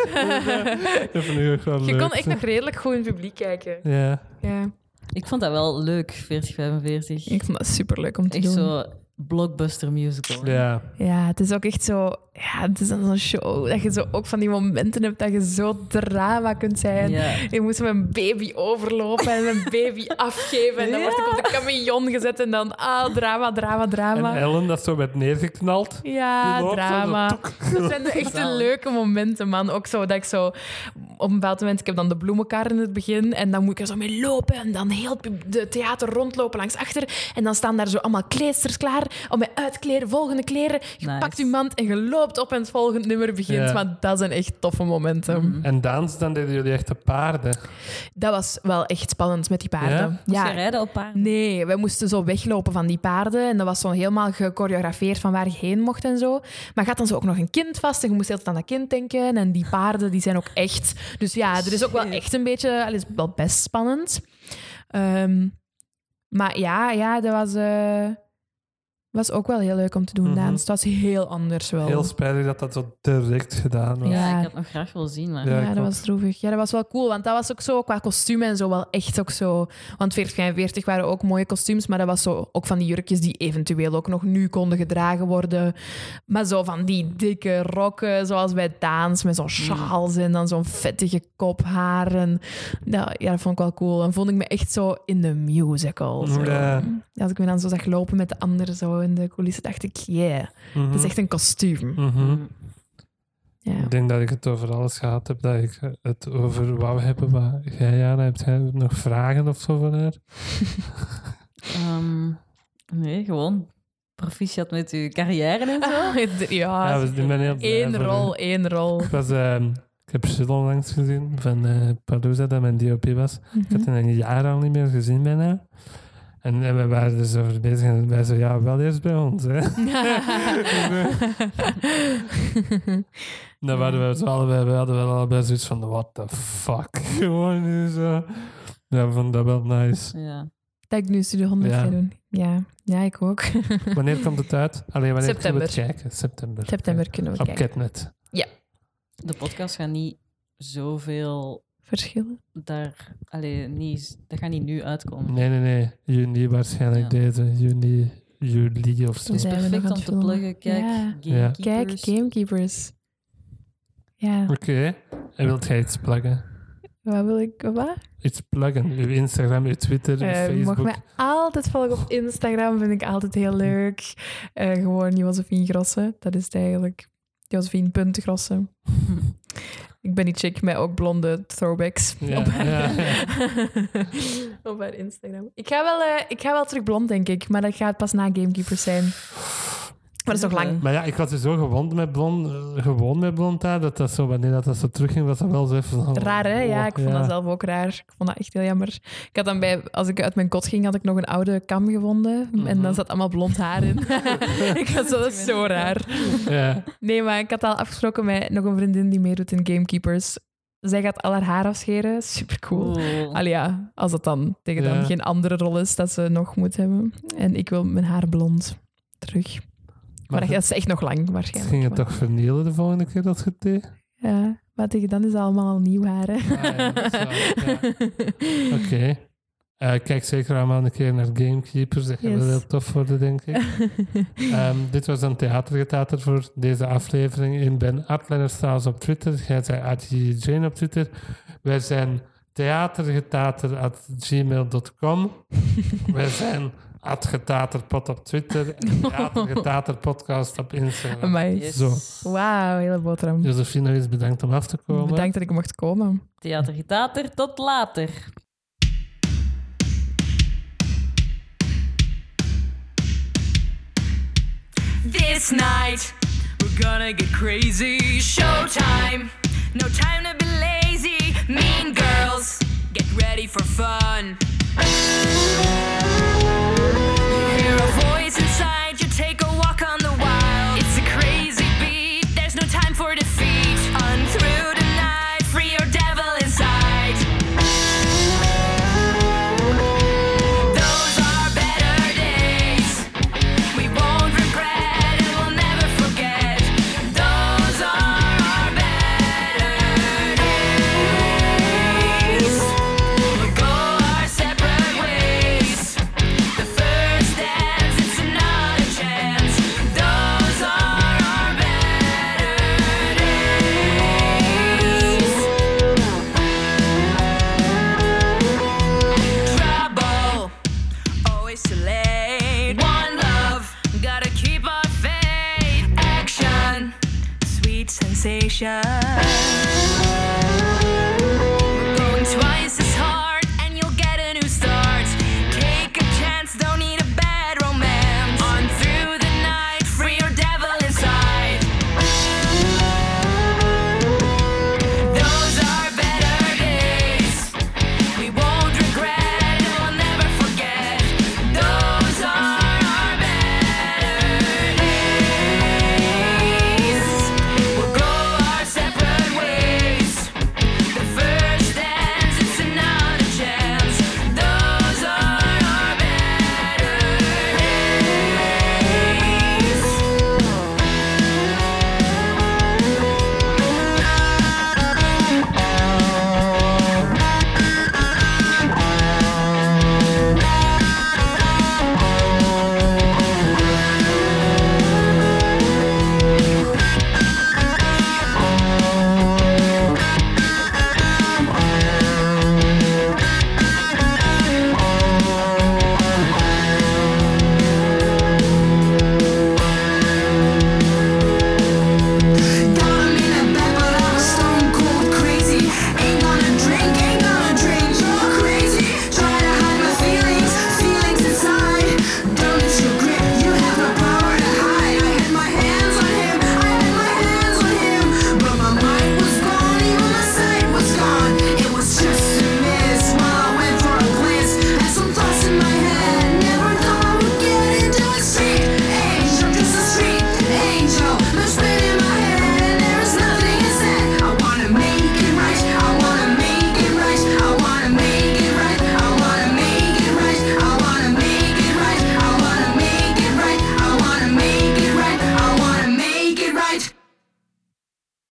[SPEAKER 1] dat vond ik ook wel
[SPEAKER 3] Je
[SPEAKER 1] leuk.
[SPEAKER 3] kon echt nog redelijk goed in het publiek kijken.
[SPEAKER 1] Ja,
[SPEAKER 3] Ja,
[SPEAKER 2] Ik vond dat wel leuk, 4045.
[SPEAKER 3] ik vond dat superleuk om te
[SPEAKER 2] Echt
[SPEAKER 3] doen.
[SPEAKER 2] zo blockbuster musical.
[SPEAKER 1] ja.
[SPEAKER 3] Ja, het is ook echt zo... Ja, het is dan zo'n show dat je zo ook van die momenten hebt dat je zo drama kunt zijn.
[SPEAKER 2] Ja.
[SPEAKER 3] Ik moest mijn baby overlopen en mijn baby afgeven. En dan word ik op de camion gezet en dan... Ah, drama, drama, drama.
[SPEAKER 1] En Ellen, dat zo werd neergeknald.
[SPEAKER 3] Ja,
[SPEAKER 1] Die loopt zo,
[SPEAKER 3] drama.
[SPEAKER 1] zo,
[SPEAKER 3] Dat zijn de echt de leuke momenten, man. Ook zo dat ik zo... Op een bepaald moment, ik heb dan de bloemenkar in het begin. En dan moet ik er zo mee lopen. En dan heel het pub- de theater rondlopen langs achter. En dan staan daar zo allemaal kleedsters klaar om mij uitkleren, volgende kleren. Je
[SPEAKER 2] Nice.
[SPEAKER 3] pakt je mand en je loopt op en het volgende nummer begint.
[SPEAKER 1] Ja.
[SPEAKER 3] Maar dat zijn echt toffe momenten.
[SPEAKER 2] Mhm.
[SPEAKER 1] En dans, dan deden jullie echt de paarden.
[SPEAKER 3] Dat was wel echt spannend met die paarden.
[SPEAKER 2] Moest je rijden op paarden?
[SPEAKER 3] Nee, wij moesten zo weglopen van die paarden. En dat was zo helemaal gechoreografeerd van waar je heen mocht en zo. Maar gaat dan zo ook nog een kind vast en je moest heel de tijd aan dat kind denken. En die paarden, die zijn ook echt... Dus ja, er is ook wel echt een beetje... Het is wel best spannend. Ehm, maar ja, ja, dat was... eh, was ook wel heel leuk om te doen,
[SPEAKER 1] Mhm.
[SPEAKER 3] Daans. Het was heel anders wel.
[SPEAKER 1] Heel spijtig dat dat zo direct gedaan was.
[SPEAKER 3] Oh. Ja.
[SPEAKER 2] Ja, ik had nog graag willen zien, maar...
[SPEAKER 1] Ja,
[SPEAKER 3] Ja, dat
[SPEAKER 1] klopt.
[SPEAKER 3] was droevig. Ja, dat was wel cool, want dat was ook zo qua kostuum en zo wel echt ook zo. Want 40 en 40 waren ook mooie kostuums, maar dat was zo ook van die jurkjes die eventueel ook nog nu konden gedragen worden. Maar zo van die dikke rokken, zoals bij Daans, met
[SPEAKER 1] Mm.
[SPEAKER 3] zo'n sjaals en dan zo'n vettige kophaar. En, nou, ja, dat vond ik wel cool. En vond ik me echt zo in de musical. Zo.
[SPEAKER 1] Ja.
[SPEAKER 3] Als ik me dan zo zag lopen met de anderen zo in de coulissen, dacht ik, yeah,
[SPEAKER 1] Mhm.
[SPEAKER 3] dat is echt een kostuum.
[SPEAKER 2] Mm.
[SPEAKER 1] Mhm.
[SPEAKER 3] Ja.
[SPEAKER 1] Ik denk dat ik het over alles gehad heb, dat ik het over wou hebben. Maar jij, Jana, hebt jij nog vragen of zo van haar?
[SPEAKER 2] Ehm, nee, gewoon proficiat met uw carrière en zo.
[SPEAKER 3] Ja,
[SPEAKER 1] ja, we zijn ben heel blij
[SPEAKER 3] Eén
[SPEAKER 1] voor u.
[SPEAKER 3] rol, Ah, één rol.
[SPEAKER 1] Ik, was, ehm, ik heb Jill onlangs gezien van eh Palooza, dat mijn DOP was. Ik
[SPEAKER 3] Mhm.
[SPEAKER 1] had hem een jaar al niet meer gezien bijna. En, eh, we waren er zo over bezig en wij zo, ja, wel eerst bij ons, hè. Dan waren we zo allebei, we hadden wel allebei zoiets van, what the fuck, gewoon nu zo. Ja, we vonden dat wel nice.
[SPEAKER 3] Ah.
[SPEAKER 2] Ja.
[SPEAKER 3] dat ik nu Studio 100
[SPEAKER 1] Ja.
[SPEAKER 3] ga doen. Ja. ja, ik ook.
[SPEAKER 1] Wanneer komt het uit? Alleen wanneer
[SPEAKER 3] September.
[SPEAKER 1] kunnen we het kijken? September.
[SPEAKER 3] September kunnen we
[SPEAKER 1] Op
[SPEAKER 3] kijken.
[SPEAKER 1] Catnet.
[SPEAKER 2] De podcast gaat niet zoveel
[SPEAKER 3] Verschillen.
[SPEAKER 2] daar... Allee, niet, dat gaat niet nu uitkomen.
[SPEAKER 1] Nee, nee, nee. Juni waarschijnlijk
[SPEAKER 2] Ja.
[SPEAKER 1] deze. Juni, juli of zo.
[SPEAKER 3] Dus-
[SPEAKER 2] Het is
[SPEAKER 3] Zijn we nog
[SPEAKER 2] perfect
[SPEAKER 3] aan
[SPEAKER 2] om
[SPEAKER 3] het
[SPEAKER 2] te
[SPEAKER 3] filmen?
[SPEAKER 2] pluggen. Kijk,
[SPEAKER 3] Ja.
[SPEAKER 2] Gamekeepers.
[SPEAKER 3] Kijk, Gamekeepers. Ja,
[SPEAKER 1] Oké. En wilt jij iets pluggen?
[SPEAKER 3] wat wil ik... Wat?
[SPEAKER 1] Iets pluggen. Uw Instagram, uw Twitter, uw
[SPEAKER 3] Eh, je mag
[SPEAKER 1] Facebook.
[SPEAKER 3] mij altijd volgen op Instagram, vind ik altijd heel leuk. Eh, gewoon Josephine Grossen, dat is het eigenlijk. Josephine.grossen. ik ben die chick met ook blonde throwbacks
[SPEAKER 1] Ja,
[SPEAKER 3] op, haar,
[SPEAKER 1] ja, ja.
[SPEAKER 3] op haar Instagram. Ik ga, wel, eh, ik ga wel terug blond, denk ik, maar dat gaat pas na Gamekeepers zijn. Maar dat is nog lang.
[SPEAKER 1] Maar ja, ik was er zo gewond met blond, eh, gewoon met blond haar, dat dat zo, wanneer dat, dat zo terugging, was dat wel zo even... van,
[SPEAKER 3] Raar, hè? Ja,
[SPEAKER 1] oh,
[SPEAKER 3] ik vond dat zelf ook raar. Ik vond dat echt heel jammer. Ik had dan bij, als ik uit mijn kot ging, had ik nog een oude kam gevonden. En dan zat allemaal blond haar in. ik had zo, dat is zo raar.
[SPEAKER 1] Ja.
[SPEAKER 3] Nee, maar ik had al afgesproken met nog een vriendin die meedoet in Gamekeepers. Zij gaat al haar haar afscheren. Super cool.
[SPEAKER 2] Cool.
[SPEAKER 3] Allee, ja, als dat dan tegen
[SPEAKER 1] Oh. Ja.
[SPEAKER 3] dan geen andere rol is dat ze nog moet hebben. En ik wil mijn haar blond terug. Maar,
[SPEAKER 1] Maar
[SPEAKER 3] dat
[SPEAKER 1] het,
[SPEAKER 3] is echt nog lang
[SPEAKER 1] het
[SPEAKER 3] waarschijnlijk.
[SPEAKER 1] ging het
[SPEAKER 3] maar-
[SPEAKER 1] toch vernielen de volgende keer dat je het deed?
[SPEAKER 3] Ja, maar tegen dan is het allemaal nieuw haar. Hè?
[SPEAKER 1] Ah, ja, dat is waar, ja. Oké. Eh, kijk zeker allemaal een keer naar Gamekeeper. Dat gaat
[SPEAKER 3] Yes.
[SPEAKER 1] wel heel tof worden, denk ik. Ehm, dit was een theatergetater voor deze aflevering. Ik ben Adlenners trouwens op Twitter. Jij zei Jane op Twitter. Wij zijn theatergetater.gmail.com. Wij zijn Adgetaterpod op Twitter. En Theatergetaterpodcast op Instagram.
[SPEAKER 3] Amai.
[SPEAKER 2] Yes.
[SPEAKER 1] Zo.
[SPEAKER 3] Wauw, hele boterham.
[SPEAKER 1] Josephine, nog eens bedankt om af te komen.
[SPEAKER 3] Bedankt dat ik mocht komen.
[SPEAKER 2] Theatergetater, tot later.
[SPEAKER 6] This night, we're gonna get crazy. Showtime, no time to be lazy. Mean girls, get ready for fun. You hear a voice inside, you take a walk on the wild. It's a crazy beat, there's no time for defeat. On through the night, free your devil inside. Those are better days. We won't regret and we'll never forget. Those are our better days. We'll go our separate ways. The first dance, it's another chance. Those are our better days. trouble. Always too late. One love, gotta keep our faith. Action, sweet sensation.